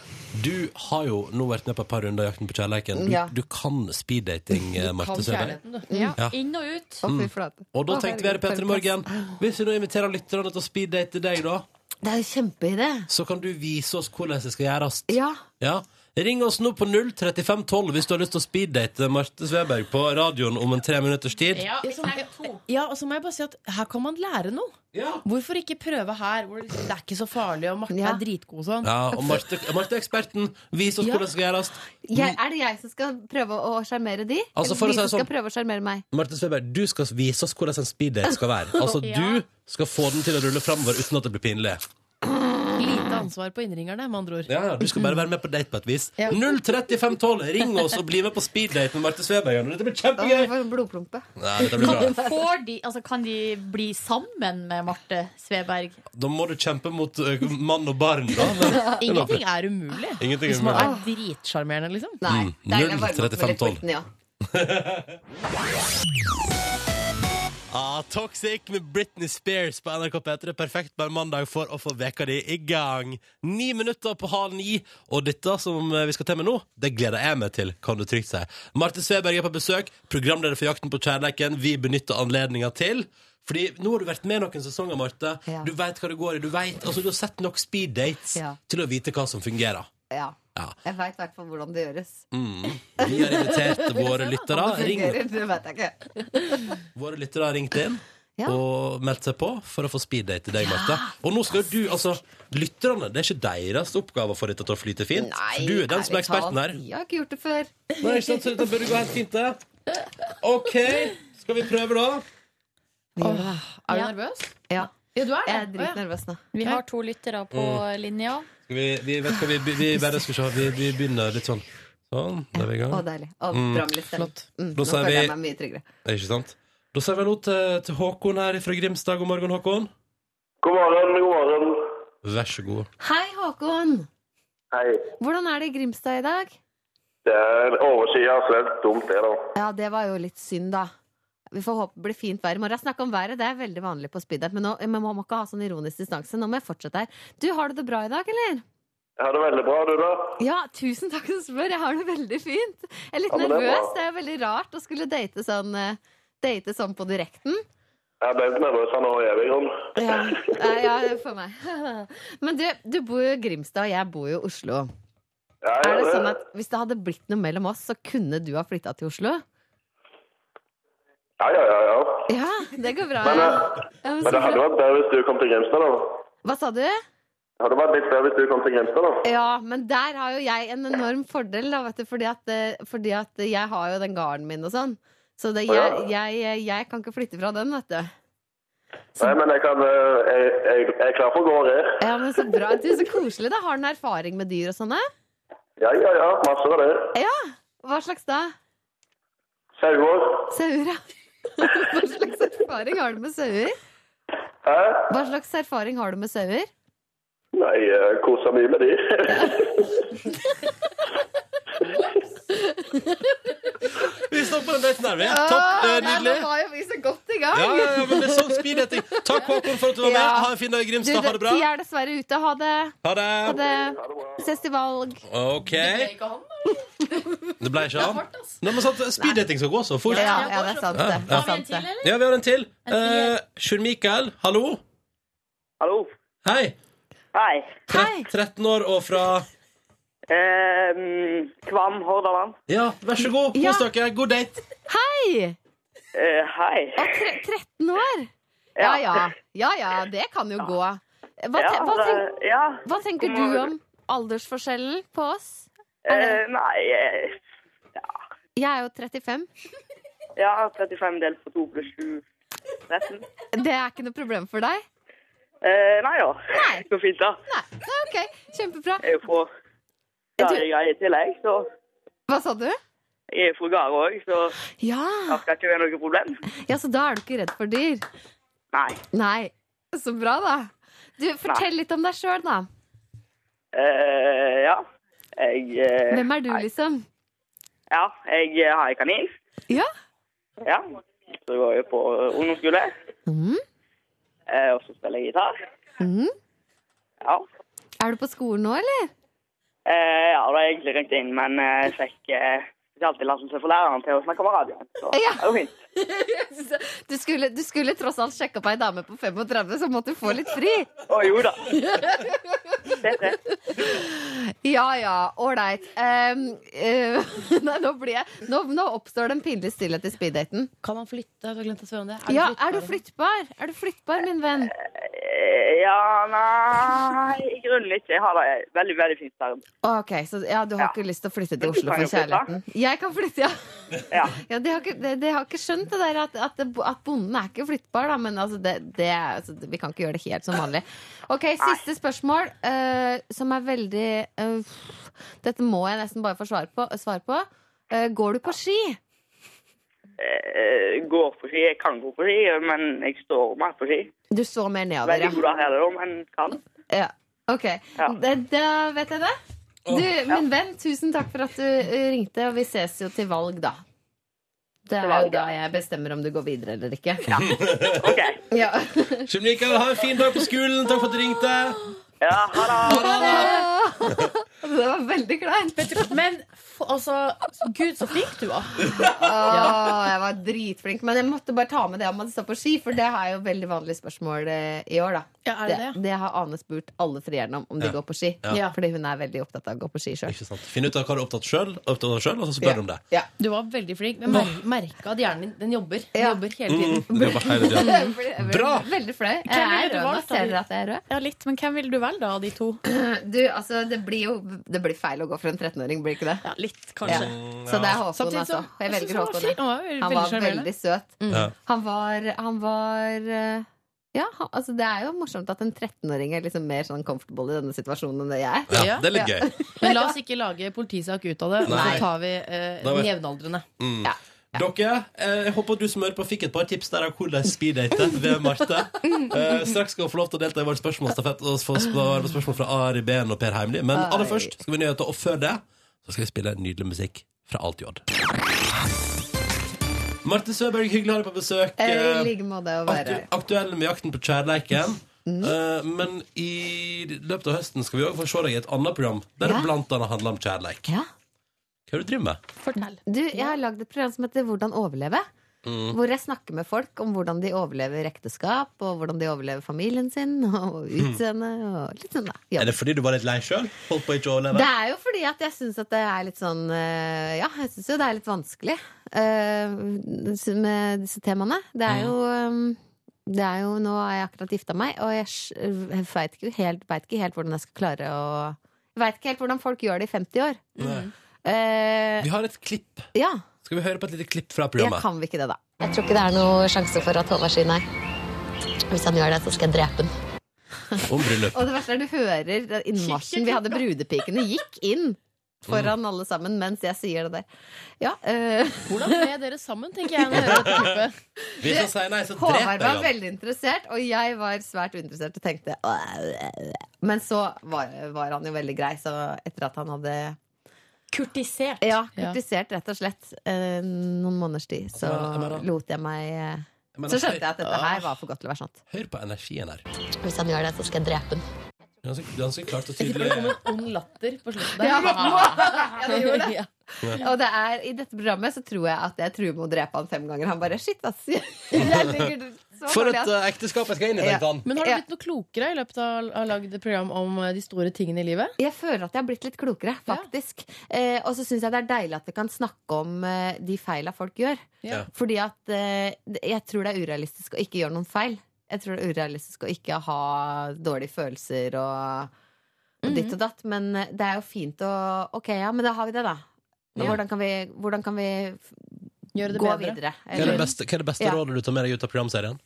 [SPEAKER 2] Du har jo nå vært med på et par runder i Jakten på kjærleiken. Du,
[SPEAKER 12] Ja.
[SPEAKER 2] du kan speeddating, eh, Marte Søberg.
[SPEAKER 5] Ja,
[SPEAKER 2] Ja.
[SPEAKER 5] inn og ut.
[SPEAKER 12] Å, fy
[SPEAKER 2] Mm.
[SPEAKER 12] flate.
[SPEAKER 2] Og da
[SPEAKER 12] Å,
[SPEAKER 2] tenkte vi her i
[SPEAKER 12] herregud,
[SPEAKER 2] Petter i Morgen Hvis vi nå inviterer lytterne til å speeddate deg, da,
[SPEAKER 12] Det er jo kjempeidé.
[SPEAKER 2] så kan du vise oss hvordan det skal gjøres.
[SPEAKER 12] Ja.
[SPEAKER 2] Ja. Ring oss nå på 03512 hvis du har lyst til å speeddate Marte Sveberg på radioen om en tre minutters tid.
[SPEAKER 4] Ja, og så må jeg bare si at her kan man lære noe. Hvorfor ikke prøve her? Hvor det liksom- det er ikke så farlig, og Marte er dritgod og sånn.
[SPEAKER 2] Ja, og Marte, Marte er eksperten. Vis oss
[SPEAKER 4] Ja.
[SPEAKER 2] hvordan det skal gjøres.
[SPEAKER 12] Jeg, er det jeg som skal prøve å sjarmere de?
[SPEAKER 2] Mm. Altså, for å
[SPEAKER 12] Eller
[SPEAKER 2] si
[SPEAKER 12] de
[SPEAKER 2] det
[SPEAKER 12] som skal
[SPEAKER 2] sånn-
[SPEAKER 12] prøve å sjarmere meg?
[SPEAKER 2] Marte Sveberg, du skal vise oss hvordan en speeddate skal være. Altså,
[SPEAKER 4] Ja.
[SPEAKER 2] Du skal få den til å rulle framover uten at det blir pinlig.
[SPEAKER 4] Lite ansvar på innringerne, med andre ord.
[SPEAKER 2] Ja, ja, Du skal bare være med på date på et vis.
[SPEAKER 4] Ja.
[SPEAKER 2] 03512, ring oss og bli med på speeddate med Marte Sveberg. Dette blir
[SPEAKER 12] Å,
[SPEAKER 2] kjempegøy!
[SPEAKER 12] jeg får en blodplumpe.
[SPEAKER 2] Nei, dette blir bra.
[SPEAKER 5] Får de, altså, kan de bli sammen med Marte Sveberg?
[SPEAKER 2] Da må du kjempe mot ø, mann og barn, da. Men-
[SPEAKER 4] Ingenting er umulig.
[SPEAKER 2] Ingenting er
[SPEAKER 4] Hvis man
[SPEAKER 2] umulig.
[SPEAKER 4] er dritsjarmerende, liksom.
[SPEAKER 12] Nei.
[SPEAKER 2] Mm, det er jeg varm opp med 03512. litt Ah, Toxic med Britney Spears på NRK P3. Perfekt på en mandag for å få veka di i gang. Ni minutter på halv ni, og dette som eh, vi skal til med nå, det gleder jeg meg til, kan du trygt si. Marte Sveberg er på besøk, programleder for Jakten på kjærleiken. Vi benytter anledninga til. Fordi nå har du vært med noen sesonger, Marte.
[SPEAKER 12] Ja.
[SPEAKER 2] Du veit hva det går i. Du, vet, altså, du har sett nok speed dates
[SPEAKER 12] Ja.
[SPEAKER 2] til å vite hva som fungerer.
[SPEAKER 12] Ja.
[SPEAKER 2] Ja.
[SPEAKER 12] Jeg veit i hvert fall hvordan det gjøres.
[SPEAKER 2] Mm. Vi har invitert våre lyttere.
[SPEAKER 12] Om det
[SPEAKER 2] Mm, Ring
[SPEAKER 12] fungerer, det vet jeg ikke.
[SPEAKER 2] Våre lyttere har ringt inn
[SPEAKER 12] Ja.
[SPEAKER 2] og meldt seg på for å få speeddate til deg, Marte. Og nå skal jo du, altså Lytterne, det er ikke deres oppgave å få dette til å flyte fint.
[SPEAKER 12] Nei,
[SPEAKER 2] for du er den som er
[SPEAKER 12] ærlig talt,
[SPEAKER 2] eksperten her.
[SPEAKER 12] Jeg har ikke gjort det før.
[SPEAKER 2] Nei, ikke sant, så dette burde gå helt fint, det. OK, skal vi prøve, da?
[SPEAKER 4] Er du
[SPEAKER 5] Ja.
[SPEAKER 4] nervøs?
[SPEAKER 12] Ja.
[SPEAKER 4] Ja, du er det.
[SPEAKER 12] Jeg er
[SPEAKER 4] Å, ja.
[SPEAKER 12] dritnervøs nå.
[SPEAKER 5] Vi har to lyttere på linja.
[SPEAKER 2] Skal vi, vi, vet hva, vi, vi, vi bare skal se, vi, vi begynner litt sånn. Sånn, da er vi i
[SPEAKER 12] Å,
[SPEAKER 2] gang.
[SPEAKER 12] deilig. Å,
[SPEAKER 2] Mm.
[SPEAKER 12] bra med litt stemning. Mm,
[SPEAKER 2] Da
[SPEAKER 12] nå
[SPEAKER 2] sier
[SPEAKER 12] føler jeg
[SPEAKER 2] vi-
[SPEAKER 12] meg mye tryggere.
[SPEAKER 2] Det er ikke sant? Da sier vi hallo til, til Håkon her fra Grimstad. God morgen, Håkon.
[SPEAKER 7] God morgen, god morgen.
[SPEAKER 2] Vær så god.
[SPEAKER 12] Hei, Håkon.
[SPEAKER 7] Hei.
[SPEAKER 12] Hvordan er det i Grimstad i dag?
[SPEAKER 7] Det er overskyet, så det er dumt det, da.
[SPEAKER 12] Ja, det var jo litt synd, da. Vi får håpe det blir fint vær i morgen. Snakk om været, det er veldig vanlig på speeddate, men nå, man må ikke ha sånn ironisk distanse. Nå må jeg fortsette her. Du, har du det bra i dag,
[SPEAKER 7] Jeg
[SPEAKER 12] eller?
[SPEAKER 7] har det veldig bra, du da?
[SPEAKER 12] Ja, tusen takk som spør. Jeg har det veldig fint. Jeg er litt
[SPEAKER 7] Ja, men det er
[SPEAKER 12] nervøs.
[SPEAKER 7] bra.
[SPEAKER 12] Det er veldig rart å skulle date sånn, eh, date sånn på direkten.
[SPEAKER 7] Jeg ble litt nervøs her nå i evig grunn.
[SPEAKER 12] Ja, Nei, ja for meg. Men du, du bor jo i Grimstad, og jeg bor jo i Oslo.
[SPEAKER 7] Ja, jeg
[SPEAKER 12] Er
[SPEAKER 7] gjør
[SPEAKER 12] det sånn at Hvis det hadde blitt noe mellom oss, så kunne du ha flytta til Oslo?
[SPEAKER 7] Ja, ja, ja. ja.
[SPEAKER 12] Ja, det går bra.
[SPEAKER 7] Men,
[SPEAKER 12] ja.
[SPEAKER 7] eh,
[SPEAKER 12] Ja,
[SPEAKER 7] men
[SPEAKER 12] men
[SPEAKER 7] det
[SPEAKER 12] så
[SPEAKER 7] hadde
[SPEAKER 12] bra.
[SPEAKER 7] vært bedre hvis du kom til Grimstad, da.
[SPEAKER 12] Hva sa du?
[SPEAKER 7] Det hadde vært litt bedre hvis du kom til Grimstad, da.
[SPEAKER 12] Ja, men der har jo jeg en enorm fordel, da, vet du, fordi at, eh, fordi at jeg har jo den garden min og sånn. Så det,
[SPEAKER 7] Å,
[SPEAKER 12] jeg,
[SPEAKER 7] ja.
[SPEAKER 12] jeg, eh, jeg kan ikke flytte fra den, vet du.
[SPEAKER 7] Nei, men jeg, kan, eh, jeg, jeg, jeg er klar for å gå og re.
[SPEAKER 12] Ja, men Så bra. Du, så koselig. da Har du noe erfaring med dyr og sånn, sånne?
[SPEAKER 7] Ja, ja, ja. Masse av det.
[SPEAKER 12] Ja! Hva slags da?
[SPEAKER 7] Sauer.
[SPEAKER 12] Sauer, ja. Hva slags erfaring har du med sauer?
[SPEAKER 7] Hæ?
[SPEAKER 12] Hva slags erfaring har du med sauer?
[SPEAKER 7] Nei, jeg koser mye med de.
[SPEAKER 2] Vi står på den daten her, vi.
[SPEAKER 12] Åh,
[SPEAKER 2] Topp. eh,
[SPEAKER 12] nei,
[SPEAKER 2] Nydelig.
[SPEAKER 12] Nå var jo vi så godt i gang!
[SPEAKER 2] Ja, ja, ja, men det er sånn speeddating. Takk, Håkon, for at du var med.
[SPEAKER 12] Ja.
[SPEAKER 2] Ha en fin dag i
[SPEAKER 12] Du,
[SPEAKER 2] Grimstad. Ha det bra.
[SPEAKER 12] tida er dessverre ute. Ha det.
[SPEAKER 2] Ha det.
[SPEAKER 12] Ha det. Vi ses til valg.
[SPEAKER 2] OK.
[SPEAKER 4] Ikke han, da.
[SPEAKER 2] Det ble ikke han. Nei, men sant, Speeddating skal gå så fort.
[SPEAKER 12] Ja, ja, det er sant, det. det,
[SPEAKER 2] Ja.
[SPEAKER 12] er sant, det.
[SPEAKER 2] Ja, vi har en til. Eh, Sjur Mikael, hallo.
[SPEAKER 13] Hallo.
[SPEAKER 2] Hei.
[SPEAKER 13] Hei.
[SPEAKER 2] Tre 13 år og fra
[SPEAKER 13] Eh, Kvam, Hordaland.
[SPEAKER 2] Ja, vær så god. Kos dere. God date.
[SPEAKER 12] Hei!
[SPEAKER 13] Eh, hei.
[SPEAKER 12] Og tre, 13 år? Ja ja. ja ja, det kan jo gå. Hva, te, hva,
[SPEAKER 13] det-
[SPEAKER 12] tenk,
[SPEAKER 13] ja.
[SPEAKER 12] hva tenker du om aldersforskjellen på oss?
[SPEAKER 13] mm. Eh, nei eh,
[SPEAKER 12] Jeg er jo 35.
[SPEAKER 13] Ja, 35 delt på 2 pluss 7 13.
[SPEAKER 12] Det er ikke noe problem for deg?
[SPEAKER 13] Eh, nei da. Så fint, da.
[SPEAKER 12] Nei, ok, kjempebra.
[SPEAKER 13] Jeg er jo fra Garøya i tillegg, så
[SPEAKER 12] Hva sa du?
[SPEAKER 13] jeg er fra Garøya òg, så
[SPEAKER 12] Ja.
[SPEAKER 13] det skal ikke være noe problem.
[SPEAKER 12] ja, så da er du ikke redd for dyr?
[SPEAKER 13] Nei.
[SPEAKER 12] Nei. Så bra, da. Du, Fortell litt om deg sjøl, da.
[SPEAKER 13] Eh, ja. Jeg eh,
[SPEAKER 12] Hvem er du, liksom?
[SPEAKER 13] Ja, jeg eh, har en kanin.
[SPEAKER 12] Ja.
[SPEAKER 13] Ja. Så går jeg på eh, ungdomsskole,
[SPEAKER 12] Mm.
[SPEAKER 13] eh, og så spiller jeg gitar.
[SPEAKER 12] Mm.
[SPEAKER 13] Ja.
[SPEAKER 12] Er du på skolen nå, eller?
[SPEAKER 13] Eh, ja, da har jeg egentlig ringt inn, men eh, jeg fikk eh, spesialtillatelse for læreren til å snakke med radioen. Så
[SPEAKER 12] Ja.
[SPEAKER 13] det var fint.
[SPEAKER 12] Du skulle, du skulle tross alt sjekke opp ei dame på 35, så måtte du få litt fri.
[SPEAKER 13] Å jo da.
[SPEAKER 12] Ja ja, ålreit. Um, eh, nei, nå, blir jeg, nå, nå oppstår det en pinlig stillhet i speeddaten.
[SPEAKER 4] Kan han flytte? Jeg har glemt å spørre om det.
[SPEAKER 12] Ja, er du flyttbar? Er du flyttbar, min venn?
[SPEAKER 13] Eh, ja, nei, i grunnen ikke. Jeg har det veldig, veldig fint der.
[SPEAKER 12] Ok, så ja, du har ikke lyst til å flytte
[SPEAKER 13] Men
[SPEAKER 12] til
[SPEAKER 13] du
[SPEAKER 12] Oslo
[SPEAKER 13] kan
[SPEAKER 12] for
[SPEAKER 13] jo flytte.
[SPEAKER 12] kjærligheten? Jeg kan flytte, ja.
[SPEAKER 13] Ja.
[SPEAKER 12] ja de, har ikke, de, de har ikke skjønt det der at, at, at bonden er ikke flyttbar, da, men altså det, det, er- altså vi kan ikke gjøre det helt som vanlig. Ok, Siste spørsmål, eh, som er veldig eh, Dette må jeg nesten bare få svar på. Svar på. Eh, går du på ski?
[SPEAKER 13] Eh, går på ski. Jeg kan gå på ski, men jeg står mer på ski.
[SPEAKER 12] Du så mer nedover,
[SPEAKER 13] Veldig
[SPEAKER 12] ja.
[SPEAKER 13] god der er det, da, men kan.
[SPEAKER 12] ja. Ok, Da, da vet jeg det. Du, min venn, tusen takk for at du eh, ringte, og vi ses jo til valg, da. Det er jo da jeg bestemmer om du går videre eller ikke. Ja.
[SPEAKER 2] Shamnika, ha en fin dag på skolen. Takk for at du ringte.
[SPEAKER 13] Ja, ha det.
[SPEAKER 12] Det var veldig kleint.
[SPEAKER 4] Men f- altså Gud, så flink du var.
[SPEAKER 12] Åh, jeg var dritflink, men jeg måtte bare ta med det om man står på ski, for det er jo veldig vanlig spørsmål eh, i år, da.
[SPEAKER 4] Ja, er det det?
[SPEAKER 12] har Ane spurt alle frierne om, om de
[SPEAKER 2] Ja.
[SPEAKER 12] går på ski.
[SPEAKER 2] Ja.
[SPEAKER 12] Fordi hun er veldig opptatt av å gå på ski sjøl.
[SPEAKER 2] Ikke sant? Finn ut av hva du er opptatt selv- opptatt av sjøl, og så spør du om det.
[SPEAKER 4] Du var veldig flink. Men mer- merka at hjernen din den jobber. Den jobber hele tiden.
[SPEAKER 2] Mm, det var hele tiden. Bra!
[SPEAKER 12] Veldig flau. Jeg
[SPEAKER 5] Hvem ville
[SPEAKER 12] er
[SPEAKER 5] du
[SPEAKER 12] rød nå.
[SPEAKER 5] valgt, da?
[SPEAKER 12] Ser dere at jeg er rød?
[SPEAKER 5] Ja, litt, men hvem vil du velge da, av de to?
[SPEAKER 12] Du, altså, det blir jo det blir feil å gå for en 13-åring, blir det ikke det?
[SPEAKER 5] Ja, litt, kanskje.
[SPEAKER 12] Så det er Håkon,
[SPEAKER 4] Samtidig
[SPEAKER 12] altså.
[SPEAKER 4] som-
[SPEAKER 12] Jeg
[SPEAKER 4] jeg synes
[SPEAKER 12] velger
[SPEAKER 4] han var
[SPEAKER 12] Håkon.
[SPEAKER 4] fin. Han var
[SPEAKER 12] jeg.
[SPEAKER 4] veldig
[SPEAKER 12] Han var
[SPEAKER 4] sjarmerende.
[SPEAKER 12] veldig Mm. søt.
[SPEAKER 2] Ja.
[SPEAKER 12] Han var, han var eh, Ja, han- altså det er jo morsomt at en 13-åring er liksom mer sånn comfortable i denne situasjonen enn det jeg er.
[SPEAKER 2] Ja, det er litt
[SPEAKER 12] Ja.
[SPEAKER 2] gøy.
[SPEAKER 4] Men la oss ikke lage politisak ut av det. Og
[SPEAKER 2] Nei.
[SPEAKER 4] så tar vi eh,
[SPEAKER 2] Da vet-
[SPEAKER 4] jevnaldrende.
[SPEAKER 2] Mm. Dere, eh, jeg håper du som hører på fikk et par tips der av hvordan speeddate ved Marte.
[SPEAKER 12] Mm.
[SPEAKER 2] Eh, straks skal hun få lov til å delta i vår spørsmålstafett og få svare på spørsmål fra Ari Behn og Per Heimli. Men aller
[SPEAKER 10] Oi.
[SPEAKER 2] først skal vi nyheter, og før det så skal vi spille nydelig musikk fra Alt J. Marte Søberg, hyggelig å ha deg på besøk.
[SPEAKER 12] Eh, I
[SPEAKER 2] Eh,
[SPEAKER 12] like måte å være
[SPEAKER 2] aktu-
[SPEAKER 12] Mm.
[SPEAKER 2] aktuell med jakten på kjærleiken. Eh, men i løpet av høsten skal vi òg få se deg i et annet program der det blant annet handler om kjærleik. Hva er det du driver med?
[SPEAKER 12] Du, jeg har lagd et program som heter Hvordan overleve.
[SPEAKER 2] Mm.
[SPEAKER 12] Hvor jeg snakker med folk om hvordan de overlever ekteskap, og hvordan de overlever familien sin,
[SPEAKER 2] Hmm.
[SPEAKER 12] og utseende, og litt sånn, da.
[SPEAKER 2] Er det fordi du var litt lei sjøl? Holdt på ikke å overleve?
[SPEAKER 12] Det er jo fordi at jeg syns at det er litt sånn eh, Ja, jeg syns jo det er litt vanskelig eh, med disse temaene. Det er jo eh, det er jo, Nå har jeg akkurat gifta meg, og jeg, s- jeg veit ikke, helt- vet ikke helt hvordan jeg skal klare å Jeg veit ikke helt hvordan folk gjør det i 50 år.
[SPEAKER 2] Nei.
[SPEAKER 12] Eh,
[SPEAKER 2] Vi har et klipp.
[SPEAKER 12] ja.
[SPEAKER 2] Skal vi høre på et lite klipp fra
[SPEAKER 12] Ja,
[SPEAKER 2] programmet?
[SPEAKER 12] kan vi ikke det, da? Jeg tror ikke det er noe sjanse for at Håvard sier nei. Hvis han gjør det, så skal jeg drepe han.
[SPEAKER 2] Om bryllup.
[SPEAKER 12] Og det verste er du hører den innmarsjen vi hadde brudepikene gikk inn
[SPEAKER 2] Mm.
[SPEAKER 12] foran alle sammen mens jeg sier det der. Ja, eh,
[SPEAKER 4] Hvordan ble dere sammen, tenker jeg. Når jeg hører dette klippet.
[SPEAKER 2] Hvis han sier nei, så dreper
[SPEAKER 12] Håvard var
[SPEAKER 2] jeg ham.
[SPEAKER 12] veldig interessert, og jeg var svært uinteressert og tenkte «Åh, øh, øh». Men så var, var han jo veldig grei, så etter at han hadde
[SPEAKER 5] Kurtisert.
[SPEAKER 12] Ja, kritisert rett og slett eh, noen måneders tid, så lot jeg meg eh,
[SPEAKER 2] Men
[SPEAKER 12] Så
[SPEAKER 2] altså,
[SPEAKER 12] skjønte jeg at dette her var for godt til å være sant.
[SPEAKER 2] Hør på energien her. Det
[SPEAKER 12] Hvis han gjør det, så skal jeg drepe han.
[SPEAKER 2] er Ganske, ganske klart og
[SPEAKER 4] Det kom
[SPEAKER 2] tydelig.
[SPEAKER 4] en ung latter på slutten
[SPEAKER 12] Ja, men-
[SPEAKER 4] der.
[SPEAKER 12] Ja, det gjorde det.
[SPEAKER 4] Ja.
[SPEAKER 12] Og det er, i dette programmet så tror jeg at jeg truer med å drepe han fem ganger. Han bare shit, ass. Jeg ligger så
[SPEAKER 2] For
[SPEAKER 12] dårlig
[SPEAKER 2] et
[SPEAKER 12] an.
[SPEAKER 2] eh, ekteskap jeg skal inn i, tenkte han.
[SPEAKER 4] Men har du blitt noe klokere i løpet av å ha lagd program om eh, de store tingene i livet?
[SPEAKER 12] Jeg føler at jeg har blitt litt klokere, faktisk. Eh, og så syns jeg det er deilig at vi kan snakke om eh, de feila folk gjør.
[SPEAKER 4] Ja.
[SPEAKER 12] Fordi at eh, det- jeg tror det er urealistisk å ikke gjøre noen feil. Jeg tror det er urealistisk å ikke ha dårlige følelser og og ditt og datt, men eh, det er jo fint å Ok, ja, men da har vi det, da.
[SPEAKER 2] Ja.
[SPEAKER 12] Hvordan kan vi, hvordan kan vi f-
[SPEAKER 4] Gjøre
[SPEAKER 12] gå videre?
[SPEAKER 2] Hva er det
[SPEAKER 12] Eller-
[SPEAKER 2] beste, hva er det beste
[SPEAKER 12] Ja.
[SPEAKER 2] rådet du tar med deg ut av programserien?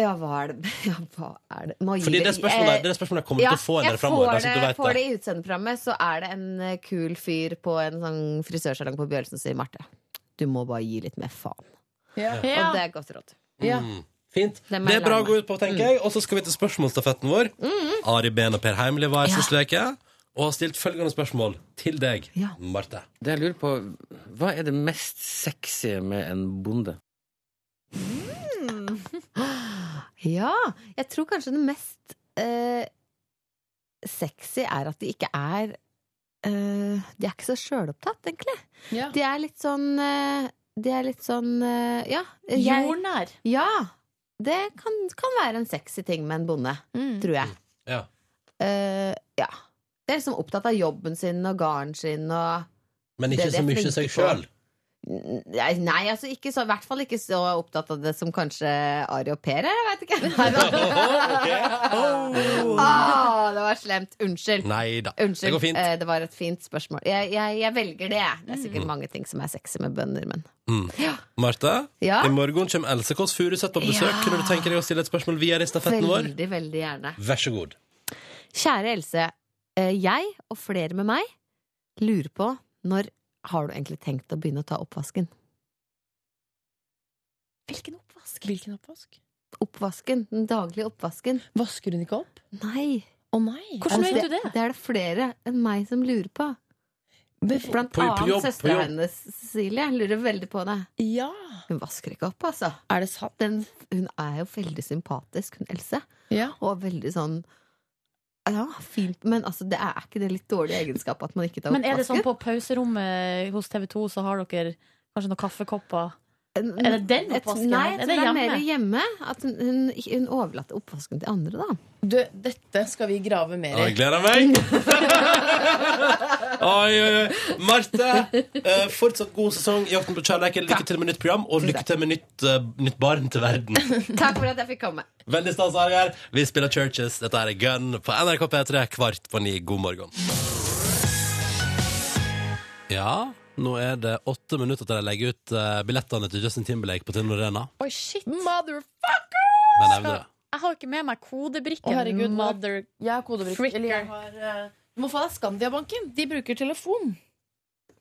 [SPEAKER 12] Ja, hva er det, ja, hva er det? Nå gir eh,
[SPEAKER 2] Fordi det spørsmålet, det spørsmålet kommer du til å få en del framover.
[SPEAKER 12] Jeg
[SPEAKER 2] bare så
[SPEAKER 12] får det,
[SPEAKER 2] du vet
[SPEAKER 12] får det
[SPEAKER 2] det.
[SPEAKER 12] i utseendeprogrammet, så er det en eh, kul fyr på en sånn frisørsalong på Bjørelsen som sier Marte, du må bare gi litt mer faen.
[SPEAKER 4] Ja.
[SPEAKER 12] Og det er et godt råd.
[SPEAKER 2] Mm. Fint.
[SPEAKER 12] Det Mm.
[SPEAKER 2] Det
[SPEAKER 12] må jeg
[SPEAKER 2] er bra å
[SPEAKER 12] lære
[SPEAKER 2] gå ut på, tenker jeg. Og så skal vi til spørsmålsstafetten vår. Ari Behn og Per Heimli var her sist uke og har stilt følgende spørsmål til deg, Marte.
[SPEAKER 14] Det jeg lurer på, hva er det mest sexy med en bonde?
[SPEAKER 12] Ja, jeg tror kanskje det mest eh, sexy er at de ikke er eh, De er ikke så sjølopptatt, egentlig. De er litt sånn eh, De er litt sånn eh, Ja.
[SPEAKER 5] Jordnær.
[SPEAKER 12] Ja. Det kan, kan være en sexy ting med en bonde, tror jeg.
[SPEAKER 2] Ja.
[SPEAKER 12] Eh, ja. De er liksom opptatt av jobben sin og garden sin og
[SPEAKER 2] Men
[SPEAKER 12] Det
[SPEAKER 2] ikke
[SPEAKER 12] er det
[SPEAKER 2] så mye
[SPEAKER 12] jeg
[SPEAKER 2] seg
[SPEAKER 12] tenker på.
[SPEAKER 2] sjøl.
[SPEAKER 12] Nei, nei altså ikke så, i hvert fall ikke så opptatt av det som kanskje Ari og Per er. Jeg vet ikke. Nei, da. Åh, det var slemt. Unnskyld.
[SPEAKER 2] Oh. Nei da. Det
[SPEAKER 12] Ah. Unnskyld.
[SPEAKER 2] går fint.
[SPEAKER 12] Eh, Det var et fint spørsmål. Jeg, jeg, jeg velger det. jeg. Det er sikkert
[SPEAKER 2] Mm.
[SPEAKER 12] mange ting som er sexy med bønder, men
[SPEAKER 2] Mm. Marte,
[SPEAKER 12] Eh. Ja?
[SPEAKER 2] i morgen kommer Else Kåss Furuseth på besøk.
[SPEAKER 12] Ja.
[SPEAKER 2] Kunne du tenke deg å stille et spørsmål via i stafetten vår?
[SPEAKER 12] veldig, veldig gjerne.
[SPEAKER 2] Vær så god.
[SPEAKER 12] Kjære Else. eh, Jeg, og flere med meg, lurer på når har du egentlig tenkt å begynne å ta oppvasken?
[SPEAKER 5] Hvilken oppvask?
[SPEAKER 4] Hvilken oppvask?
[SPEAKER 12] Oppvasken, Den daglige oppvasken.
[SPEAKER 4] Vasker hun ikke opp?
[SPEAKER 12] Nei.
[SPEAKER 4] Å nei
[SPEAKER 12] Hvordan vet du det? Det er det flere enn meg som lurer på. Blant
[SPEAKER 4] På- på jobb,
[SPEAKER 12] annet
[SPEAKER 4] på
[SPEAKER 12] søstera
[SPEAKER 4] jobb.
[SPEAKER 12] hennes, Cecilie, lurer veldig på det.
[SPEAKER 4] Ja.
[SPEAKER 12] Hun vasker ikke opp, altså.
[SPEAKER 4] Er det sant?
[SPEAKER 12] Den, hun er jo veldig sympatisk, hun Else. Og veldig sånn ja, fint, men altså, det er ikke det litt dårlige egenskapet at man ikke tar
[SPEAKER 5] Men er det sånn
[SPEAKER 12] oppvasken?
[SPEAKER 5] på pauserommet hos TV 2 så har dere kanskje noen kaffekopper? Er det den
[SPEAKER 12] Jeg-
[SPEAKER 5] oppvasken?
[SPEAKER 12] Nei, jeg
[SPEAKER 5] er
[SPEAKER 12] tror det
[SPEAKER 5] det
[SPEAKER 12] er
[SPEAKER 5] hjemme?
[SPEAKER 12] mer hjemme. At hun, hun, hun overlater oppvasken til andre, da.
[SPEAKER 4] Du, dette skal vi grave mer
[SPEAKER 2] Jeg gleder meg! Oi, oi, oi. Marte, eh, fortsatt god sesong i Jakten på kjærleiken. Lykke til med nytt program, og lykke til med nytt, eh, nytt barn til verden.
[SPEAKER 12] Takk for at jeg fikk komme.
[SPEAKER 2] Veldig stas å ha deg her. Vi spiller Churches. Dette er Gun på NRK P3 kvart på ni. God morgen. Ja, nå er det åtte minutter til de legger ut eh, billettene til Justin Timberlake på Telenor Arena.
[SPEAKER 5] Oi, shit!
[SPEAKER 2] Men jeg nevner det.
[SPEAKER 5] Jeg har jo ikke med meg kodebrikken.
[SPEAKER 4] Å, herregud, nå-
[SPEAKER 5] Mother
[SPEAKER 4] Jeg har kodebrikke.
[SPEAKER 5] fricker.
[SPEAKER 4] Eller jeg har eh, Du må få deg Skandiabanken. De bruker telefon.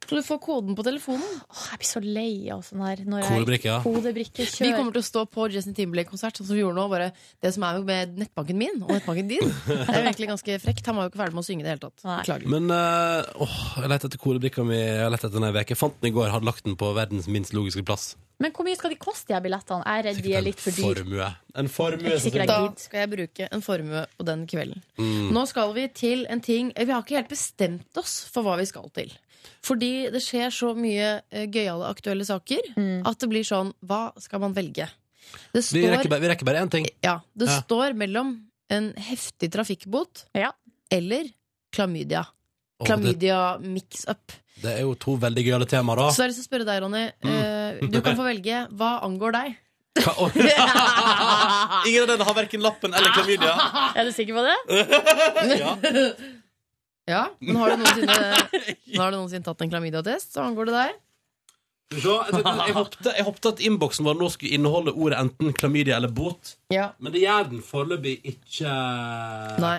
[SPEAKER 4] Så du får koden på telefonen.
[SPEAKER 5] Åh, jeg blir så lei av sånn her. når jeg-
[SPEAKER 2] Kodebrikke, ja.
[SPEAKER 5] Kodebrikkekjør.
[SPEAKER 4] Vi kommer til å stå på Justin Timberlake-konsert, sånn som vi gjorde nå. Bare det som er med nettbanken min og nettbanken din, det er jo egentlig ganske frekt. Han var jo ikke ferdig med å synge i det hele tatt. Beklager.
[SPEAKER 2] Men eh, åh, jeg lette etter kodebrikka mi Jeg lette etter den ei uke. Fant den i går, hadde lagt den på verdens minst logiske plass.
[SPEAKER 5] Men hvor mye skal de koste, de her billettene? Jeg er redd de er litt for dyre.
[SPEAKER 2] Formue. En formue. som
[SPEAKER 4] Da
[SPEAKER 2] sikkert-
[SPEAKER 4] skal jeg bruke en formue på den kvelden.
[SPEAKER 2] Mm.
[SPEAKER 4] Nå skal vi til en ting Vi har ikke helt bestemt oss for hva vi skal til. Fordi det skjer så mye eh, gøyale aktuelle saker at det blir sånn Hva skal man velge? Det
[SPEAKER 2] Vi rekker bare- vi rekker bare én ting.
[SPEAKER 4] Ja, det
[SPEAKER 2] Ja.
[SPEAKER 4] står mellom en heftig trafikkbot eller klamydia.
[SPEAKER 2] Åh,
[SPEAKER 4] Klamydia mix-up.
[SPEAKER 2] Det er jo to veldig gøyale temaer, da.
[SPEAKER 4] Så jeg har lyst til å spørre deg, Ronny. eh,
[SPEAKER 2] Ah. Mm.
[SPEAKER 4] Du kan få velge. Hva angår deg?
[SPEAKER 2] Ingen av dere har verken lappen eller klamydia.
[SPEAKER 5] Er du sikker på det?
[SPEAKER 2] ja.
[SPEAKER 4] ja, men har du noensinne, har du noensinne tatt en klamydia-test, så angår det deg.
[SPEAKER 2] Skal vi se, jeg, jeg, jeg, håpte, jeg håpte at innboksen vår nå skulle inneholde ordet enten klamydia eller bot.
[SPEAKER 4] Ja.
[SPEAKER 2] Men det gjør den foreløpig ikke.
[SPEAKER 4] Nei.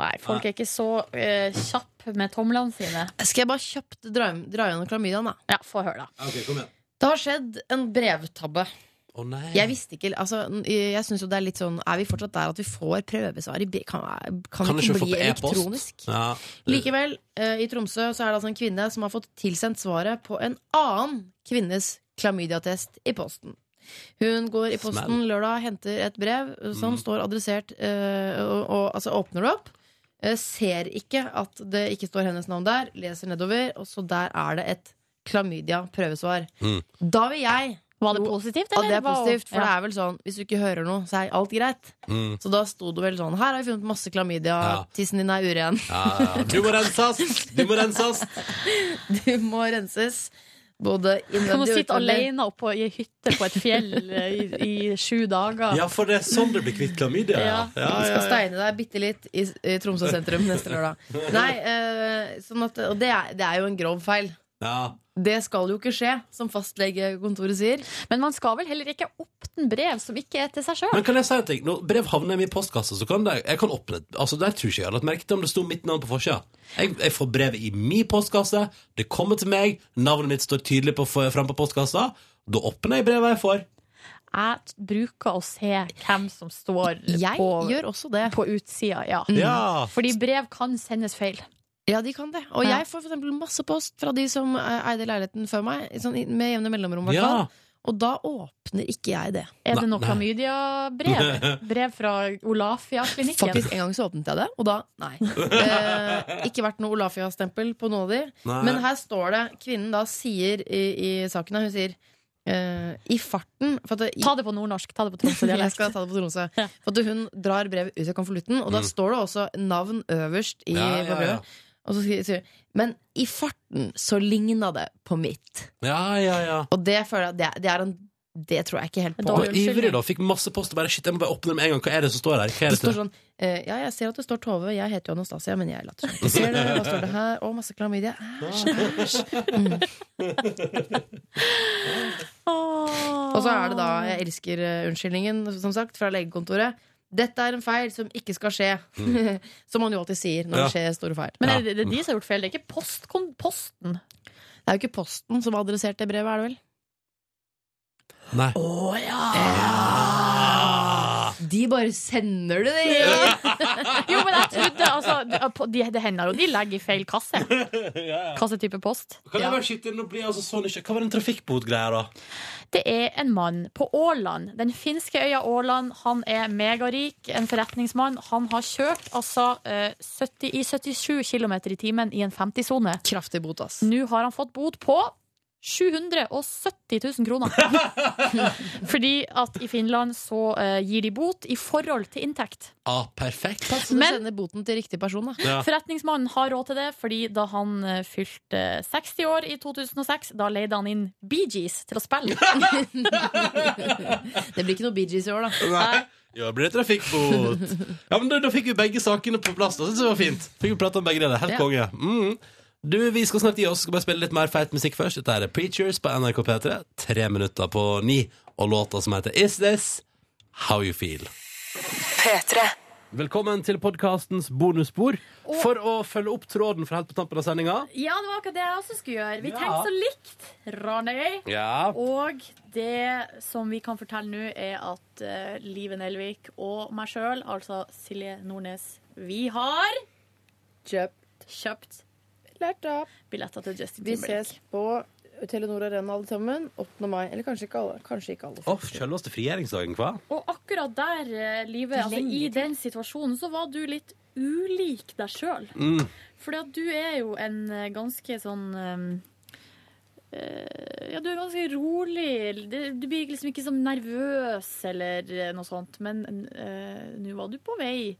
[SPEAKER 5] Nei, folk er ikke så eh, kjappe med tomlene sine.
[SPEAKER 4] Skal jeg bare kjapt dra, dra gjennom klamydiaen, da?
[SPEAKER 5] Ja, få høre, da.
[SPEAKER 2] Ok, kom igjen.
[SPEAKER 4] Det har skjedd en brevtabbe.
[SPEAKER 2] Å nei.
[SPEAKER 4] Jeg visste ikke altså, Jeg synes jo det Er litt sånn Er vi fortsatt der at vi får prøvesvar? i bre- Kan, kan,
[SPEAKER 2] Kan
[SPEAKER 4] kan
[SPEAKER 2] du ikke
[SPEAKER 4] det ikke
[SPEAKER 2] få
[SPEAKER 4] bli
[SPEAKER 2] på
[SPEAKER 4] elektronisk?
[SPEAKER 2] e-post? Ja.
[SPEAKER 4] Likevel, eh, i Tromsø så er det altså en kvinne som har fått tilsendt svaret på en annen kvinnes klamydiatest i posten. Hun går i posten
[SPEAKER 5] Smell.
[SPEAKER 4] lørdag, henter et brev eh, som
[SPEAKER 5] Mm.
[SPEAKER 4] står adressert, eh, og, og altså åpner det opp. eh, ser ikke at det ikke står hennes navn der, leser nedover, og så der er det et klamydia-prøvesvar. Da vil jeg
[SPEAKER 5] Var det positivt,
[SPEAKER 4] Ja, det
[SPEAKER 5] eller?
[SPEAKER 4] er positivt, for
[SPEAKER 5] Ja.
[SPEAKER 4] det er vel sånn hvis du ikke hører noe, så er alt greit.
[SPEAKER 2] Mm.
[SPEAKER 4] Så da sto det vel sånn Her har vi funnet masse klamydia.
[SPEAKER 2] Ja.
[SPEAKER 4] Tissen din er uren.
[SPEAKER 2] Ja, ja. Du må renses! Du må renses!
[SPEAKER 4] Du må renses. Både
[SPEAKER 5] Kan man
[SPEAKER 4] innvendig
[SPEAKER 5] sitte
[SPEAKER 4] utvendig.
[SPEAKER 5] alene oppå i ei hytte på et fjell eh, i, i sju dager?
[SPEAKER 15] Ja, for det er sånn det blir kvitt klamydia.
[SPEAKER 5] Ja.
[SPEAKER 15] Ja,
[SPEAKER 4] Vi
[SPEAKER 15] ja,
[SPEAKER 4] skal
[SPEAKER 15] ja.
[SPEAKER 4] steine deg bitte litt i, i Tromsø sentrum neste lørdag. Nei, eh, sånn at, og det er, det er jo en grov feil.
[SPEAKER 15] Ja.
[SPEAKER 4] Det skal jo ikke skje, som fastlegekontoret sier.
[SPEAKER 5] Men man skal vel heller ikke åpne brev som ikke er til seg
[SPEAKER 2] Men
[SPEAKER 5] sjøl?
[SPEAKER 2] kan jeg si en ting? Når brev havner i min postkasse, så kan det, jeg kan åpne Altså, Der tror ikke jeg hadde lagt merke til om det sto mitt navn på forsida. Jeg, jeg får brevet i min postkasse, det kommer til meg, navnet mitt står tydelig på, frem på postkassa. Da åpner jeg brevet jeg får.
[SPEAKER 5] Jeg t- bruker å se hvem som står
[SPEAKER 4] Jeg
[SPEAKER 5] på,
[SPEAKER 4] gjør også det.
[SPEAKER 5] på utsida. Ja.
[SPEAKER 4] Ja.
[SPEAKER 5] Fordi brev kan sendes feil.
[SPEAKER 4] Ja, de kan det. Og jeg får for eksempel masse post fra de som eh, eide leiligheten før meg, sånn i- med jevne mellomrom, i hvert
[SPEAKER 5] Ja.
[SPEAKER 4] fall. Og da åpner ikke jeg det.
[SPEAKER 5] Er det noe klamydia-brev? Brev fra Olafia-klinikken?
[SPEAKER 4] Faktisk, en gang så åpnet jeg det, og da nei. Eh, ikke vært noe Olafia-stempel på noen av de.
[SPEAKER 5] Nei.
[SPEAKER 4] Men her står det Kvinnen da sier i, i saken her, Hun sier eh, i farten for at
[SPEAKER 5] Ta det på nordnorsk. Ta det på Tromsø-dialekt.
[SPEAKER 4] Jeg skal ta det på Tromsø. For at hun drar brevet ut av konvolutten, og da
[SPEAKER 5] Mm.
[SPEAKER 4] står det også navn øverst i
[SPEAKER 2] Ja, ja,
[SPEAKER 4] på
[SPEAKER 2] ja.
[SPEAKER 4] brevet. Og så sier- sier hun Men i farten så ligna det på mitt.
[SPEAKER 2] Ja, ja, ja.
[SPEAKER 4] Og det føler jeg det er, det er en Det tror jeg ikke helt på.
[SPEAKER 2] Og ivrig, da. Fikk masse post og bare shit, jeg må bare åpne det med en gang. Hva er det som står her? Hva er
[SPEAKER 4] Det
[SPEAKER 2] det
[SPEAKER 4] står
[SPEAKER 2] til?
[SPEAKER 4] sånn eh, Ja, jeg ser at det står Tove. Jeg heter jo Anastasia, men jeg later som. ikke Ser dere, hva står det her? Å, masse klamydia. Æsj, æsj. Mm. Og så er det da Jeg elsker eh, unnskyldningen, som sagt, fra legekontoret. Dette er en feil som ikke skal skje.
[SPEAKER 5] Mm.
[SPEAKER 4] som man jo alltid sier når
[SPEAKER 5] Ja.
[SPEAKER 4] det skjer store feil.
[SPEAKER 5] Men er det, det er de som har gjort feil? Det er ikke post, kom, posten?
[SPEAKER 4] Det er jo ikke Posten som har adressert det brevet, er det vel?
[SPEAKER 2] Nei.
[SPEAKER 4] De bare sender det, de!
[SPEAKER 5] Jo, men jeg trodde altså, det- de, Det hender jo de legger i feil kasse. Kassetype post.
[SPEAKER 2] Kan jeg bare skyte inn og bli altså sånn ikke Hva var den trafikkbotgreia, da?
[SPEAKER 5] Det er en mann på Åland, den finske øya Åland. Han er megarik, en forretningsmann. Han har kjørt altså eh, 70, i 77 km i timen i en 50-sone.
[SPEAKER 4] Kraftig bot, ass.
[SPEAKER 5] Nå har han fått bot på 770 000 kroner. Fordi at i Finland så eh, gir de bot i forhold til inntekt.
[SPEAKER 2] Ah, perfekt.
[SPEAKER 4] Pass på å sende boten til riktig person, da.
[SPEAKER 2] Ja.
[SPEAKER 5] Forretningsmannen har råd til det, fordi da han eh, fylte 60 år i 2006, da leide han inn Bee Gees til å spille.
[SPEAKER 4] Det blir ikke noe Bee Gees i år, da.
[SPEAKER 2] Nei. Ja, det ble trafikkbot. Ja, men da, da fikk vi begge sakene på plass. Da synes jeg det var fint. Fikk vi prate om begge deler. Helt
[SPEAKER 4] Ja.
[SPEAKER 2] konge. Mm. Du, Vi skal snart gi oss. Skal bare spille litt mer feit musikk først. Dette er Preachers på NRK P3. Tre minutter på ni. Og låta som heter Is This How You Feel.
[SPEAKER 16] P3. Velkommen til podkastens bonusspor. For å følge opp tråden fra helt på tampen av sendinga.
[SPEAKER 5] Ja, det var akkurat det jeg også skulle gjøre. Vi
[SPEAKER 16] Ja.
[SPEAKER 5] tenkte så likt, Ranøy.
[SPEAKER 16] Ja.
[SPEAKER 5] Og det som vi kan fortelle nå, er at eh, Live Nelvik og meg sjøl, altså Silje Nordnes, vi har
[SPEAKER 4] Kjøpt.
[SPEAKER 5] Kjøpt billetter til Justin
[SPEAKER 4] Vi
[SPEAKER 5] Timberlake.
[SPEAKER 4] ses på Telenor Arena alle sammen 8. mai. Eller kanskje ikke alle. Kanskje ikke alle.
[SPEAKER 2] Å, selveste frigjøringsdagen, hva?
[SPEAKER 5] Og akkurat der, eh, Live, altså,
[SPEAKER 4] Lenge
[SPEAKER 5] i den situasjonen, så var du litt ulik deg sjøl.
[SPEAKER 2] Mm.
[SPEAKER 5] Fordi at du er jo en eh, ganske sånn eh, eh, Ja, du er ganske rolig. Det- Du blir liksom ikke så nervøs eller eh, noe sånt. Men eh, nå var du på vei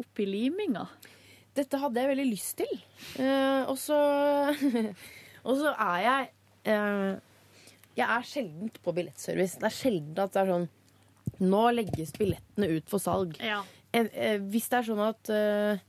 [SPEAKER 5] opp i liminga.
[SPEAKER 4] Dette hadde jeg veldig lyst til. Eh, og så Og så er jeg eh, Jeg er sjelden på billettservice. Det er sjelden at det er sånn Nå legges billettene ut for salg. Eh, eh, hvis det er sånn at eh,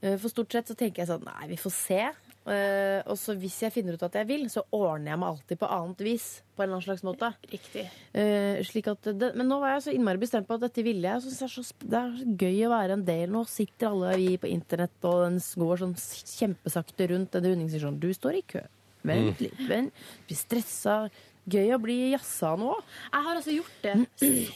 [SPEAKER 4] eh, For stort sett så tenker jeg sånn Nei, vi får se. Eh, og så hvis jeg finner ut at jeg vil, så ordner jeg meg alltid på annet vis. På en eller annen slags måte.
[SPEAKER 5] Riktig.
[SPEAKER 4] Eh, slik at det, men nå var jeg så innmari bestemt på at dette ville jeg. og så synes jeg det er så, sp- det er så gøy å være en del. Nå sitter alle vi på internett og den går sånn s- kjempesakte rundt den rundingsstasjonen. sånn, Du står i kø. Vent
[SPEAKER 5] Mm.
[SPEAKER 4] litt, vent. Blir stressa. Gøy å bli jazza nå.
[SPEAKER 5] Jeg har altså gjort det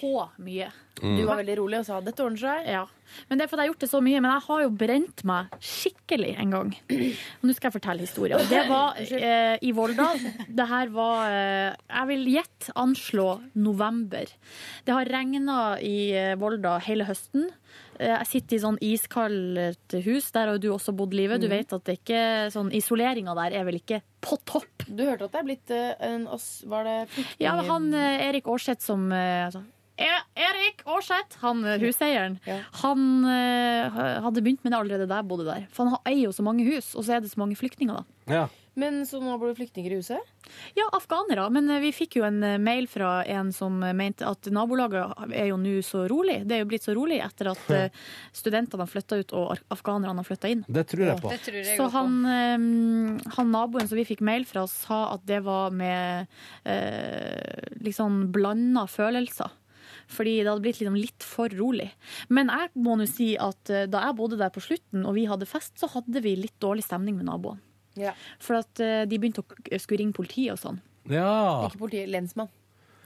[SPEAKER 5] så mye.
[SPEAKER 4] Mm. Du var veldig rolig og sa 'dette ordner seg'.
[SPEAKER 5] Ja. Men det er fordi jeg har gjort det så mye. Men jeg har jo brent meg skikkelig en gang. Og nå skal jeg fortelle historien. Det var eh, i Volda. Det her var eh, Jeg vil gjette anslå november. Det har regna i eh, Volda hele høsten. Eh, Jeg sitter i sånn iskaldt hus. Der har jo du også bodd, Livet. Du
[SPEAKER 4] Mhm.
[SPEAKER 5] vet at det ikke sånn isoleringa der er vel ikke på topp.
[SPEAKER 4] Du hørte at det er blitt eh, en ass... Var det flyktning...
[SPEAKER 5] Ja, men han eh, Erik Aarseth som eh, altså, E- Erik Aarseth, han eh, huseieren, han eh, hadde begynt med det allerede da jeg bodde der. For han eier jo så mange hus, og så er det så mange flyktninger, da.
[SPEAKER 4] Men så nå blir det flyktninger i huset?
[SPEAKER 5] Ja, afghanere. Men eh, vi fikk jo en eh, mail fra en som eh, mente at nabolaget er jo nå så rolig. Det er jo blitt så rolig etter at eh, studentene har flytta ut og ar- afghanerne har flytta inn.
[SPEAKER 16] Det tror jeg på. Det
[SPEAKER 4] tror jeg
[SPEAKER 5] så
[SPEAKER 4] også på.
[SPEAKER 5] han, eh, han naboen som vi fikk mail fra, sa at det var med eh, liksom blanda følelser. Fordi det hadde blitt liksom litt for rolig. Men jeg må nå si at eh, da jeg bodde der på slutten og vi hadde fest, så hadde vi litt dårlig stemning med naboene.
[SPEAKER 4] Ja.
[SPEAKER 5] For at eh, de begynte å k- skulle ringe politiet og sånn.
[SPEAKER 2] Ah.
[SPEAKER 16] Ja.
[SPEAKER 4] Ikke politiet, lensmann.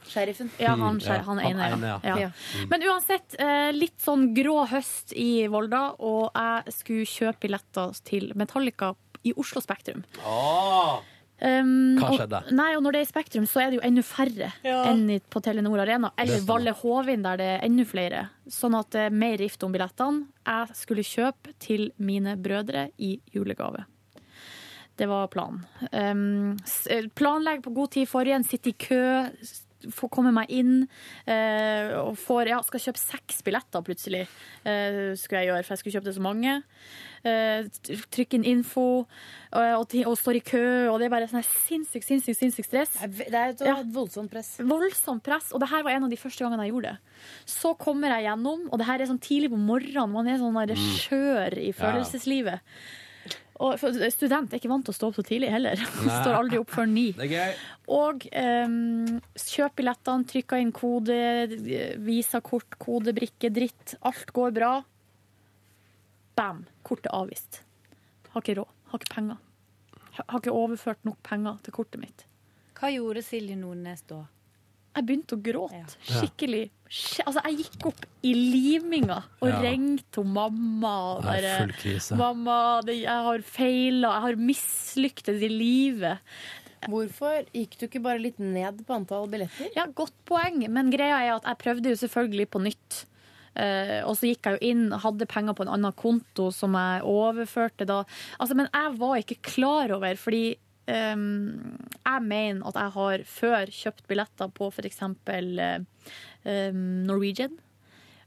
[SPEAKER 4] Sheriffen.
[SPEAKER 5] Hmm, Ja, han, skje- han ene, ja. ja. Hmm.
[SPEAKER 4] Ja.
[SPEAKER 5] Men uansett, eh, litt sånn grå høst i Volda, og jeg skulle kjøpe billetter til Metallica i Oslo Spektrum. Um,
[SPEAKER 16] Hva
[SPEAKER 5] og-
[SPEAKER 16] skjedde?
[SPEAKER 5] Nei, og Når det er i Spektrum, så er det jo enda færre enn i- på Telenor Arena. Eller
[SPEAKER 16] Det stemmer.
[SPEAKER 5] Valle Hovin, der det er enda flere. Sånn at det er mer rift om billettene. Jeg skulle kjøpe til mine brødre i julegave. Det var planen. Um, s- eh, planlegg på god tid forrige, sitte i kø, s- få komme meg inn. eh, og får, ja, skal kjøpe seks billetter plutselig, eh, skulle jeg gjøre, for jeg skulle kjøpe det så mange. Eh, t- trykk inn info, eh, og, ti- og står i kø, og det er bare sånn her sinnssykt, sinnssykt, sinnssykt stress.
[SPEAKER 4] Det er et voldsomt press.
[SPEAKER 5] Voldsomt press, og det her var en av de første gangene jeg gjorde det. Så kommer jeg gjennom, og det her er sånn tidlig på morgenen, man er sånn der skjør i
[SPEAKER 11] Mm. Ja.
[SPEAKER 5] følelseslivet. Og for student er ikke vant til å stå opp så tidlig heller.
[SPEAKER 11] Nei.
[SPEAKER 5] Står aldri opp før ni.
[SPEAKER 11] Det er gøy.
[SPEAKER 5] Og um, kjøp billettene, trykka inn kode, visa kort, kodebrikke, dritt. Alt går bra. Bam! Kortet er avvist. Har ikke råd. Har ikke penger. Har ikke overført nok penger til kortet mitt.
[SPEAKER 17] Hva gjorde Silje Nordnes da?
[SPEAKER 5] Jeg begynte å gråte. Skikkelig. Skje- Altså, jeg gikk opp i liminga og
[SPEAKER 11] Ja.
[SPEAKER 5] ringte hun mamma. Og
[SPEAKER 11] Det er
[SPEAKER 5] bare,
[SPEAKER 11] full krise.
[SPEAKER 5] Mamma, det, jeg har feila, jeg har mislyktes i livet.
[SPEAKER 4] Hvorfor gikk du ikke bare litt ned på antall billetter?
[SPEAKER 5] Ja, godt poeng, men greia er at jeg prøvde jo selvfølgelig på nytt. Eh, og så gikk jeg jo inn, hadde penger på en annen konto som jeg overførte da. Altså, men jeg var ikke klar over, fordi ehm, jeg mener at jeg har før kjøpt billetter på f.eks. Uh, Norwegian,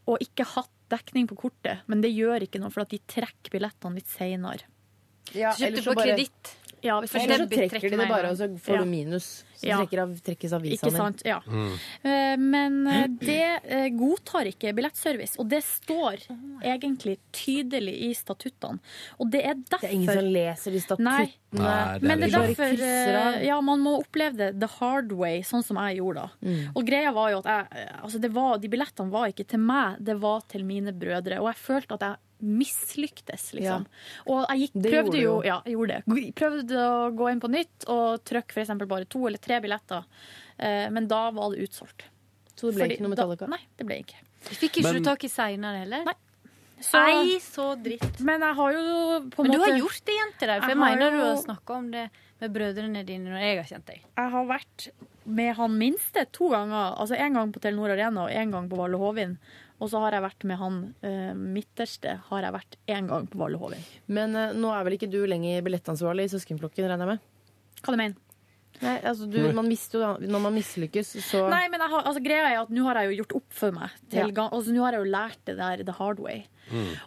[SPEAKER 5] og ikke hatt dekning på kortet. Men det gjør ikke noe, for at de trekker billettene litt seinere.
[SPEAKER 4] Ja,
[SPEAKER 17] Så kjøpte
[SPEAKER 4] ellers
[SPEAKER 17] du på
[SPEAKER 4] bare-
[SPEAKER 17] kreditt?
[SPEAKER 5] Ja, hvis du
[SPEAKER 4] Eller så
[SPEAKER 5] kjøper-
[SPEAKER 4] trekker de
[SPEAKER 5] med
[SPEAKER 4] det
[SPEAKER 5] en
[SPEAKER 4] bare,
[SPEAKER 5] gang.
[SPEAKER 4] og så får
[SPEAKER 5] Ja.
[SPEAKER 4] du minus. Så
[SPEAKER 5] Ja.
[SPEAKER 4] trekker av, trekkes avisa
[SPEAKER 5] Ikke sant, ja.
[SPEAKER 4] Mm.
[SPEAKER 5] Eh, Men eh, det eh, godtar ikke billettservice, og det står egentlig tydelig i statuttene. Og det er derfor
[SPEAKER 4] Det er ingen som leser de statuttene.
[SPEAKER 5] Nei.
[SPEAKER 4] Nei, det er
[SPEAKER 5] Men det
[SPEAKER 4] det
[SPEAKER 5] er
[SPEAKER 4] ikke.
[SPEAKER 5] derfor
[SPEAKER 4] Bare krysser av.
[SPEAKER 5] eh, Ja, man må oppleve det the hard way, sånn som jeg gjorde da.
[SPEAKER 4] Mm.
[SPEAKER 5] Og greia var jo at jeg eh, Altså, det var, de billettene var ikke til meg, det var til mine brødre. Og jeg følte at jeg mislyktes,
[SPEAKER 4] Ja.
[SPEAKER 5] liksom. Og jeg gikk,
[SPEAKER 4] Det gjorde
[SPEAKER 5] prøvde
[SPEAKER 4] du
[SPEAKER 5] jo
[SPEAKER 4] jo.
[SPEAKER 5] Ja, jeg gjorde det. Prøvde å gå inn på nytt og trykke f.eks. bare to eller tre billetter. Eh, Men da var det utsolgt.
[SPEAKER 4] Så det ble ikke noe Metallica?
[SPEAKER 5] Da, nei, det ble ikke.
[SPEAKER 17] Fikk ikke
[SPEAKER 5] Men-
[SPEAKER 17] du tak i seinere heller? Nei.
[SPEAKER 5] Så-
[SPEAKER 17] Nei, så dritt.
[SPEAKER 5] Men jeg har jo på en
[SPEAKER 17] Men du
[SPEAKER 5] måte-
[SPEAKER 17] har gjort det igjen til deg, for jeg,
[SPEAKER 5] Jeg har
[SPEAKER 17] mener du
[SPEAKER 5] jo-
[SPEAKER 17] har snakka om det med brødrene dine når jeg har kjent deg.
[SPEAKER 5] Jeg har vært med han minste to ganger. Altså En gang på Telenor Arena og en gang på Valle Hovin. Og så har jeg vært med han eh, midterste har jeg vært én gang på Valle Hovin.
[SPEAKER 4] Men eh, nå er vel ikke du lenger billettansvarlig i søskenflokken, regner jeg med?
[SPEAKER 5] Hva du mener
[SPEAKER 4] Nei, altså du? Man mister jo da Når man mislykkes, så
[SPEAKER 5] Nei, men jeg har, altså, greia er at nå har jeg jo gjort opp for meg.
[SPEAKER 4] Ja.
[SPEAKER 5] Til gang, altså, nå har jeg jo lært det der the hard way.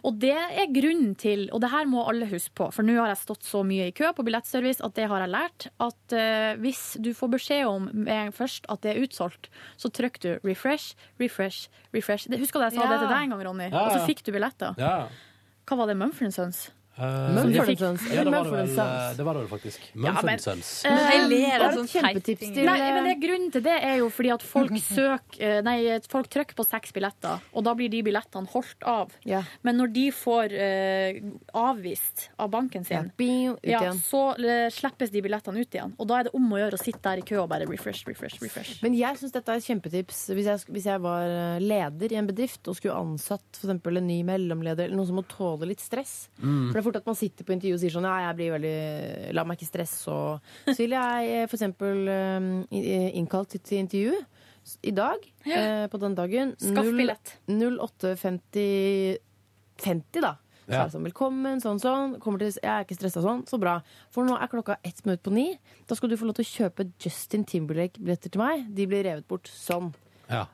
[SPEAKER 5] Og det er grunnen til, og det her må alle huske på, for nå har jeg stått så mye i kø på billettservice at det har jeg lært, at eh, hvis du får beskjed om med en gang først at det er utsolgt, så trykker du refresh, refresh, refresh. Det- Husker du jeg sa
[SPEAKER 11] Ja.
[SPEAKER 5] det til deg en gang, Ronny?
[SPEAKER 11] Ja,
[SPEAKER 5] Og
[SPEAKER 11] ja.
[SPEAKER 5] så fikk du billetter.
[SPEAKER 16] Ja.
[SPEAKER 5] Hva var det, Mumford Sons?
[SPEAKER 2] eh,
[SPEAKER 16] Som
[SPEAKER 5] Mumford
[SPEAKER 16] de fikk-
[SPEAKER 5] Sons.
[SPEAKER 16] Ja, det var det
[SPEAKER 5] Mumford
[SPEAKER 16] vel,
[SPEAKER 5] Sons.
[SPEAKER 16] eh, det var det vel faktisk.
[SPEAKER 5] Ja,
[SPEAKER 16] Mumford
[SPEAKER 5] men-
[SPEAKER 16] Sons.
[SPEAKER 5] Eh,
[SPEAKER 4] Det er et kjempetips til
[SPEAKER 5] Nei, men det, grunnen til det er jo fordi at folk søker eh, Nei, folk trykker på seks billetter, og da blir de billettene holdt av.
[SPEAKER 4] Ja.
[SPEAKER 5] Men når de får eh, avvist av banken
[SPEAKER 4] Ja,
[SPEAKER 5] sin,
[SPEAKER 4] bing, ut
[SPEAKER 5] ja,
[SPEAKER 4] igjen.
[SPEAKER 5] så eh, slippes de billettene ut igjen. Og da er det om å gjøre å sitte der i kø og bare refresh, refresh, refresh.
[SPEAKER 4] Men jeg syns dette er et kjempetips. Hvis jeg, hvis jeg var eh, leder i en bedrift og skulle ansatt for eksempel en ny mellomleder, eller noen som må tåle litt stress
[SPEAKER 11] Mm.
[SPEAKER 4] For det er fort at man sitter på intervju og sier sånn Ja, jeg blir veldig La meg ikke stresse og Så vil jeg eh, for eksempel eh, i- i- innkalt til- til intervju s- i dag, eh, på den dagen
[SPEAKER 5] Skaff
[SPEAKER 4] null-
[SPEAKER 5] billett.
[SPEAKER 4] 08.50 50, da. Så
[SPEAKER 5] Ja.
[SPEAKER 4] er det sånn, velkommen, sånn, sånn. Kommer til, jeg er ikke stressa sånn. Så bra. For nå er klokka ett minutt på ni. Da skal du få lov til å kjøpe Justin Timberlake-billetter til meg. De blir revet bort sånn.
[SPEAKER 16] Ja.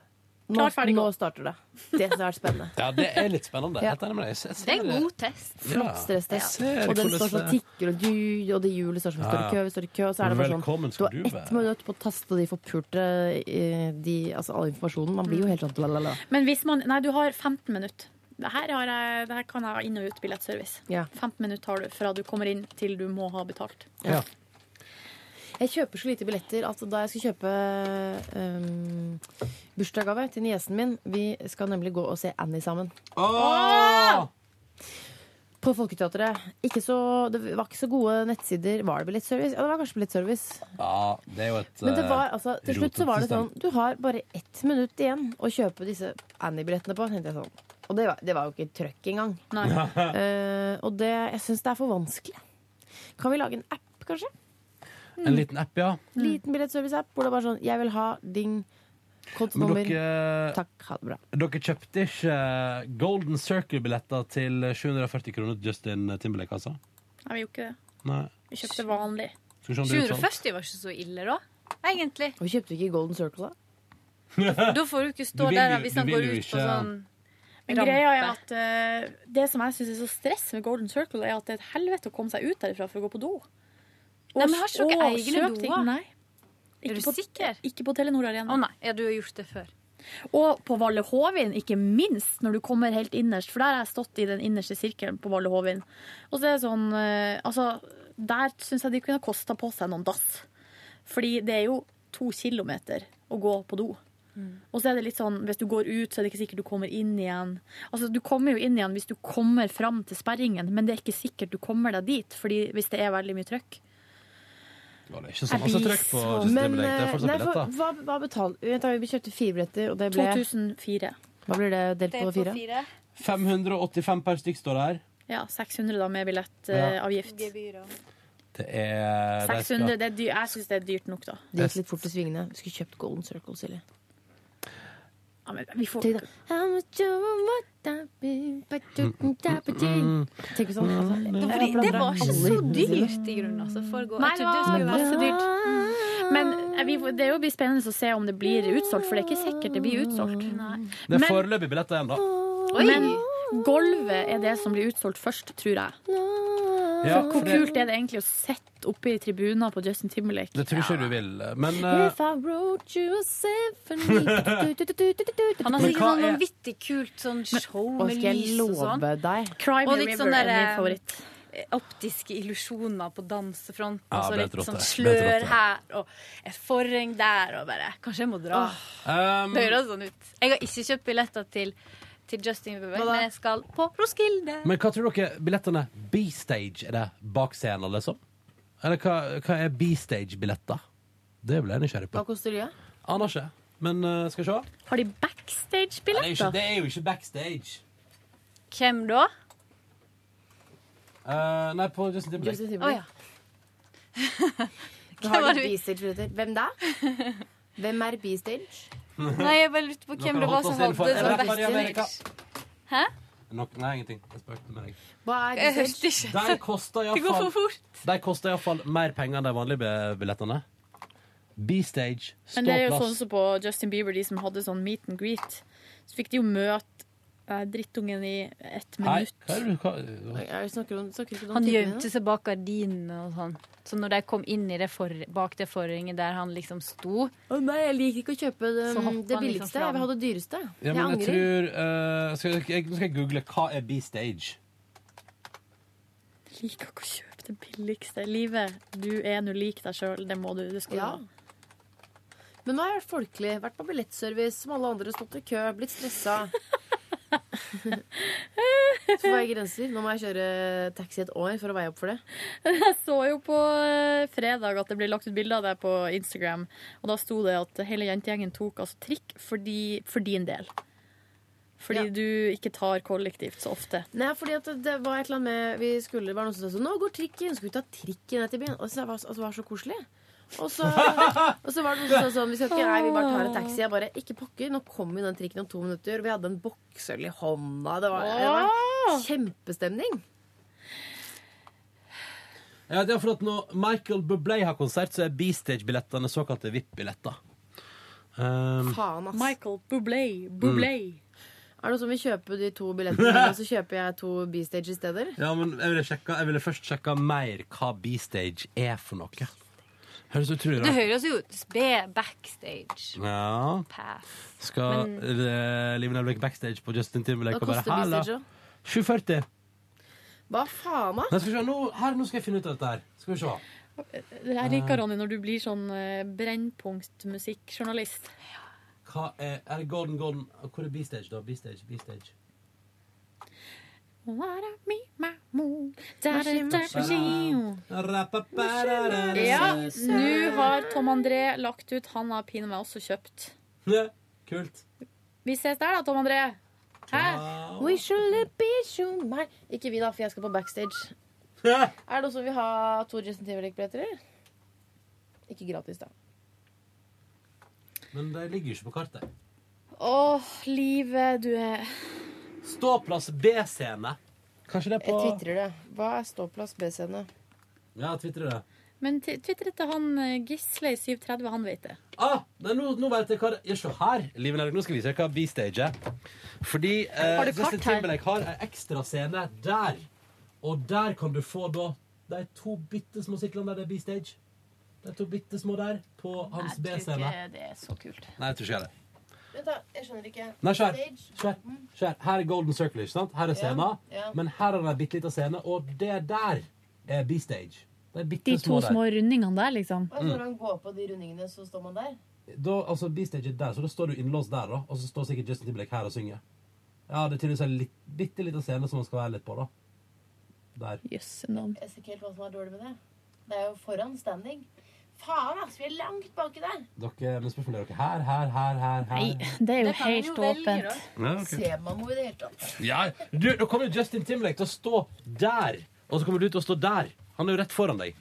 [SPEAKER 4] Nå, nå starter det. Det som har vært spennende.
[SPEAKER 2] Ja, det er litt spennende.
[SPEAKER 4] Ja.
[SPEAKER 2] Helt enig med deg. Jeg
[SPEAKER 4] Det er en god
[SPEAKER 5] test.
[SPEAKER 4] Floppstresstest.
[SPEAKER 2] Ja.
[SPEAKER 4] Og den
[SPEAKER 2] Hvordan
[SPEAKER 4] står sånn og
[SPEAKER 2] det-
[SPEAKER 4] tikker, og, du, og det hjulet står sånn, vi står i kø, vi står i kø, og så er det bare sånn
[SPEAKER 2] Velkommen
[SPEAKER 4] Du
[SPEAKER 2] skal
[SPEAKER 4] har
[SPEAKER 2] du
[SPEAKER 4] ett
[SPEAKER 2] være.
[SPEAKER 4] minutt på å taste de forpulte eh, de, altså all informasjonen. Man blir jo helt sånn la-la-la.
[SPEAKER 5] Men hvis man Nei, du har 15 minutter. Det her, har jeg, det her kan jeg ha inn- og ut billettservice.
[SPEAKER 4] Ja.
[SPEAKER 5] 15 minutter har du fra du kommer inn til du må ha betalt.
[SPEAKER 4] Ja. Jeg kjøper så lite billetter at da jeg skulle kjøpe um, bursdagsgave til niesen min Vi skal nemlig gå og se Annie sammen.
[SPEAKER 2] Åh!
[SPEAKER 4] På Folketeatret. Ikke så, det var ikke så gode nettsider. Var det billettservice? Ja, det var kanskje billettservice.
[SPEAKER 2] Ja, det er jo et
[SPEAKER 4] Men det
[SPEAKER 2] eh,
[SPEAKER 4] var, altså, til slutt så var det sånn
[SPEAKER 2] rotet
[SPEAKER 4] Du har bare ett minutt igjen å kjøpe disse Annie-billettene på. tenkte jeg sånn. Og det var, det var jo ikke trøkk engang.
[SPEAKER 2] Nei.
[SPEAKER 4] Eh, og det, jeg syns det er for vanskelig. Kan vi lage en app, kanskje?
[SPEAKER 2] system. eh,
[SPEAKER 4] Mm.
[SPEAKER 2] En liten app, ja.
[SPEAKER 4] Liten billettservice-app hvor det er bare sånn Jeg vil ha ding,
[SPEAKER 2] Men
[SPEAKER 4] kontonummer
[SPEAKER 2] dere, eh,
[SPEAKER 4] Takk, ha det bra.
[SPEAKER 2] dere kjøpte ikke eh, Golden Circle-billetter til 740 kroner Justin Timberlake, altså?
[SPEAKER 5] Nei, vi gjorde ikke det.
[SPEAKER 2] Nei.
[SPEAKER 5] Vi kjøpte vanlig.
[SPEAKER 2] Skal vi se om det er utsolgt?
[SPEAKER 5] var ikke så ille, da. Egentlig.
[SPEAKER 4] Og kjøpte vi ikke Golden Circle, da?
[SPEAKER 5] Da får du ikke stå
[SPEAKER 2] Du vil
[SPEAKER 5] der
[SPEAKER 2] jo-
[SPEAKER 5] hvis
[SPEAKER 2] du
[SPEAKER 5] han
[SPEAKER 2] vil
[SPEAKER 5] går
[SPEAKER 2] jo
[SPEAKER 5] ut på
[SPEAKER 2] ikke-
[SPEAKER 5] sånn Men greia er at eh, Det som jeg syns er så stress med Golden Circle, er at det er et helvete å komme seg ut derifra for å gå på do.
[SPEAKER 18] Nei, men har ikke dere
[SPEAKER 5] og
[SPEAKER 18] egne
[SPEAKER 5] kjøp ting.
[SPEAKER 18] doer?
[SPEAKER 5] Nei.
[SPEAKER 18] Er du
[SPEAKER 5] på, sikker? Ikke på Telenor Arena.
[SPEAKER 18] Å nei, ja, du har gjort det før.
[SPEAKER 5] Og på Valle Hovin, ikke minst, når du kommer helt innerst. For der har jeg stått i den innerste sirkelen på Valle Hovin. Og så er det sånn eh, Altså, der syns jeg de kunne ha kosta på seg noen dass. Fordi det er jo to kilometer å gå på do. Og så er det litt sånn, hvis du går ut, så er det ikke sikkert du kommer inn igjen. Altså, Du kommer jo inn igjen hvis du kommer fram til sperringen, men det er ikke sikkert du kommer deg dit, fordi hvis det er veldig mye trøkk.
[SPEAKER 2] Var det ikke så masse trøkk på Justin
[SPEAKER 4] Men,
[SPEAKER 2] Timberlake? Det er
[SPEAKER 4] eh,
[SPEAKER 2] fortsatt
[SPEAKER 4] nei, for,
[SPEAKER 2] billetter.
[SPEAKER 4] hva, hva betalte vi? Vent da, Vi kjøpte fire billetter, og det ble
[SPEAKER 5] 2004.
[SPEAKER 4] Hva blir det delt på fire?
[SPEAKER 2] 585 per stykk står det her.
[SPEAKER 5] Ja, 600 da med
[SPEAKER 2] Ja.
[SPEAKER 5] billettavgift.
[SPEAKER 2] Det er de skal-
[SPEAKER 5] 600, det er dyr, jeg syns det er dyrt nok, da.
[SPEAKER 4] Det gikk litt fort i svingene. Vi skulle kjøpt Golden Circle, Silje.
[SPEAKER 5] Ja, men vi får...
[SPEAKER 4] Tenk da. How much you want that be, but you can tap it in. Tenk sånn, altså,
[SPEAKER 18] Fordi det var ikke så
[SPEAKER 4] Alle i den
[SPEAKER 18] dyrt i grunnen, altså. For å gå.
[SPEAKER 5] Nei, det
[SPEAKER 18] Jeg trodde det skulle
[SPEAKER 5] var
[SPEAKER 18] være
[SPEAKER 5] masse dyrt. Men eh, vi, det er jo blir spennende å se om det blir utsolgt, for det er ikke sikkert det blir utsolgt.
[SPEAKER 2] Det er
[SPEAKER 5] Men-
[SPEAKER 2] foreløpig billetter igjen, da.
[SPEAKER 5] Men gulvet er det som blir utsolgt først, tror jeg.
[SPEAKER 2] Ja,
[SPEAKER 5] for
[SPEAKER 2] for
[SPEAKER 5] hvor
[SPEAKER 2] det-
[SPEAKER 5] kult er det egentlig å sitte oppe i tribuner på Justin Timberlake?
[SPEAKER 2] Det tror jeg ikke du vil. Men eh,
[SPEAKER 4] If I wrote you a symphony
[SPEAKER 18] Han
[SPEAKER 2] Men
[SPEAKER 18] har sikkert
[SPEAKER 2] hva
[SPEAKER 18] sånn
[SPEAKER 2] er-
[SPEAKER 18] vanvittig kult sånn show
[SPEAKER 4] Og
[SPEAKER 18] med
[SPEAKER 4] skal jeg
[SPEAKER 18] lys og sånn.
[SPEAKER 4] love deg?
[SPEAKER 5] Cry Me
[SPEAKER 18] og litt sånn
[SPEAKER 5] River er
[SPEAKER 18] der,
[SPEAKER 5] min favoritt.
[SPEAKER 18] eh, Optiske illusjoner på dansefronten.
[SPEAKER 2] Ja,
[SPEAKER 18] og så
[SPEAKER 2] Bent
[SPEAKER 18] litt
[SPEAKER 2] Rotte.
[SPEAKER 18] sånn
[SPEAKER 2] Bent
[SPEAKER 18] slør
[SPEAKER 2] Rotte.
[SPEAKER 18] her og et forheng der og bare Kanskje jeg må dra.
[SPEAKER 2] um,
[SPEAKER 18] Det høres sånn ut. Jeg har ikke kjøpt billetter til, til Justin Bieber, men jeg skal på Roskilde.
[SPEAKER 2] Men hva tror dere billettene B-stage? Er det bakscenen, liksom? Eller hva, hva er B-stage-billetter? Det ble jeg nysgjerrig på.
[SPEAKER 4] Hva koster de?
[SPEAKER 2] Aner ikke. Men eh, skal vi se.
[SPEAKER 5] Har de backstage-billetter?
[SPEAKER 2] er jo ikke backstage.
[SPEAKER 18] Hvem da?
[SPEAKER 2] Eh, nei, på Justin Timberlake.
[SPEAKER 4] Justin
[SPEAKER 18] Å ja.
[SPEAKER 4] Timberlake. Har de B-stage-billetter? Hvem da? Hvem er B-stage?
[SPEAKER 18] Nei, jeg bare lurte på
[SPEAKER 2] Nå
[SPEAKER 18] hvem
[SPEAKER 2] kan
[SPEAKER 18] det
[SPEAKER 2] jeg
[SPEAKER 18] var
[SPEAKER 2] holde
[SPEAKER 18] som
[SPEAKER 2] oss innenfor.
[SPEAKER 18] hadde
[SPEAKER 2] Er
[SPEAKER 18] sånn
[SPEAKER 2] det bare i Amerika?
[SPEAKER 18] backstage. Hæ?
[SPEAKER 2] Nok- nei, ingenting. Jeg spøkte med deg.
[SPEAKER 4] Hva er
[SPEAKER 18] Jeg
[SPEAKER 4] B-stage?
[SPEAKER 18] hørte ikke.
[SPEAKER 2] De koster
[SPEAKER 18] Det går for
[SPEAKER 2] iallfall
[SPEAKER 18] fort.
[SPEAKER 2] De koster iallfall mer penger enn de vanlige bi- billettene. B-stage,
[SPEAKER 5] Men det er jo
[SPEAKER 2] ståplass.
[SPEAKER 5] sånn som på Justin Bieber, de som hadde sånn meet and greet. Så fikk de jo møte eh, drittungen i ett
[SPEAKER 2] Nei,
[SPEAKER 5] minutt.
[SPEAKER 2] hva er det du hva-
[SPEAKER 18] Han gjemte seg bak gardinene og sånn. Så når de kom inn i det for, bak det forhenget der han liksom sto
[SPEAKER 4] Å nei, jeg liker ikke å kjøpe det,
[SPEAKER 18] Så hopper
[SPEAKER 4] det
[SPEAKER 18] han liksom
[SPEAKER 4] billigste.
[SPEAKER 18] fram.
[SPEAKER 4] Jeg vil ha det dyreste.
[SPEAKER 2] Ja, men
[SPEAKER 4] jeg
[SPEAKER 2] jeg
[SPEAKER 4] angrer.
[SPEAKER 2] tror eh, skal jeg, jeg, Nå skal jeg google hva er B-stage.
[SPEAKER 5] Jeg liker ikke å kjøpe det billigste. Livet, du er nå lik deg sjøl. Det må du. Det skal
[SPEAKER 4] Ja.
[SPEAKER 5] du ha.
[SPEAKER 4] Men nå har jeg vært folkelig, vært på billettservice som alle andre, stått i kø, blitt stressa. Så får jeg grenser. Nå må jeg kjøre taxi et år for å veie opp for det.
[SPEAKER 5] Jeg så jo på eh, fredag at det ble lagt ut bilder av deg på Instagram, og da sto det at hele jentegjengen tok altså trikk fordi, for din del. Fordi du ikke tar kollektivt så ofte.
[SPEAKER 4] Nei, fordi at det- det var et eller annet med Vi skulle, det var noen som sa sånn Nå går trikken, skal vi ta trikken ned til byen? Og så var altså, det var så koselig. Og så, og så var det noen som sa sånn Vi skal ikke, nei, vi bare tar en taxi. Jeg bare Ikke pokker, nå kommer vi den trikken om to minutter. Og vi hadde en boksøl i hånda. Det var, det var kjempestemning.
[SPEAKER 2] Ja, det er for at Når Michael Bublé har konsert, så er B-stage-billettene såkalte VIP-billetter. Um,
[SPEAKER 4] Faen, ass.
[SPEAKER 5] Michael Bublé.
[SPEAKER 2] Bublé.
[SPEAKER 18] Mm.
[SPEAKER 4] Er det noe som vil kjøpe de to billettene, og så kjøper jeg to B-stage-steder?
[SPEAKER 2] ja, men jeg ville, sjekka, jeg ville først sjekka mer hva B-stage er for noe. Høres utrolig
[SPEAKER 18] Det
[SPEAKER 2] rart
[SPEAKER 18] høres jo ut. Spe backstage.
[SPEAKER 2] Ja.
[SPEAKER 18] Pass.
[SPEAKER 2] Skal eh, Live Nelvik backstage på Justin Timberlake
[SPEAKER 4] Hva
[SPEAKER 2] og bare
[SPEAKER 4] koster
[SPEAKER 2] «Halla!»
[SPEAKER 4] B-stage, da?
[SPEAKER 2] 740.
[SPEAKER 4] Hva faen,
[SPEAKER 2] Nei,
[SPEAKER 4] da?
[SPEAKER 2] skal vi se, nå, her, nå skal jeg finne ut av dette her. Skal vi se.
[SPEAKER 5] Jeg
[SPEAKER 18] Ah.
[SPEAKER 5] liker Ronny når du blir sånn eh, brennpunktmusikkjournalist.
[SPEAKER 2] Hva er, er det Golden Golden Hvor er B-stage, da? B-stage, B-stage.
[SPEAKER 5] Wanna be my moon. Da, da,
[SPEAKER 2] Maskin,
[SPEAKER 5] da,
[SPEAKER 2] maskin.
[SPEAKER 5] da. Ja, nå har Tom André lagt ut. Han har pinadø meg også kjøpt.
[SPEAKER 2] Ja, Kult.
[SPEAKER 5] Vi ses der da, Tom André. Hæ?
[SPEAKER 4] We should be sure my- Ikke vi, da, for jeg skal på backstage.
[SPEAKER 2] er
[SPEAKER 4] det noen som vil ha to Justin Timberlake-billetter? eller? Ikke gratis, da.
[SPEAKER 2] Men det ligger jo ikke på kartet.
[SPEAKER 5] Åh, livet du er
[SPEAKER 2] Ståplass B-scene. Kanskje det er på
[SPEAKER 4] Jeg tvitrer det. Hva er ståplass B-scene?
[SPEAKER 2] Ja, twitrer det.
[SPEAKER 5] Men t- twitter til han eh, Gisle i 730, han vet det.
[SPEAKER 2] Ah, nei, nå, nå vet jeg hva det ja, Se her, Liv Nelvik, nå skal vi se hva B-stage er. Fordi eh,
[SPEAKER 5] Har du kart
[SPEAKER 2] Justin
[SPEAKER 5] her?
[SPEAKER 2] Timberlake har ei ekstra scene der. Og der kan du få da de to bitte små syklene der det er B-stage. De to bitte små der på hans B-scene.
[SPEAKER 18] det er så kult.
[SPEAKER 2] Nei, jeg tror ikke jeg det.
[SPEAKER 4] Vent, da. Jeg skjønner ikke.
[SPEAKER 2] Nei, se her. Se her. Se her. Her er Golden Circle, ikke sant? Her er
[SPEAKER 4] Ja,
[SPEAKER 2] scenen.
[SPEAKER 4] ja.
[SPEAKER 2] Men her er det ei bitte lita scene, og det der er B-stage. De
[SPEAKER 5] De
[SPEAKER 2] bitte
[SPEAKER 5] to
[SPEAKER 2] små der.
[SPEAKER 5] små rundingene der, liksom.
[SPEAKER 4] Og når han går på de rundingene, så står man der?
[SPEAKER 2] da, altså, B-stage er der, så da står du innlåst der, da. Og så står sikkert Justin Timberlake her og synger. Ja, det er tydeligvis en litt, bitte liten scene som han skal være litt på, da. Der.
[SPEAKER 4] Jeg ser ikke helt hva som er dårlig med det. Det er jo foran standing. Faen, ass! Vi er langt baki der.
[SPEAKER 2] Dere, men spørsmålet er dere her, her, her, her, her.
[SPEAKER 5] det er
[SPEAKER 4] jo helt åpent.
[SPEAKER 2] Ja, ok.
[SPEAKER 4] Ser man noe i det hele tatt?
[SPEAKER 2] Ja, du, nå kommer jo Justin Timberlake til å stå der, og så kommer du til å stå der. Han er jo rett foran deg.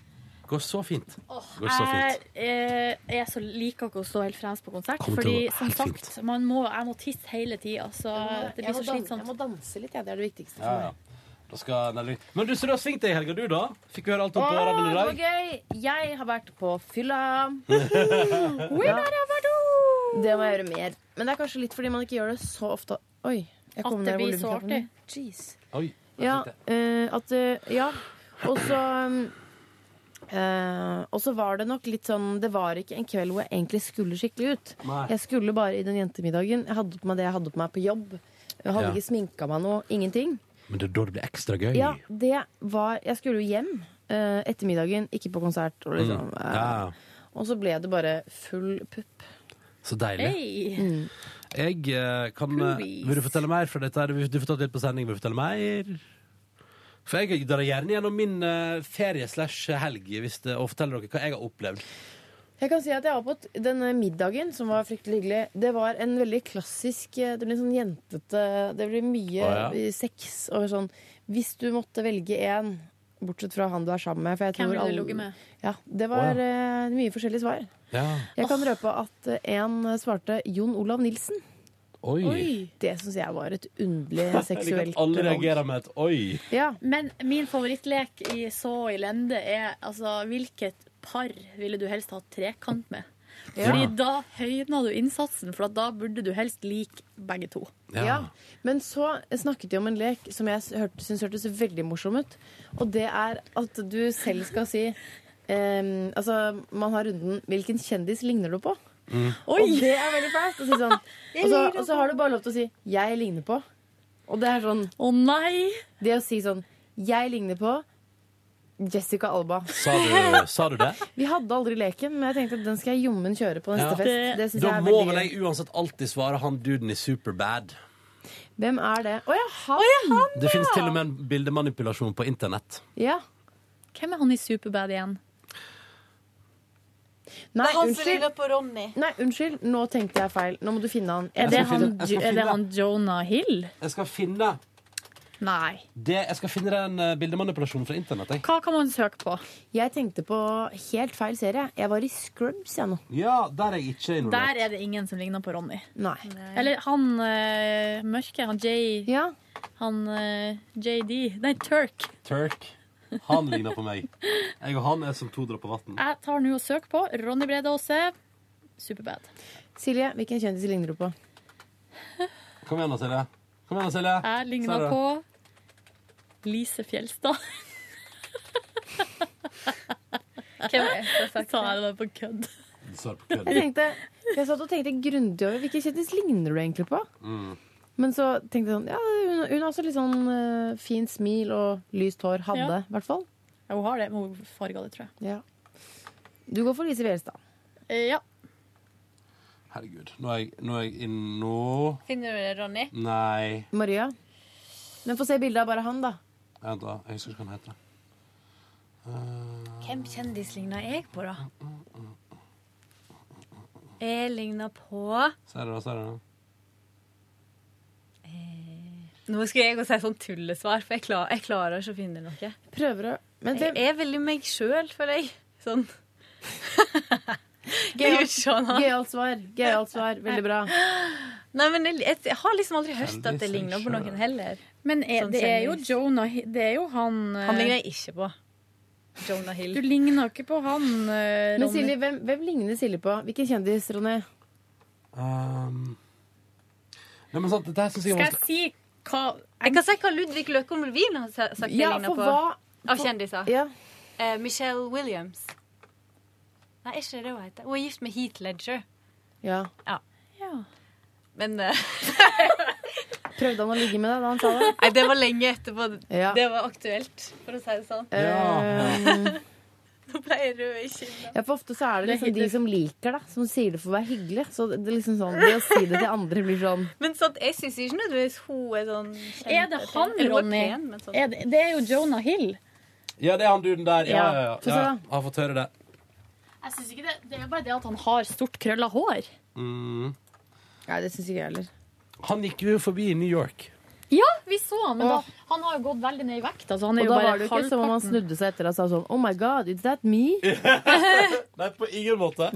[SPEAKER 2] Går så fint. Går så
[SPEAKER 5] Jeg
[SPEAKER 2] fint.
[SPEAKER 5] eh, er så liker ikke å stå helt fremst på konsert,
[SPEAKER 2] Kommer til å
[SPEAKER 5] fordi
[SPEAKER 2] gå
[SPEAKER 5] som
[SPEAKER 2] helt
[SPEAKER 5] sagt, man må, jeg må tisse hele tida, så det
[SPEAKER 4] Jeg
[SPEAKER 5] blir
[SPEAKER 4] må
[SPEAKER 5] så
[SPEAKER 4] dan-
[SPEAKER 5] slitsomt.
[SPEAKER 4] Jeg må danse litt, jeg. Det er det viktigste
[SPEAKER 2] Ja,
[SPEAKER 4] for meg.
[SPEAKER 2] ja. Da skal Nelly Men du, så du har svingt deg i helga, du, da? Fikk vi høre alt om
[SPEAKER 4] Å,
[SPEAKER 2] på radioen i
[SPEAKER 4] det var
[SPEAKER 2] dag?
[SPEAKER 4] gøy! Jeg har vært på fylla.
[SPEAKER 2] Ja.
[SPEAKER 4] Det må jeg gjøre mer. Men det er kanskje litt fordi man ikke gjør det så ofte. Oi, jeg kom
[SPEAKER 5] At det
[SPEAKER 4] ned
[SPEAKER 5] blir så
[SPEAKER 4] volumknappen.
[SPEAKER 5] artig.
[SPEAKER 4] Jeez.
[SPEAKER 2] Oi.
[SPEAKER 4] Ja, eh, at eh, Ja. Og så um, eh, Og så var det nok litt sånn Det var ikke en kveld hvor jeg egentlig skulle skikkelig ut.
[SPEAKER 12] Nei.
[SPEAKER 4] Jeg skulle bare i den jentemiddagen. Jeg hadde på meg det jeg hadde på meg på jobb. Jeg hadde
[SPEAKER 2] Ja.
[SPEAKER 4] ikke sminka meg noe. Ingenting.
[SPEAKER 2] Men det er da det blir ekstra gøy.
[SPEAKER 4] Ja, det var Jeg skulle jo hjem eh, ettermiddagen, ikke på konsert. Og, liksom,
[SPEAKER 2] Mm.
[SPEAKER 4] eh,
[SPEAKER 2] Ja.
[SPEAKER 4] og så ble det bare full pupp.
[SPEAKER 2] Så deilig.
[SPEAKER 4] Mm.
[SPEAKER 2] Jeg eh, kan eh, Vil du fortelle mer fra dette? her? Du får tatt litt på sending. Vil du fortelle mer? For jeg drar gjerne gjennom min eh, ferie slash helg hvis det, og forteller dere hva jeg har opplevd.
[SPEAKER 4] Jeg kan si at jeg var på et- denne middagen, som var fryktelig hyggelig. Det var en veldig klassisk eh, Det ble en sånn jentete Det ble mye
[SPEAKER 12] Å, ja.
[SPEAKER 4] eh, sex og sånn. Hvis du måtte velge én, bortsett fra han du er sammen med for jeg
[SPEAKER 5] Hvem
[SPEAKER 4] tror
[SPEAKER 5] ville du
[SPEAKER 4] alle-
[SPEAKER 5] ligget med?
[SPEAKER 4] Ja, det var
[SPEAKER 5] Å, ja.
[SPEAKER 4] eh, mye forskjellige svar. Jeg kan røpe at eh, en svarte Jon Olav Nilsen.
[SPEAKER 2] Oi.
[SPEAKER 4] Det syns jeg var et underlig
[SPEAKER 2] Jeg liker
[SPEAKER 4] seksuelt
[SPEAKER 2] at alle
[SPEAKER 4] valg.
[SPEAKER 2] reagerer med et oi.
[SPEAKER 5] Men min favorittlek i Så i lende er altså hvilket par ville du helst hatt trekant med?
[SPEAKER 4] Ja.
[SPEAKER 5] Fordi da høyna du innsatsen, for at da burde du helst like begge to.
[SPEAKER 4] Ja. Men så snakket de om en lek som jeg s- hørte- syns hørtes veldig morsom ut. Og det er at du selv skal si ehm, Altså, man har runden 'Hvilken kjendis ligner du på?'
[SPEAKER 2] Mm.
[SPEAKER 4] Og det er veldig fælt å si sånn. Og så, og så har du bare lov til å si 'Jeg ligner på'. Og det er sånn
[SPEAKER 5] Å nei!
[SPEAKER 4] Det å si sånn 'Jeg ligner på Jessica Alba'.
[SPEAKER 2] Sa du, sa du det?
[SPEAKER 4] Vi hadde aldri leken, men jeg tenkte at den skal jeg jommen kjøre på neste
[SPEAKER 2] Ja.
[SPEAKER 4] fest. Det synes
[SPEAKER 2] Da
[SPEAKER 4] jeg er
[SPEAKER 2] må
[SPEAKER 4] veldig
[SPEAKER 2] vel
[SPEAKER 4] gøy.
[SPEAKER 2] jeg uansett alltid svare han duden i Superbad.
[SPEAKER 4] Hvem er det? Å ja, han!
[SPEAKER 2] Det finnes til og med en bildemanipulasjon på internett.
[SPEAKER 4] Ja.
[SPEAKER 5] Hvem er han i Superbad igjen? Det
[SPEAKER 4] Nei,
[SPEAKER 5] er han som
[SPEAKER 4] unnskyld. Nei, unnskyld. Nå tenkte jeg feil. Nå må du finne han.
[SPEAKER 5] Er
[SPEAKER 2] Jeg
[SPEAKER 5] det
[SPEAKER 2] skal
[SPEAKER 5] han,
[SPEAKER 2] finne- jeg skal
[SPEAKER 5] er det
[SPEAKER 2] finne-
[SPEAKER 5] han Jonah Hill?
[SPEAKER 2] Jeg skal finne
[SPEAKER 5] Nei.
[SPEAKER 2] det, Jeg skal finne den eh, bildemanipulasjonen fra internett. Jeg.
[SPEAKER 5] Hva kan man søke på?
[SPEAKER 4] Jeg tenkte på helt feil serie. Jeg var i Scrubs, jeg nå.
[SPEAKER 2] Ja, der er jeg ikke involvert.
[SPEAKER 5] Der er det ingen som ligner på Ronny.
[SPEAKER 4] Nei.
[SPEAKER 5] Eller han eh, mørke, han J... Han eh, JD. Nei, Turk.
[SPEAKER 2] Turk. Han ligner på meg. Jeg og han er som to dråper vann.
[SPEAKER 5] Jeg tar nå og søker på Ronny Brede Aase. Superbad.
[SPEAKER 4] Silje, hvilken kjendis ligner du på?
[SPEAKER 2] Kom igjen da, Silje. Kom igjen da, Silje.
[SPEAKER 5] Jeg
[SPEAKER 2] Sa
[SPEAKER 5] ligner
[SPEAKER 2] det.
[SPEAKER 5] på Lise Fjelstad. Hvem er det? Sa jeg det bare på kødd.
[SPEAKER 2] Du sa det på kødd.
[SPEAKER 4] Jeg, tenkte, jeg satt og tenkte grundig over hvilken kjendis ligner du egentlig på.
[SPEAKER 2] Mm.
[SPEAKER 4] Men så tenkte jeg sånn, ja, hun, hun har også litt sånn eh, fint smil og lyst hår. Hadde, i
[SPEAKER 5] Ja.
[SPEAKER 4] hvert fall.
[SPEAKER 5] Ja, hun har det, men hun farga det, tror jeg.
[SPEAKER 4] Ja. Du går for Lise Wjelstad.
[SPEAKER 5] Eh, Ja.
[SPEAKER 2] Herregud. Nå er jeg, nå er jeg inn- nå-
[SPEAKER 18] Finner du det, Ronny?
[SPEAKER 2] Nei.
[SPEAKER 4] Maria. Men få se bildet av bare han, da.
[SPEAKER 2] Vent, da. Jeg husker ikke hva han heter. Eh,
[SPEAKER 18] Hvem kjendis ligner jeg på, da? Jeg ligner på
[SPEAKER 2] Ser du det, ser du det?
[SPEAKER 18] Nå skulle jeg også si sånn tullesvar, for jeg klarer, jeg klarer ikke å finne noe.
[SPEAKER 4] Prøver å men
[SPEAKER 18] Jeg er veldig meg sjøl, føler jeg. Sånn.
[SPEAKER 4] Gøyalt
[SPEAKER 18] Sånn, han.
[SPEAKER 4] gøyalt svar. Gøyalt svar. Veldig bra.
[SPEAKER 18] Nei, men jeg, jeg, jeg har liksom aldri hørt at
[SPEAKER 4] Kjendis
[SPEAKER 18] det ligner på noen heller.
[SPEAKER 5] Men er,
[SPEAKER 18] Sånn
[SPEAKER 5] det er jo
[SPEAKER 18] kjendis.
[SPEAKER 5] Jonah Hi- Det er jo han eh,
[SPEAKER 18] Han ligner jeg ikke på. Jonah Hill.
[SPEAKER 5] Du ligner ikke på han, eh,
[SPEAKER 4] Men
[SPEAKER 5] Ronny.
[SPEAKER 4] Silje, hvem, hvem ligner Silje på? Hvilken kjendis, Ronny?
[SPEAKER 2] Um. Nei, men sant, dette her synes jeg er
[SPEAKER 18] Skal jeg
[SPEAKER 2] vanskelig.
[SPEAKER 18] si hva Jeg kan si hva Ludvig Løkholm Levin har sa- sagt
[SPEAKER 4] Ja,
[SPEAKER 18] jeg ligner
[SPEAKER 4] for
[SPEAKER 18] på.
[SPEAKER 4] hva-
[SPEAKER 18] Av
[SPEAKER 4] for-
[SPEAKER 18] kjendiser.
[SPEAKER 4] Ja.
[SPEAKER 18] Eh, Michelle Williams. Nei, er ikke det hun heter? Hun er gift med Heath Ledger.
[SPEAKER 4] ja.
[SPEAKER 18] Ja. Men eh,
[SPEAKER 4] Prøvde han å ligge med deg da han sa det?
[SPEAKER 18] Nei, det var lenge etterpå.
[SPEAKER 4] Ja.
[SPEAKER 18] Det var aktuelt, for å si det sånn.
[SPEAKER 4] Ehm,
[SPEAKER 18] Nå ble jeg rød i kinnet.
[SPEAKER 4] ja, for ofte så er det liksom de som liker deg, som sier det for å være hyggelig. Så det, det er liksom sånn, det å si det til andre blir sånn
[SPEAKER 18] Men sånn, jeg syns ikke nødvendigvis hun er sånn kjent
[SPEAKER 5] Er det
[SPEAKER 18] og pen.
[SPEAKER 5] han,
[SPEAKER 18] Eller hun er
[SPEAKER 5] Ronny?
[SPEAKER 18] pen, men sånn.
[SPEAKER 5] Er det, det er jo Jonah Hill.
[SPEAKER 2] Ja, det er han duden der. Ja,
[SPEAKER 5] Ja.
[SPEAKER 2] ja, ja.
[SPEAKER 5] Få se
[SPEAKER 2] ja.
[SPEAKER 5] da.
[SPEAKER 2] Jeg har fått høre det.
[SPEAKER 5] Jeg synes ikke det, det er bare det at han har stort krølla hår.
[SPEAKER 2] Mm.
[SPEAKER 4] Nei, det syns ikke jeg heller.
[SPEAKER 2] Han gikk jo forbi i New York.
[SPEAKER 5] Ja, vi så han, men da, han har jo gått veldig ned i vekt. Altså, han
[SPEAKER 4] Og
[SPEAKER 5] er jo
[SPEAKER 4] da
[SPEAKER 5] bare
[SPEAKER 4] var det jo ikke som om han
[SPEAKER 5] halvparten.
[SPEAKER 4] snudde seg etter og sa sånn Oh my god, is that me?
[SPEAKER 2] Nei, på ingen måte.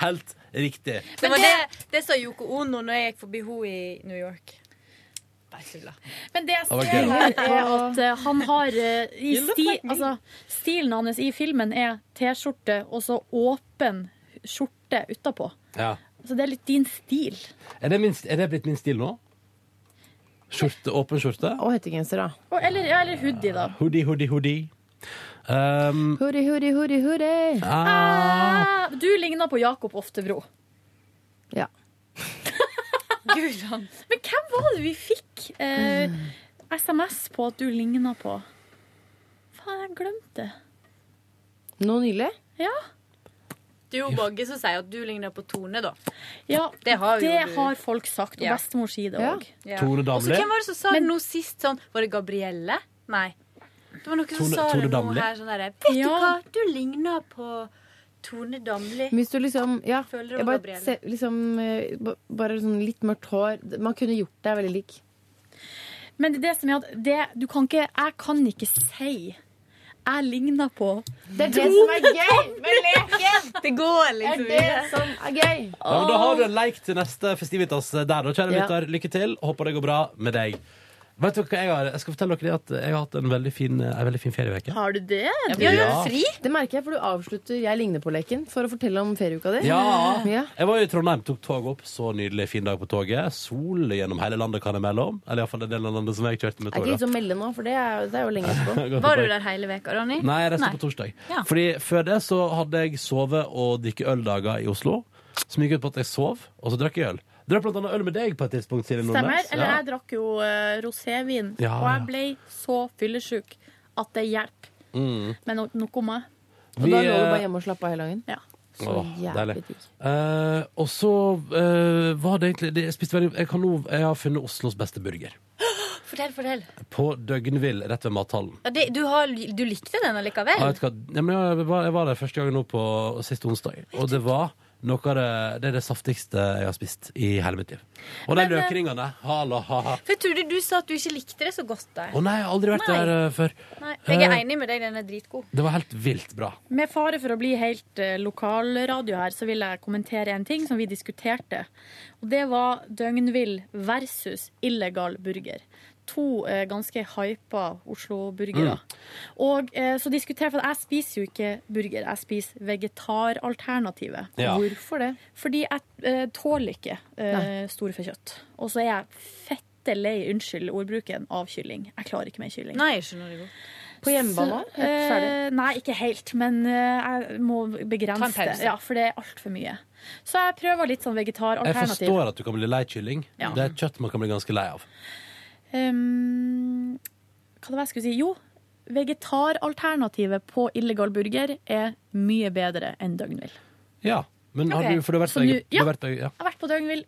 [SPEAKER 2] Helt riktig.
[SPEAKER 18] Det var det, det sa Yoko Ono når jeg gikk forbi henne i New York. Bare tulla.
[SPEAKER 5] Men det jeg
[SPEAKER 18] var
[SPEAKER 5] ser
[SPEAKER 18] gøy.
[SPEAKER 5] her, er at eh, han har eh, i
[SPEAKER 18] You look
[SPEAKER 5] sti,
[SPEAKER 18] like me.
[SPEAKER 5] altså, Stilen hans i filmen er T-skjorte og så åpen skjorte utapå.
[SPEAKER 2] Ja.
[SPEAKER 5] Så det er litt din stil.
[SPEAKER 2] Er, det min, er det blitt min stil nå? Skjorte, åpen skjorte?
[SPEAKER 4] Og hettegenser, da.
[SPEAKER 5] Og, eller, ja, eller hoodie, da.
[SPEAKER 2] Hoodie, hoodie, hoodie. Um,
[SPEAKER 4] Hurri, hurri, hurri, hurri.
[SPEAKER 2] ah,
[SPEAKER 5] Ah, Du ligner på Jakob Oftebro.
[SPEAKER 4] Ja.
[SPEAKER 5] Guran. Men hvem var det vi fikk eh, SMS på at du ligner på? Faen, jeg glemte det.
[SPEAKER 4] Nå nylig?
[SPEAKER 5] Ja.
[SPEAKER 18] Det er jo mange som sier at du ligner på Tone, da.
[SPEAKER 5] Ja,
[SPEAKER 18] Det har jo du.
[SPEAKER 5] folk sagt, og
[SPEAKER 18] Ja.
[SPEAKER 5] bestemor sier det
[SPEAKER 18] Ja.
[SPEAKER 5] òg.
[SPEAKER 2] Tone
[SPEAKER 18] Og så
[SPEAKER 2] Damli?
[SPEAKER 18] hvem var det som sa det nå sist? Sånn, var det Gabrielle? Nei. Det var noen som
[SPEAKER 2] Tone-
[SPEAKER 18] sa
[SPEAKER 2] Tone
[SPEAKER 18] det nå
[SPEAKER 2] Damli?
[SPEAKER 18] her sånn derre Vet du
[SPEAKER 5] Ja.
[SPEAKER 18] hva, du ligner på Tone Damli.
[SPEAKER 4] Hvis du liksom Ja,
[SPEAKER 18] Føler du
[SPEAKER 4] jeg
[SPEAKER 18] om
[SPEAKER 4] bare
[SPEAKER 18] Gabrielle?
[SPEAKER 4] ser liksom eh, ba- Bare sånn litt mørkt hår. Man kunne gjort deg veldig lik.
[SPEAKER 5] Men det er det som er at det, du kan ikke, jeg kan ikke si jeg ligner på
[SPEAKER 4] Det er det som er gøy med
[SPEAKER 18] leken! Det går liksom
[SPEAKER 4] Det er det som er gøy.
[SPEAKER 2] Ja, men da har du en leik til neste festivitas eh, der, da, kjære
[SPEAKER 4] Ja.
[SPEAKER 2] lytter. Lykke til. Håper det går bra med deg. Vet dere hva jeg har? Jeg skal fortelle dere det at jeg har hatt en veldig fin, eh, en veldig fin ferieveke.
[SPEAKER 5] Har du det?
[SPEAKER 2] Ja, vi har jo Ja. fri.
[SPEAKER 4] Det merker jeg, for du avslutter Jeg ligner på-leken for å fortelle om ferieuka di.
[SPEAKER 2] Ja.
[SPEAKER 4] Ja.
[SPEAKER 2] Jeg var i Trondheim, tok toget opp. Så nydelig fin dag på toget. Sol gjennom hele landet kan jeg melde om. Eller iallfall den delen av landet som jeg kjørte med
[SPEAKER 4] Jeg er ikke
[SPEAKER 2] toget.
[SPEAKER 4] ute og melde nå, for det er, det er jo lenge etterpå.
[SPEAKER 2] Godt Var du poeng.
[SPEAKER 18] Der hele veka, Ronny.
[SPEAKER 2] Nei, jeg reiste på torsdag.
[SPEAKER 18] Ja.
[SPEAKER 2] Fordi før det så hadde jeg sovet og drikke øldager i Oslo. Som gikk ut på at jeg sov, og så drakk jeg øl. Drakk blant annet øl med deg på et tidspunkt, Silje
[SPEAKER 5] Stemmer.
[SPEAKER 2] Nordnes.
[SPEAKER 5] Eller
[SPEAKER 2] Ja.
[SPEAKER 5] jeg drakk jo eh, rosévin,
[SPEAKER 2] Ja,
[SPEAKER 5] og
[SPEAKER 2] ja.
[SPEAKER 5] jeg ble så fyllesjuk at det hjelper.
[SPEAKER 2] Mm.
[SPEAKER 5] Men no noe om meg.
[SPEAKER 2] Og Vi, da lå du bare eh,
[SPEAKER 4] hjemme og slappa av hele dagen?
[SPEAKER 5] Ja.
[SPEAKER 2] Åh, deilig. Eh, og så eh, var det egentlig det, Jeg spiste veldig jeg, kan nå, jeg har funnet Oslos beste burger.
[SPEAKER 18] Fortell, fortell.
[SPEAKER 2] På Døgnvill, rett ved mathallen.
[SPEAKER 18] Ja, det, du, har, du likte den allikevel?
[SPEAKER 2] Ja, vet du hva? Ja, men jeg, var, jeg var der første gangen nå på sist onsdag, og det var noe av det, det, er det saftigste jeg har spist i hele mitt liv. Og de
[SPEAKER 18] Men, eh,
[SPEAKER 2] løkringene. Hallo, ha-ha.
[SPEAKER 18] For jeg trodde du sa at du ikke likte det så godt der.
[SPEAKER 2] Å nei, jeg har aldri vært
[SPEAKER 18] Nei.
[SPEAKER 2] der eh, før.
[SPEAKER 18] Nei, Jeg er
[SPEAKER 2] Eh,
[SPEAKER 18] enig med deg, den er dritgod.
[SPEAKER 2] Det var helt vilt bra.
[SPEAKER 5] Med fare for å bli helt eh, lokalradio her, så vil jeg kommentere en ting som vi diskuterte. Og det var døgnvill versus illegal burger. to eh, ganske hypa Oslo-burgere. Og eh, så diskuterer For jeg spiser jo ikke burger, jeg spiser vegetaralternativet.
[SPEAKER 19] Ja.
[SPEAKER 5] Hvorfor det? Fordi jeg eh, tåler ikke eh,
[SPEAKER 19] Nei.
[SPEAKER 5] storfekjøtt. Og så er jeg fette lei, unnskyld ordbruken, av kylling. Jeg klarer ikke mer kylling.
[SPEAKER 18] Nei, jeg skjønner det godt. På
[SPEAKER 5] Så,
[SPEAKER 18] hjemmebane? Helt ferdig?
[SPEAKER 5] eh, nei, ikke helt, men eh, jeg må
[SPEAKER 18] Ta en
[SPEAKER 5] begrense det.
[SPEAKER 18] pause.
[SPEAKER 5] Ja, for det er altfor mye. Så jeg prøver litt sånn
[SPEAKER 2] Jeg
[SPEAKER 5] vegetaralternativ.
[SPEAKER 2] forstår at du kan bli lei kylling.
[SPEAKER 5] Ja.
[SPEAKER 2] Det er et kjøtt man kan bli ganske lei av.
[SPEAKER 5] Ehm, Eh, hva det var jeg skulle si? Jo, vegetaralternativet på illegal burger er mye bedre enn døgnvill.
[SPEAKER 2] Ja, men har
[SPEAKER 5] Ok,
[SPEAKER 2] du, for det har vært
[SPEAKER 5] så
[SPEAKER 2] øye-
[SPEAKER 5] nå- ja.
[SPEAKER 2] det har vært øye- ja.
[SPEAKER 5] Jeg har vært på døgnvill,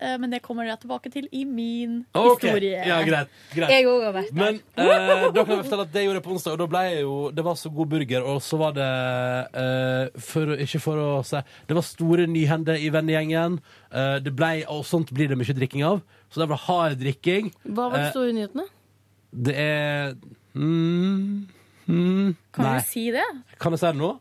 [SPEAKER 5] eh, men det kommer jeg tilbake til i min
[SPEAKER 2] Ah, Ok,
[SPEAKER 5] historie.
[SPEAKER 2] Ja, greit, greit.
[SPEAKER 5] Jeg også har vært der.
[SPEAKER 2] Men eh, da kan jeg fortelle at det gjorde jeg på onsdag, og da ble jeg jo Det var så god burger, og så var det eh, for, Ikke for å si Det var store nyhender i vennegjengen. Eh, det ble, og sånt blir det mye drikking av. Så det var hard drikking.
[SPEAKER 4] Hva var de
[SPEAKER 2] Eh,
[SPEAKER 4] store nyhetene?
[SPEAKER 2] det er mm, mm,
[SPEAKER 5] Kan
[SPEAKER 2] Nei.
[SPEAKER 5] du si det?
[SPEAKER 2] Kan jeg si det nå?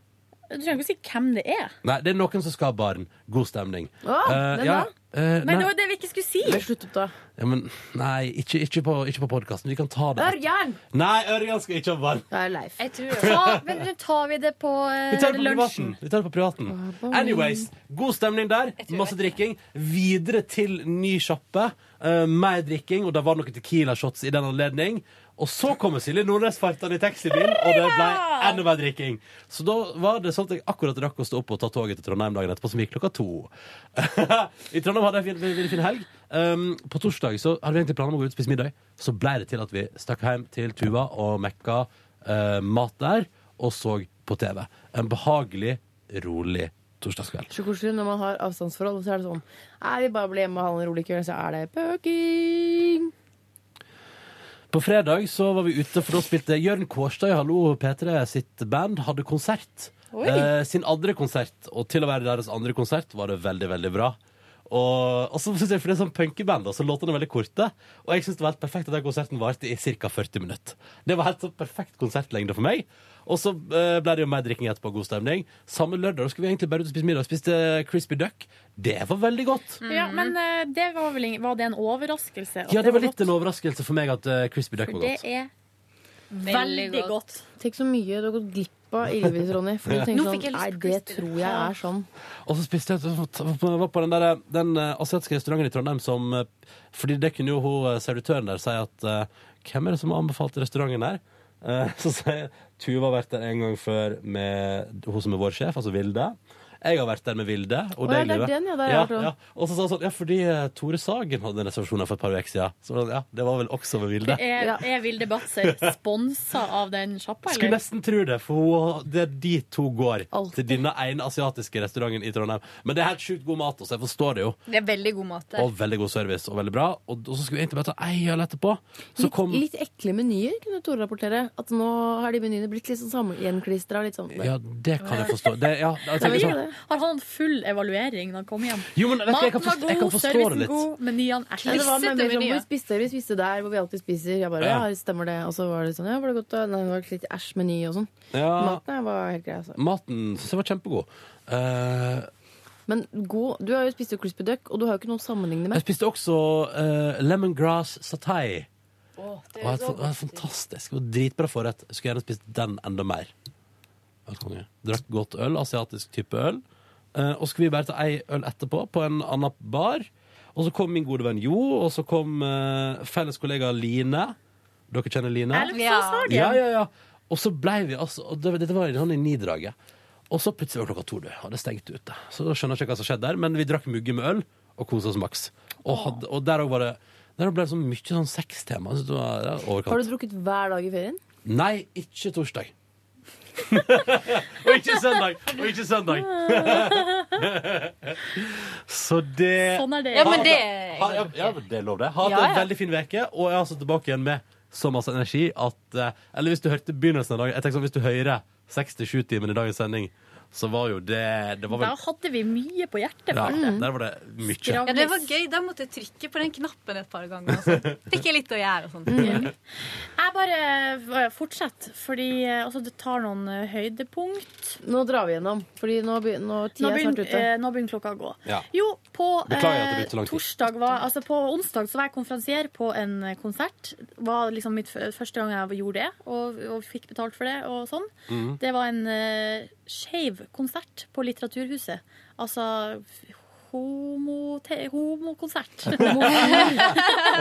[SPEAKER 5] Du trenger ikke å si hvem det er.
[SPEAKER 2] Nei, det er noen som skal ha barn. God stemning.
[SPEAKER 5] Å,
[SPEAKER 2] Eh,
[SPEAKER 5] den
[SPEAKER 2] ja,
[SPEAKER 5] da?
[SPEAKER 2] eh,
[SPEAKER 5] Men det
[SPEAKER 2] nei,
[SPEAKER 5] var det vi ikke skulle si.
[SPEAKER 4] Slutt opp, da.
[SPEAKER 2] ja, men, nei, ikke, ikke på, ikke på podkasten. Vi kan ta det.
[SPEAKER 18] Ørjan!
[SPEAKER 2] Nei, Ørjan skal ikke ha barn.
[SPEAKER 4] Jeg er Leif.
[SPEAKER 18] Jeg tror Ta, men nå tar vi det på
[SPEAKER 2] Vi
[SPEAKER 18] eh,
[SPEAKER 2] tar det på
[SPEAKER 18] lunsjen.
[SPEAKER 2] privaten. Vi tar det på privaten. Anyways, god stemning der. Masse drikking. Videre til ny sjappe. Eh, mer drikking, og det var noen Tequila-shots i den anledning. Og så kommer Silje Nordnes fartende i taxibil, og det ble enda mer drikking. Så da var det sånn at jeg akkurat rakk å stå opp og ta toget til Trondheim dagen etterpå, som gikk klokka to. I Trondheim hadde jeg en fin, veldig fin helg. Um, på torsdag så hadde vi egentlig planer om å gå ut og spise middag. Så ble det til at vi stakk hjem til Tuva og mekka eh, mat der, og så på TV. En behagelig, rolig torsdagskveld.
[SPEAKER 4] Så koselig når man har avstandsforhold, så er det sånn Nei, vi bare blir hjemme og har en rolig kveld, så er det pøking.
[SPEAKER 2] På fredag så var vi ute, for da spilte Jørn Kårstad i Hallo P3 sitt band hadde konsert.
[SPEAKER 16] Oi.
[SPEAKER 2] Eh, sin andre konsert, og til å være deres andre konsert var det veldig, veldig bra. Og, og så synes jeg, for det er sånn punkeband, da, så låtene er veldig korte. Og jeg synes det var helt perfekt at den konserten varte i ca. 40 minutter. Det var helt sånn perfekt konsertlengde for meg. Og så eh, ble det jo mer drikking etterpå, god stemning. Samme lørdag da skulle vi egentlig bare ut og spise middag. Spiste crispy duck. Det var veldig godt.
[SPEAKER 5] Ja,
[SPEAKER 18] Mhm.
[SPEAKER 5] men eh, det var, vel, ing- var det en overraskelse? at
[SPEAKER 2] Ja, det var
[SPEAKER 5] godt?
[SPEAKER 2] litt en overraskelse for meg at eh, crispy duck
[SPEAKER 5] For
[SPEAKER 2] var
[SPEAKER 5] det
[SPEAKER 2] godt.
[SPEAKER 5] er
[SPEAKER 4] Veldig
[SPEAKER 5] veldig godt.
[SPEAKER 4] Tenk så mye du har gått glipp av i livet ditt, Ronny. For du
[SPEAKER 2] Ja.
[SPEAKER 4] tenker
[SPEAKER 2] Nå fikk jeg
[SPEAKER 4] sånn
[SPEAKER 2] lyst
[SPEAKER 4] Nei,
[SPEAKER 2] på
[SPEAKER 4] det tror jeg er sånn.
[SPEAKER 2] Og så spiste jeg jeg var på den, der, den eh, asiatiske restauranten i Trondheim som eh, Fordi det kunne jo hun eh, servitøren der si at eh, Hvem er det som har anbefalt restauranten her? Eh, Så sier jeg Tuva har vært der en gang før med hun som er vår sjef, altså Vilde. Jeg har vært der med Vilde. Og
[SPEAKER 4] Å, ja,
[SPEAKER 2] deg,
[SPEAKER 4] det er
[SPEAKER 2] Live.
[SPEAKER 4] den, ja, det har jeg
[SPEAKER 2] ja,
[SPEAKER 4] hørt om.
[SPEAKER 2] ja. Og så sa hun sånn Ja, fordi eh, Tore Sagen hadde en reservasjon her for et par uker siden. Så var det sånn, ja, det var vel også med Vilde.
[SPEAKER 5] Er, er Vilde Batzer sponsa av den sjappa,
[SPEAKER 2] Skulle
[SPEAKER 5] eller?
[SPEAKER 2] nesten tro det, for hun- det er de to går til denne ene asiatiske restauranten i Trondheim. Men det er helt sjukt god mat, så jeg forstår det jo.
[SPEAKER 18] Det er veldig god mat der.
[SPEAKER 2] Og veldig god service og veldig bra. Og, og så skulle vi egentlig bare ta ei øl etterpå. Så kom
[SPEAKER 4] Litt ekle menyer, kunne Tore rapportere. At nå har de menyene blitt litt sånn sammen- gjenklistra. Litt sånn.
[SPEAKER 2] Ja, det kan jeg forstå. Det, ja, jeg tenker sånn,
[SPEAKER 5] Har han full evaluering når han kommer hjem?
[SPEAKER 2] Jo, men vet du, jeg kan forstå- jeg kan forstå det
[SPEAKER 5] servicen
[SPEAKER 2] litt.
[SPEAKER 5] god, menyene er
[SPEAKER 4] Men det var
[SPEAKER 5] klissete
[SPEAKER 4] mer sånn, hvor
[SPEAKER 5] menyer.
[SPEAKER 4] spiste dere? Vi spiste der hvor vi alltid spiser. Jeg bare, ja,
[SPEAKER 2] Ja.
[SPEAKER 4] stemmer det. Og så var det sånn, ja, var det godt da? Nei, det var litt æsj meny og sånn.
[SPEAKER 2] Ja.
[SPEAKER 4] Maten her var helt grei, altså.
[SPEAKER 2] Maten syns jeg var kjempegod. Eh,
[SPEAKER 4] Men god, du har jo spist jo crispy duck, og du har jo ikke noe å sammenligne
[SPEAKER 2] jeg
[SPEAKER 4] med.
[SPEAKER 2] spiste også eh, lemongrass satay.
[SPEAKER 4] det
[SPEAKER 2] Det var, helt, fan- det var fantastisk. Det var Dritbra forrett. Jeg skulle gjerne spist den enda mer. Helt konge. Drakk godt øl, asiatisk type øl. Eh, og så skulle vi bare ta ei øl etterpå, på en annen bar. Og så kom min gode venn Jo, og så kom eh, felles kollega Line. Dere kjenner Line?
[SPEAKER 5] Elvsås har de.
[SPEAKER 2] Ja, ja, ja. Og så blei vi altså og det, Dette var i- sånn i nidraget. Og så plutselig var klokka to, du. Hadde stengt ute. Så da skjønner jeg ikke hva som skjedde der, men vi drakk mugge med øl og kosa oss maks. Og, hadde, og der òg var det Der ble det så mye sånn sextema. Jeg synes det var- det var overkant.
[SPEAKER 4] Har du drukket hver dag i ferien?
[SPEAKER 2] Nei, ikke torsdag. og ikke søndag! Og ikke søndag. så det
[SPEAKER 5] Sånn er det.
[SPEAKER 18] Ja, men det-
[SPEAKER 2] Ha, ja, ja, men det er lov, det. Ha hatt
[SPEAKER 18] Ja,
[SPEAKER 2] en
[SPEAKER 18] ja.
[SPEAKER 2] veldig fin uke, og jeg er altså tilbake igjen med så masse energi at eh, Eller hvis du hørte begynnelsen av dagen jeg tenker sånn, Hvis du hører seks til sju timer i dagens sending,
[SPEAKER 20] så var jo det Det var
[SPEAKER 5] Da
[SPEAKER 20] vel
[SPEAKER 5] hadde vi mye på hjertet.
[SPEAKER 20] ja,
[SPEAKER 5] følte jeg.
[SPEAKER 20] Der var det mye.
[SPEAKER 18] Ja, det var gøy. Da måtte jeg trykke på den knappen et par ganger. og sånn. Fikk jeg litt å gjøre og sånn.
[SPEAKER 5] Mm. Jeg bare eh, fortsetter, fordi eh, altså, det tar noen eh, høydepunkt.
[SPEAKER 4] Nå drar vi gjennom, Fordi nå, be- nå tida
[SPEAKER 5] Nå
[SPEAKER 4] er snart
[SPEAKER 5] begynner,
[SPEAKER 4] ute.
[SPEAKER 5] eh, nå begynner klokka å gå.
[SPEAKER 4] Ja.
[SPEAKER 5] Jo, på,
[SPEAKER 4] Beklager at det blir så
[SPEAKER 5] eh,
[SPEAKER 4] lang tid.
[SPEAKER 5] torsdag var, altså på onsdag så var jeg konferansier på en eh, konsert. var liksom mitt f- første gang jeg gjorde det, og, og fikk betalt for det. og sånn.
[SPEAKER 4] Mm.
[SPEAKER 18] Mhm.
[SPEAKER 5] Det var en uh, skeiv konsert på Litteraturhuset. Altså homo... te- homokonsert.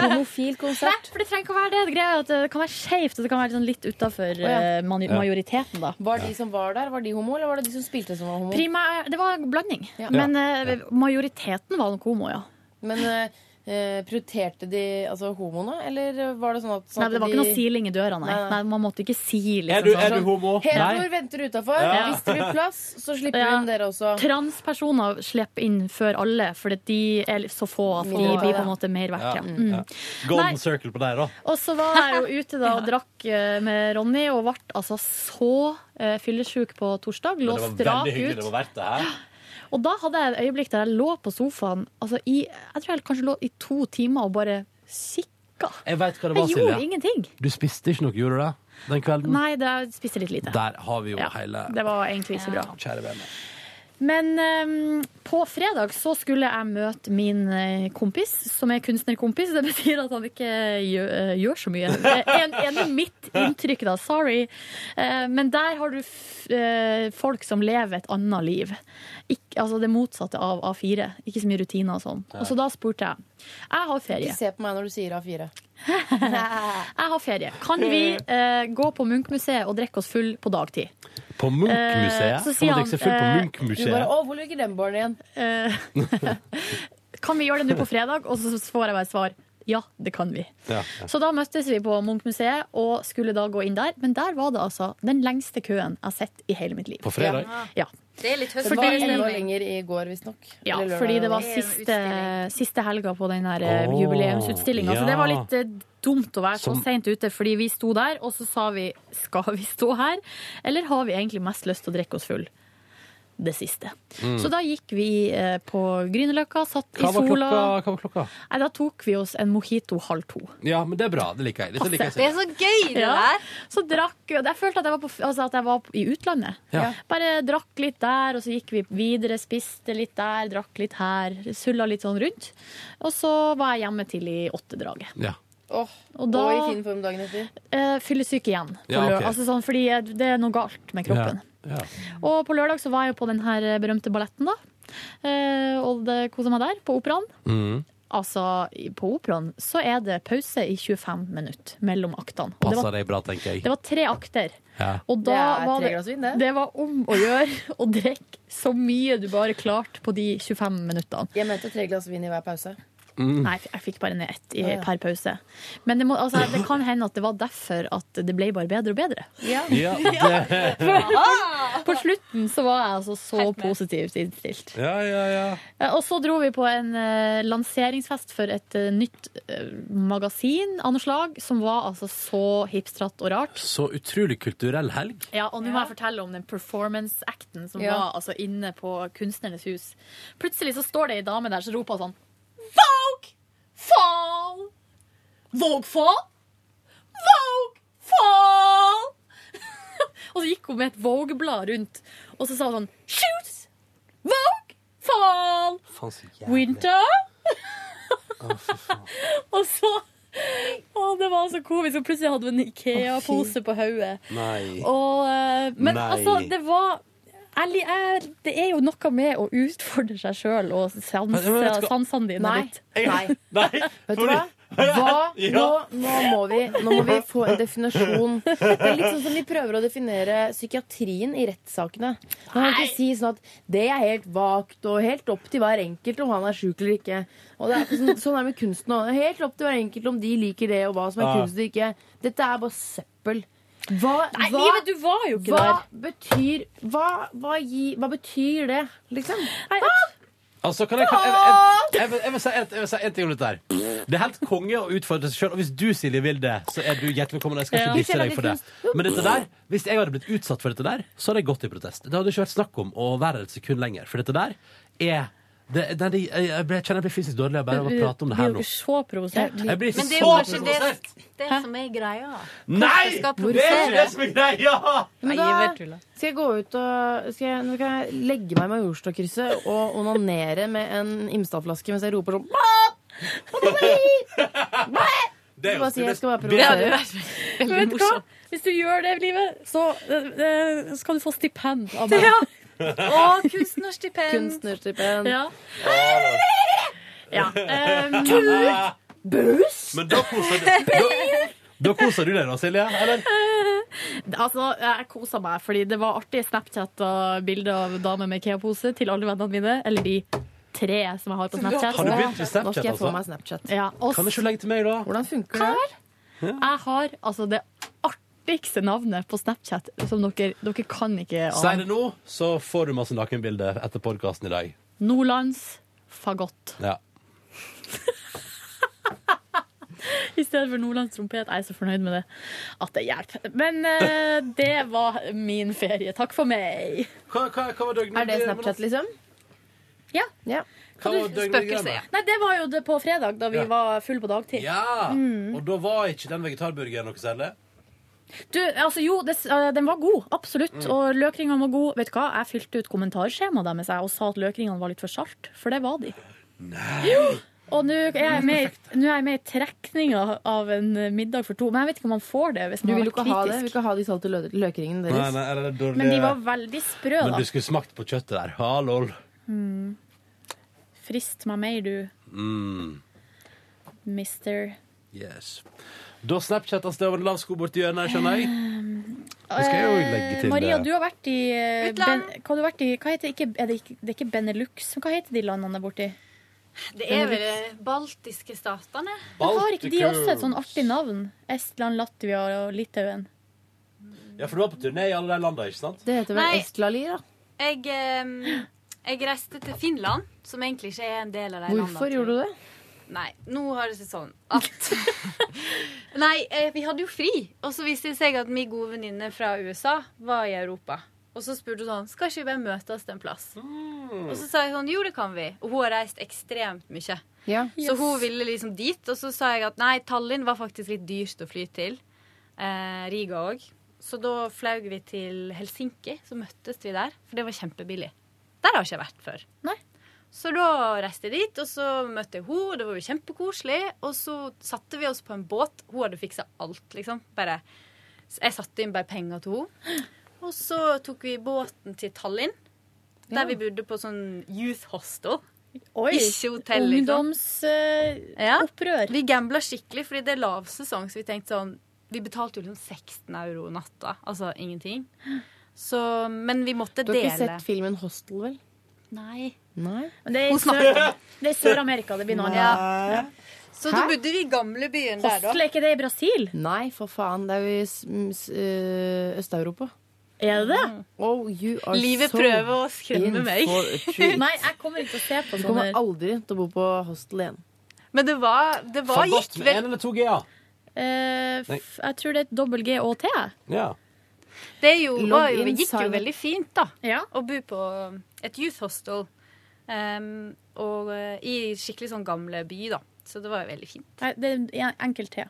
[SPEAKER 18] Homofil
[SPEAKER 5] konsert? Nei, for det trenger ikke å være det. Det greia er at det kan være skeivt, og det kan være litt sånn litt utafor
[SPEAKER 4] Å, ja. Ja.
[SPEAKER 5] majoriteten, da.
[SPEAKER 4] Var de som var der, var de homo, eller var det de som spilte som var homo?
[SPEAKER 5] Primær, eh, det var en blanding.
[SPEAKER 4] Ja.
[SPEAKER 5] Men eh, majoriteten var nok homo, ja.
[SPEAKER 4] Men eh, eh, prioriterte de altså homoene, eller var det sånn at sånn
[SPEAKER 5] Nei, det var
[SPEAKER 4] at
[SPEAKER 5] ikke
[SPEAKER 4] de-
[SPEAKER 5] noe siling i døra, nei.
[SPEAKER 4] Nei.
[SPEAKER 5] nei man måtte ikke si liksom
[SPEAKER 4] Er du-
[SPEAKER 5] sånn.
[SPEAKER 4] er du homo? Hedor venter utafor.
[SPEAKER 5] Ja.
[SPEAKER 4] Hvis det blir plass, så slipper vi
[SPEAKER 5] Ja.
[SPEAKER 4] inn dere også.
[SPEAKER 5] Transpersoner slipper inn før alle, for de er så få at de
[SPEAKER 4] Få,
[SPEAKER 5] blir på
[SPEAKER 4] ja.
[SPEAKER 5] en måte mer verdt.
[SPEAKER 4] Ja,
[SPEAKER 5] Ja. Mm.
[SPEAKER 2] Ja. Golden
[SPEAKER 5] Nei.
[SPEAKER 2] circle på deg, da.
[SPEAKER 5] Og så var jeg jo ute da og drakk eh, med Ronny, og ble altså så eh, fyllesjuk på torsdag.
[SPEAKER 20] Men
[SPEAKER 5] Lå
[SPEAKER 20] det var
[SPEAKER 5] strak
[SPEAKER 20] veldig hyggelig.
[SPEAKER 5] ut.
[SPEAKER 20] Det var verdt det her.
[SPEAKER 5] Og da hadde jeg et øyeblikk der jeg lå på sofaen altså i, Jeg tror jeg kanskje lå i to timer og bare sikka.
[SPEAKER 2] Jeg vet hva det var,
[SPEAKER 5] Jeg gjorde
[SPEAKER 2] Silje.
[SPEAKER 5] ingenting.
[SPEAKER 2] Du spiste ikke noe, gjorde du det? Den kvelden?
[SPEAKER 5] Nei, det, jeg spiste litt lite.
[SPEAKER 2] Der har vi jo
[SPEAKER 5] Ja,
[SPEAKER 2] hele
[SPEAKER 5] Det var egentlig ikke så bra.
[SPEAKER 2] Kjære vene.
[SPEAKER 5] Men ehm, på fredag så skulle jeg møte min eh, kompis, som er kunstnerkompis. Det betyr at han ikke gjør, eh, gjør så mye. Det er en, en er mitt inntrykk, da. Sorry. Eh, men der har du f eh, folk som lever et annet liv. Ikk- altså det motsatte av A4. Ikke så mye rutiner og sånn. Og så da spurte jeg. Jeg har ferie.
[SPEAKER 4] Ikke se på meg når du sier A4.
[SPEAKER 5] Jeg har ferie. Kan vi eh, gå på Munchmuseet og drikke oss full på dagtid?
[SPEAKER 2] På
[SPEAKER 5] Eh,
[SPEAKER 2] Munchmuseet?
[SPEAKER 5] så
[SPEAKER 2] Kan
[SPEAKER 5] sier
[SPEAKER 2] man drikke seg full på
[SPEAKER 5] han, eh,
[SPEAKER 2] Munchmuseet?
[SPEAKER 5] du bare,
[SPEAKER 4] Å, hvor ligger den barnen igjen?
[SPEAKER 5] Kan vi gjøre det nå på fredag? Og så får jeg bare svar. Ja, det kan vi.
[SPEAKER 2] Ja, ja.
[SPEAKER 5] Så da møttes vi på Munchmuseet og skulle da gå inn der. Men der var det altså den lengste køen jeg har sett i hele mitt liv.
[SPEAKER 2] På fredag?
[SPEAKER 5] Ja.
[SPEAKER 18] Det er litt
[SPEAKER 4] Det var enda lenger i går, visstnok.
[SPEAKER 5] Ja,
[SPEAKER 4] Eller lørdag,
[SPEAKER 5] fordi det var
[SPEAKER 4] eller noe.
[SPEAKER 5] siste, siste helga på den her eh,
[SPEAKER 4] Åh,
[SPEAKER 5] jubileumsutstillinga. Så det var litt eh, dumt å være så
[SPEAKER 4] Som-
[SPEAKER 5] seint ute, fordi vi sto der, og så sa vi skal vi stå her, eller har vi egentlig mest lyst til å drikke oss full? Det siste.
[SPEAKER 2] Mm.
[SPEAKER 5] Så da gikk vi eh, på Grünerløkka, satt
[SPEAKER 2] Hva
[SPEAKER 5] i
[SPEAKER 2] var,
[SPEAKER 5] sola.
[SPEAKER 2] klokka, hva var klokka?
[SPEAKER 5] Nei, da tok vi oss en mojito halv to.
[SPEAKER 2] Ja, men det er bra. Det liker jeg. Dette liker jeg.
[SPEAKER 5] Passe.
[SPEAKER 2] Silje.
[SPEAKER 5] gøy det der! Så drakk, jeg følte at jeg var, på, altså at jeg var i utlandet.
[SPEAKER 2] Ja.
[SPEAKER 5] Bare drakk litt der, og så gikk vi videre, spiste litt der, drakk litt her, sulla litt sånn rundt. Og så var jeg hjemme til i åttedraget.
[SPEAKER 2] Ja.
[SPEAKER 4] Åh,
[SPEAKER 5] Og
[SPEAKER 4] og,
[SPEAKER 5] da-
[SPEAKER 4] i fin form dagen etter.
[SPEAKER 5] Eh, Fyllesyk igjen, på
[SPEAKER 2] Ja, ok.
[SPEAKER 5] lørdag. altså sånn, fordi jeg- det er noe galt med kroppen.
[SPEAKER 2] Ja.
[SPEAKER 5] Og på lørdag så var jeg jo på den her berømte balletten, da. Eh, og det kosa meg der, på operaen.
[SPEAKER 2] Mm.
[SPEAKER 5] Altså, i- på operaen så er det pause i 25 minutter mellom aktene. Og det
[SPEAKER 2] Passer
[SPEAKER 5] var,
[SPEAKER 2] deg bra, tenker jeg.
[SPEAKER 5] det var tre akter.
[SPEAKER 2] Ja.
[SPEAKER 5] Og
[SPEAKER 4] Det
[SPEAKER 5] da
[SPEAKER 4] er
[SPEAKER 5] var
[SPEAKER 4] tre glass vin, det.
[SPEAKER 5] det var om å gjøre å drikke så mye du bare klarte på de 25 minuttene.
[SPEAKER 4] Jeg mente tre glass vin i hver pause.
[SPEAKER 5] Nei, jeg fikk bare ned ett i,
[SPEAKER 4] Å, ja.
[SPEAKER 5] per pause. Men det, må, altså, det kan hende at det var derfor at det ble bare bedre og bedre.
[SPEAKER 2] Ja, det-
[SPEAKER 5] For- På slutten så var jeg altså så positivt innstilt.
[SPEAKER 2] Ja, ja, ja.
[SPEAKER 5] Eh, Og så dro vi på en eh, lanseringsfest for et eh, nytt eh, magasin av noe slag, som var altså så hipstratt og rart.
[SPEAKER 2] Så utrolig kulturell helg.
[SPEAKER 5] Ja, og nå må jeg fortelle om den performance-acten som
[SPEAKER 2] Ja.
[SPEAKER 5] var altså, inne på Kunstnernes hus. Plutselig så står det ei dame der som roper sånn Vogue! Fall! Vogue fall! Vogue fall! og så gikk hun med et Vogue-blad rundt, og så sa hun sånn Shoots! Vogue fall!
[SPEAKER 2] Faen, så
[SPEAKER 5] Winter! og så Å, det var så komisk. Og plutselig hadde hun en Ikea-pose på hodet.
[SPEAKER 2] Nei.
[SPEAKER 5] Og, eh, men
[SPEAKER 2] Nei.
[SPEAKER 5] altså, det var jeg, li- jeg, det er jo noe med å utfordre seg sjøl og
[SPEAKER 4] Men- men vet du
[SPEAKER 5] sanse-
[SPEAKER 4] hva?
[SPEAKER 5] sansene dine
[SPEAKER 4] Nei.
[SPEAKER 5] litt.
[SPEAKER 4] Nei.
[SPEAKER 5] Vet
[SPEAKER 4] du hva? Hva?
[SPEAKER 5] Ja.
[SPEAKER 4] Nå, nå, må vi, nå må vi få en definasjon. Det er litt sånn som vi prøver å definere psykiatrien i rettssakene. Man kan ikke si sånn at det er helt vagt og helt opp til hver enkelt om han er sjuk eller ikke. Og det er ikke sånn, sånn er det med kunsten òg. Helt opp til hver enkelt om de liker det og hva som er
[SPEAKER 5] Ja.
[SPEAKER 4] kunst og ikke. Dette er bare søppel. Hva,
[SPEAKER 5] Nei,
[SPEAKER 4] hva,
[SPEAKER 5] livet, du var jo ikke
[SPEAKER 4] hva
[SPEAKER 5] der.
[SPEAKER 4] Betyr, hva, hva, gi, hva betyr det, liksom?
[SPEAKER 5] Nei,
[SPEAKER 2] Altså, kan jeg, kan, jeg, jeg, jeg, vil- jeg vil si en- jeg vil si en ting om dette her. Det er helt konge å utfordre seg sjøl. Og hvis du, Silje, vil det, så er du hjertelig velkommen. Jeg skal
[SPEAKER 5] Ja.
[SPEAKER 2] ikke
[SPEAKER 5] Hvis jeg
[SPEAKER 2] disse deg
[SPEAKER 5] hadde
[SPEAKER 2] for det.
[SPEAKER 5] kunst-
[SPEAKER 2] Men dette der, hvis jeg hadde blitt utsatt for dette der, så hadde jeg gått i protest. Det hadde ikke vært snakk om å være et sekund lenger. For dette der er det, det, det, jeg, ble, jeg kjenner jeg blir fysisk dårlig av bare å prate om det her
[SPEAKER 5] Blir
[SPEAKER 2] nå.
[SPEAKER 5] dere så provosert?
[SPEAKER 2] Jeg blir
[SPEAKER 18] Men
[SPEAKER 2] så
[SPEAKER 18] det er jo kanskje
[SPEAKER 2] provosert.
[SPEAKER 18] det, det som er greia.
[SPEAKER 2] Nei!
[SPEAKER 18] Hvorfor
[SPEAKER 2] Det
[SPEAKER 18] skal
[SPEAKER 2] er
[SPEAKER 18] provosere?
[SPEAKER 2] det som er greia!
[SPEAKER 4] Men da skal jeg gå ut og skal jeg, Nå kan jeg legge meg i Majorstadkrysset og onanere med en Imstad-flaske mens jeg roper sånn «Bæ! Onani! Bæ!»
[SPEAKER 2] Det
[SPEAKER 4] Bare si jeg skal bare
[SPEAKER 5] Det hadde
[SPEAKER 4] provosere.
[SPEAKER 5] vært Men vet du hva? Hvis du gjør det, Livet, så, eh, så kan du få stipend av meg.
[SPEAKER 18] Ja.
[SPEAKER 5] Å,
[SPEAKER 18] kunstnerstipend.
[SPEAKER 4] Kunstnerstipend.
[SPEAKER 5] Ja. Ja, ehm,
[SPEAKER 2] Men da koser du- da- da koser du deg da, Silje? Eller?
[SPEAKER 5] Altså, jeg kosa meg, fordi det var artige Snapchat og bilder av damer med Ikea-pose til alle vennene mine. Eller de tre som jeg har på Snapchat.
[SPEAKER 2] Har du begynt med Snapchat,
[SPEAKER 4] Nå skal jeg få
[SPEAKER 2] altså?
[SPEAKER 4] meg Snapchat.
[SPEAKER 5] Ja, og
[SPEAKER 2] Kan du ikke legge til meg, da?
[SPEAKER 4] Hvordan funker det?
[SPEAKER 5] jeg har altså det artigste navnet på Snapchat som dere, dere kan ikke
[SPEAKER 2] Si det nå, så får du masse nakenbilder etter podkasten i dag.
[SPEAKER 5] Nordlands fagott.
[SPEAKER 2] Ja.
[SPEAKER 5] I stedet for Nordlands trompet. Jeg er så fornøyd med det at det hjelper. Men eh, det var min ferie. Takk for meg.
[SPEAKER 2] Hva, hva, hva var døgnet?
[SPEAKER 4] Er det Snapchat, liksom?
[SPEAKER 5] Ja.
[SPEAKER 2] Hva var døgnprogrammet?
[SPEAKER 5] Nei, det var jo det på fredag, da vi
[SPEAKER 2] Ja.
[SPEAKER 5] var full på dagtid.
[SPEAKER 2] Ja!
[SPEAKER 5] Mm.
[SPEAKER 2] Og da var ikke den vegetarburgeren noe særlig?
[SPEAKER 5] Du, altså jo, det, eh, den var god, absolutt.
[SPEAKER 2] Mm.
[SPEAKER 5] Og løkringene var gode. Vet du hva, jeg fylte ut kommentarskjemaet deres jeg, og sa at løkringene var litt for salt, for det var de. Jo! Og nå er jeg med i- nå er jeg med i trekninga av en eh, middag for to. Men jeg vet ikke om man får det hvis
[SPEAKER 4] Du
[SPEAKER 5] man har
[SPEAKER 4] vil jo ikke
[SPEAKER 5] vært
[SPEAKER 4] ha det. Du vil
[SPEAKER 5] kritisk.
[SPEAKER 4] ikke ha de salte lø- løkringene
[SPEAKER 2] Nei,
[SPEAKER 4] deres.
[SPEAKER 2] nei, eller det er dårlig.
[SPEAKER 5] Men de var veldig sprø,
[SPEAKER 2] Men
[SPEAKER 5] da.
[SPEAKER 2] du skulle smakt på kjøttet der. Hallo.
[SPEAKER 5] Mm. Frist meg mer, du,
[SPEAKER 2] Mm.
[SPEAKER 5] mister.
[SPEAKER 2] Yes. Da Snapchatas det over en lav sko borti hjørnet, skjønner jeg.
[SPEAKER 5] Eh,
[SPEAKER 2] Nå skal jeg jo legge til
[SPEAKER 5] Maria,
[SPEAKER 2] eh,
[SPEAKER 5] du har vært i, eh, ben, hva har du vært i hva heter, ikke, er det, ikke, det er ikke Benelux, men hva heter de landene borti?
[SPEAKER 18] Det er vel de baltiske statene.
[SPEAKER 5] Men har ikke de også et sånn artig navn? Estland, Latvia og Litauen.
[SPEAKER 2] Ja, for du var på turné i alle de landene, ikke sant?
[SPEAKER 4] Det heter
[SPEAKER 18] Nei.
[SPEAKER 4] vel Estlali, da.
[SPEAKER 18] Jeg, eh, jeg reiste til Finland, som egentlig ikke er en del av de
[SPEAKER 4] Hvorfor
[SPEAKER 18] landene.
[SPEAKER 4] gjorde du det?
[SPEAKER 18] Nei, nå har det seg sånn at Nei, eh, vi hadde jo fri, og så viste det seg at min gode venninne fra USA var i Europa. Og så spurte hun sånn Skal ikke vi bare møtes en plass? Og så sa jeg sånn Jo, det kan vi. Og hun har reist ekstremt mye.
[SPEAKER 4] Ja.
[SPEAKER 18] Så hun ville liksom dit, og så sa jeg at nei, Tallinn var faktisk litt dyrt å fly til. Eh, Riga òg. Så da fløy vi til Helsinki, så møttes vi der, for det var kjempebillig. Der har ikke jeg vært før. Så da reiste jeg dit, og så møtte jeg henne, og det var jo kjempekoselig. Og så satte vi oss på en båt. Hun hadde fiksa alt, liksom. Bare, så jeg satte inn bare penger til henne. Og så tok vi båten til Tallinn,
[SPEAKER 5] Ja.
[SPEAKER 18] der vi bodde på sånn youth hostel.
[SPEAKER 5] Oi, eh,
[SPEAKER 18] Ikke hotell, liksom.
[SPEAKER 5] Ungdomsopprør.
[SPEAKER 18] Vi gambla skikkelig, fordi det er lavsesong, så vi tenkte sånn Vi betalte jo liksom 16 euro natta. Altså ingenting. Så, men vi måtte
[SPEAKER 4] Du har
[SPEAKER 18] dele.
[SPEAKER 4] ikke sett filmen Hostel, vel?
[SPEAKER 18] Nei.
[SPEAKER 4] Nei.
[SPEAKER 5] Det er i
[SPEAKER 18] Hun snakker-
[SPEAKER 5] Sør- det er i Sør-Amerika. det blir noe
[SPEAKER 18] Ja.
[SPEAKER 5] annet.
[SPEAKER 18] Så da bodde vi i gamlebyen der, da.
[SPEAKER 5] Hostel, er ikke det i Brasil?
[SPEAKER 4] Nei, for faen. Det er jo i s- m- s- ø, Øst-Europa.
[SPEAKER 5] Er det det?
[SPEAKER 18] Mm.
[SPEAKER 4] Oh, you are
[SPEAKER 18] Livet
[SPEAKER 4] so
[SPEAKER 18] prøver å skremme
[SPEAKER 4] in
[SPEAKER 18] meg.
[SPEAKER 4] for a treat.
[SPEAKER 5] Nei, jeg kommer ikke til å se på
[SPEAKER 4] Du
[SPEAKER 5] sånne.
[SPEAKER 4] kommer aldri til å bo på hostel igjen.
[SPEAKER 18] Men det var, det var
[SPEAKER 2] Fagott
[SPEAKER 18] gikk
[SPEAKER 2] med én
[SPEAKER 18] vel
[SPEAKER 2] eller to g-er.
[SPEAKER 5] Eh, f-
[SPEAKER 2] Nei.
[SPEAKER 5] jeg tror det er dobbel G og T.
[SPEAKER 2] Ja.
[SPEAKER 18] Det er jo, var jo,
[SPEAKER 5] Logg inn,
[SPEAKER 18] gikk jo
[SPEAKER 5] Simon.
[SPEAKER 18] veldig fint, da.
[SPEAKER 5] Ja.
[SPEAKER 18] Å bo på um, et youth hostel em, og, eh, i skikkelig sånn gamle by, da. Så det var jo veldig fint.
[SPEAKER 5] Nei, det er en- enkel T.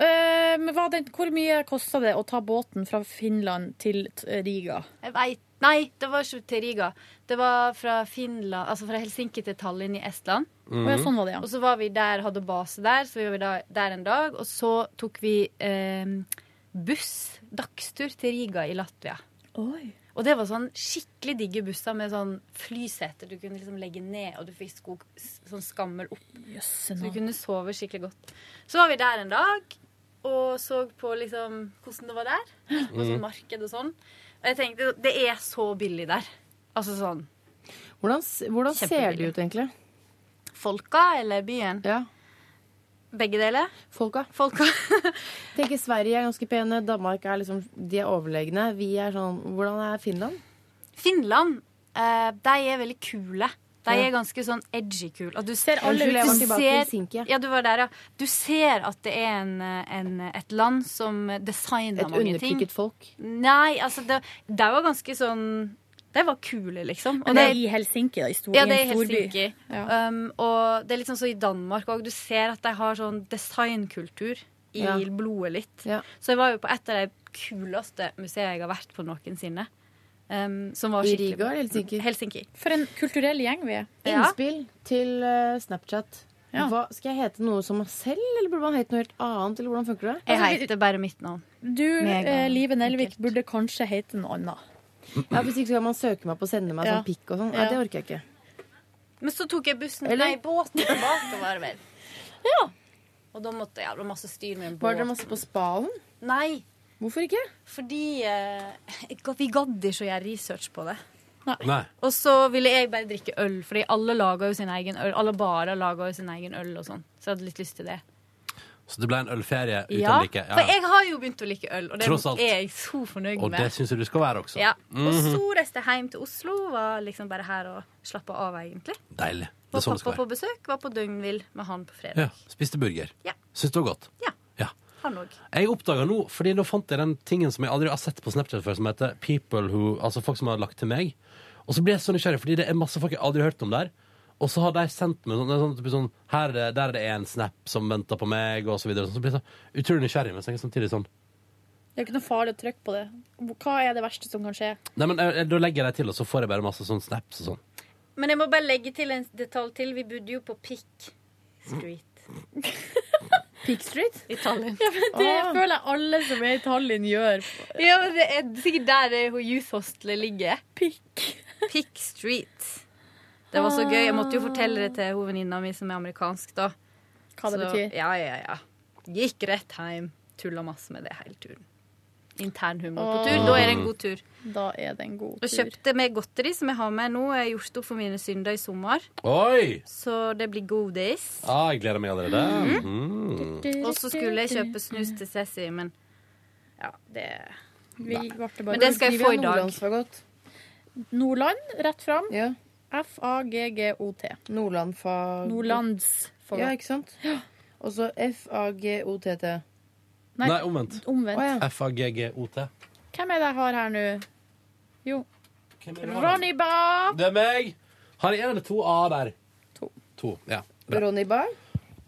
[SPEAKER 5] Eh, men hva den, hvor mye kosta det å ta båten fra Finland til t- eh, Riga?
[SPEAKER 18] Jeg vet, Nei, det var ikke til Riga. Det var fra Finland, altså fra Helsinki til Tallinn i Estland.
[SPEAKER 5] Mhm. Å ja, sånn var det, ja.
[SPEAKER 18] Og så var vi der, hadde base der, så vi var da- der en dag. Og så tok vi em, buss, dagstur til Riga i Latvia.
[SPEAKER 5] Oi.
[SPEAKER 18] Og det var sånn skikkelig digge busser med sånn flysete du kunne liksom legge ned, og du fikk sko sånn skammel opp.
[SPEAKER 5] Jøsse
[SPEAKER 18] så du
[SPEAKER 5] navn.
[SPEAKER 18] kunne sove skikkelig godt. Så var vi der en dag og så på liksom hvordan det var der. Gikk
[SPEAKER 17] Mhm.
[SPEAKER 18] På sånn
[SPEAKER 4] Mm.
[SPEAKER 18] marked og sånn. Og jeg tenkte det er så billig der. Altså sånn
[SPEAKER 4] Hvordan, s- hvordan ser de ut, egentlig?
[SPEAKER 18] Folka eller byen? Begge deler.
[SPEAKER 4] Folka.
[SPEAKER 18] Folka.
[SPEAKER 4] Tenker Sverige er ganske pene, Danmark er liksom De er overlegne. Vi er sånn Hvordan er Finland?
[SPEAKER 18] Finland eh, de er veldig kule. De er ganske sånn edgy kule. Og du ser
[SPEAKER 17] alle ut som
[SPEAKER 18] du
[SPEAKER 17] tilbake i Helsinki, ja.
[SPEAKER 18] ja, du var der, ja. Du ser at det er en, en, et land som designer
[SPEAKER 4] Et
[SPEAKER 18] mange ting.
[SPEAKER 4] undertrykket folk.
[SPEAKER 18] Nei, altså det, det var ganske sånn De var kule, liksom.
[SPEAKER 17] Men det er i Helsinki, da. I, stor,
[SPEAKER 18] ja, det
[SPEAKER 17] i
[SPEAKER 18] er
[SPEAKER 17] en
[SPEAKER 18] i
[SPEAKER 17] storby.
[SPEAKER 18] Helsinki. Um, og det er litt sånn så i Danmark òg. Du ser at de har sånn designkultur i
[SPEAKER 17] Ja.
[SPEAKER 18] blodet litt. Så jeg var jo på et av de kuleste museene jeg har vært på noensinne. Um, som var
[SPEAKER 4] I
[SPEAKER 18] skikkelig-
[SPEAKER 4] Riga eller Helsinki?
[SPEAKER 18] Helsinki.
[SPEAKER 17] For en kulturell gjeng vi er.
[SPEAKER 18] Ja.
[SPEAKER 4] Innspill til eh, Snapchat. Hva, skal jeg hete noe som meg selv, eller burde man hete noe helt annet? Eller hvordan funker det?
[SPEAKER 18] Jeg heter bare mitt navn.
[SPEAKER 17] Du, eh, Live Nelvik, burde kanskje hete noe annet.
[SPEAKER 4] Ja, Hvis ikke så kan man søke meg på å sende meg
[SPEAKER 17] Ja.
[SPEAKER 4] sånn pikk og sånn. Nei,
[SPEAKER 17] Ja.
[SPEAKER 4] det orker jeg ikke.
[SPEAKER 18] Men så tok jeg bussen
[SPEAKER 4] Eller-
[SPEAKER 18] Nei, båten tilbake, var det vel. Og da måtte jeg jævla masse styr med en båt.
[SPEAKER 4] Var dere masse på spa og sånn?
[SPEAKER 18] Nei.
[SPEAKER 4] Hvorfor ikke?
[SPEAKER 18] Fordi eh, jeg ga- vi gadd ikke å gjøre research på det.
[SPEAKER 16] Nei.
[SPEAKER 18] Og så ville jeg bare drikke øl, fordi alle lager jo sin egen øl. Alle barer lager jo sin egen øl og sånn. Så jeg hadde litt lyst til det.
[SPEAKER 2] Så det ble en ølferie uten
[SPEAKER 18] Ja,
[SPEAKER 2] like.
[SPEAKER 18] For jeg har jo begynt å like øl, og det
[SPEAKER 2] Tross alt.
[SPEAKER 18] er jeg så fornøyd
[SPEAKER 2] Og
[SPEAKER 18] med.
[SPEAKER 2] det syns jeg du skal være også.
[SPEAKER 18] Ja. Og
[SPEAKER 2] Mhm.
[SPEAKER 18] så reiste jeg hjem til Oslo, var liksom bare her og slappa av, egentlig.
[SPEAKER 2] Deilig. Det
[SPEAKER 18] Var
[SPEAKER 2] er sånn det
[SPEAKER 18] pappa
[SPEAKER 2] skal
[SPEAKER 18] på
[SPEAKER 2] være.
[SPEAKER 18] besøk, var på døgnvill med han på fredag.
[SPEAKER 2] Ja, spiste burger.
[SPEAKER 18] Ja.
[SPEAKER 2] Syns det var godt.
[SPEAKER 18] Han òg.
[SPEAKER 2] Jeg oppdaga nå, fordi nå fant jeg den tingen som jeg aldri har sett på Snapchat før, som heter People Who Altså folk som har lagt til meg. Og så ble jeg så nysgjerrig, fordi det er masse folk jeg aldri har hørt om der. Og så har de sendt meg sånn, det er sånn, typisk sånn her er det, Der er det en snap som venter på meg, og så videre. Så blir jeg så utrolig nysgjerrig, men så tenker jeg samtidig sånn
[SPEAKER 17] Det er jo ikke noe farlig å trykke på det. Hva er det verste som kan skje?
[SPEAKER 2] Nei, men jeg, jeg, da legger jeg det til, og så får jeg bare masse sånn snaps og sånn.
[SPEAKER 18] Men jeg må bare legge til en detalj til. Vi bodde jo på Pick Street.
[SPEAKER 4] Pick Street?
[SPEAKER 18] I Tallinn.
[SPEAKER 17] Ja, men det føler jeg alle som er i Tallinn, gjør.
[SPEAKER 18] Ja, men det er sikkert der det youth hostelet ligger. Pick. Pick Street. Det var så gøy. Jeg måtte jo fortelle det til hovedvenninna mi som er amerikansk, da.
[SPEAKER 17] Hva det
[SPEAKER 18] så,
[SPEAKER 17] betyr.
[SPEAKER 18] Ja, ja, ja. Gikk rett hjem. Tulla masse med det hele turen. Internhumor på tur. Da er det en god tur.
[SPEAKER 17] Da er det en god
[SPEAKER 18] Og
[SPEAKER 17] tur.
[SPEAKER 18] kjøpte meg godteri, som jeg har med nå. Jeg har gjort opp for mine synder i sommer.
[SPEAKER 2] Oi!
[SPEAKER 18] Så det blir godis.
[SPEAKER 2] Ah, jeg gleder meg allerede. Mm.
[SPEAKER 18] Og så skulle jeg kjøpe snus til Cessy, men ja, det
[SPEAKER 17] Vi
[SPEAKER 18] Nei.
[SPEAKER 17] ble bare
[SPEAKER 18] Men det skal jeg få i dag.
[SPEAKER 17] Nordland, rett fram. F-A-G-G-O-T.
[SPEAKER 4] Nordlandfag...
[SPEAKER 17] Nordlands for
[SPEAKER 4] Ja, ikke sant? Og så F-A-G-O-T-T.
[SPEAKER 2] Nei, omvendt.
[SPEAKER 17] omvendt. Å, ja.
[SPEAKER 2] F-A-G-G-O-T.
[SPEAKER 17] Hvem er det jeg har her nå? Jo,
[SPEAKER 2] Hvem er det?
[SPEAKER 17] Ronny Ba.
[SPEAKER 2] Det er meg! Har jeg en eller to A der? To. ja. Bra.
[SPEAKER 4] Ronny Bar.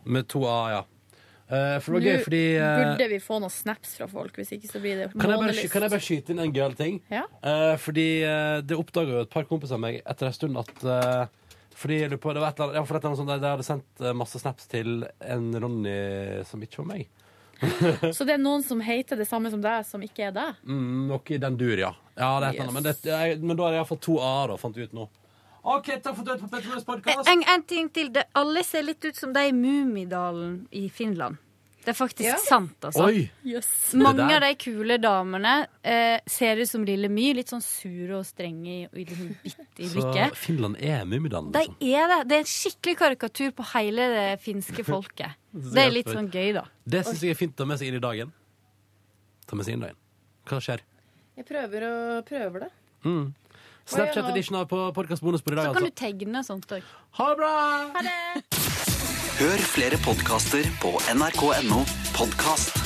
[SPEAKER 2] Med to A, ja. Eh, for
[SPEAKER 17] Nå
[SPEAKER 2] det var gøy, fordi eh,
[SPEAKER 17] burde vi få noen snaps fra folk, hvis ikke så blir det
[SPEAKER 2] kan jeg, bare, sky-
[SPEAKER 17] månelyst.
[SPEAKER 2] kan jeg bare skyte inn en gøyal ting?
[SPEAKER 17] Ja.
[SPEAKER 2] Eh, fordi eh, det oppdaga jo et par kompiser av meg etter en stund at eh, fordi jeg lurer på, det var et eller annet, ja, for et eller annet sånt, der, der hadde sendt eh, masse snaps til en Ronny som ikke var meg.
[SPEAKER 17] Så det er noen som heter det samme som deg, som ikke er deg?
[SPEAKER 2] Mm, noe i den dur, ja. ja det er et eller annet, men, det, jeg, men da har jeg iallfall to A-er, da, fant jeg ut nå. OK, takk for at du hørte på Petter Møes podcast.
[SPEAKER 18] Eh, En, en ting til. Det, alle ser litt ut som de i Mummidalen i Finland. Det er faktisk
[SPEAKER 17] Ja.
[SPEAKER 18] sant, altså.
[SPEAKER 17] Oi. Yes.
[SPEAKER 18] Mange
[SPEAKER 17] Det der.
[SPEAKER 18] av de kule damene eh, ser ut som Lille My. Litt sånn sure og strenge og liksom bitte i
[SPEAKER 2] Så
[SPEAKER 18] blikket.
[SPEAKER 2] Finland er Mummidalen,
[SPEAKER 18] De
[SPEAKER 2] liksom.
[SPEAKER 18] er det. Det er en skikkelig karikatur på hele det finske folket. Det er litt sånn gøy, da.
[SPEAKER 2] Det syns jeg er fint å ta med seg inn i dagen. Ta med seg inn i dagen. Hva skjer?
[SPEAKER 4] Jeg prøver å prøver det.
[SPEAKER 2] Mm. Snapchat edition av på podcast bonusbord i dag,
[SPEAKER 18] Så kan
[SPEAKER 2] altså.
[SPEAKER 18] du tegne og sånt òg.
[SPEAKER 2] Ha det bra!
[SPEAKER 18] Ha det.
[SPEAKER 10] Hør flere podkaster på nrk.no podkast.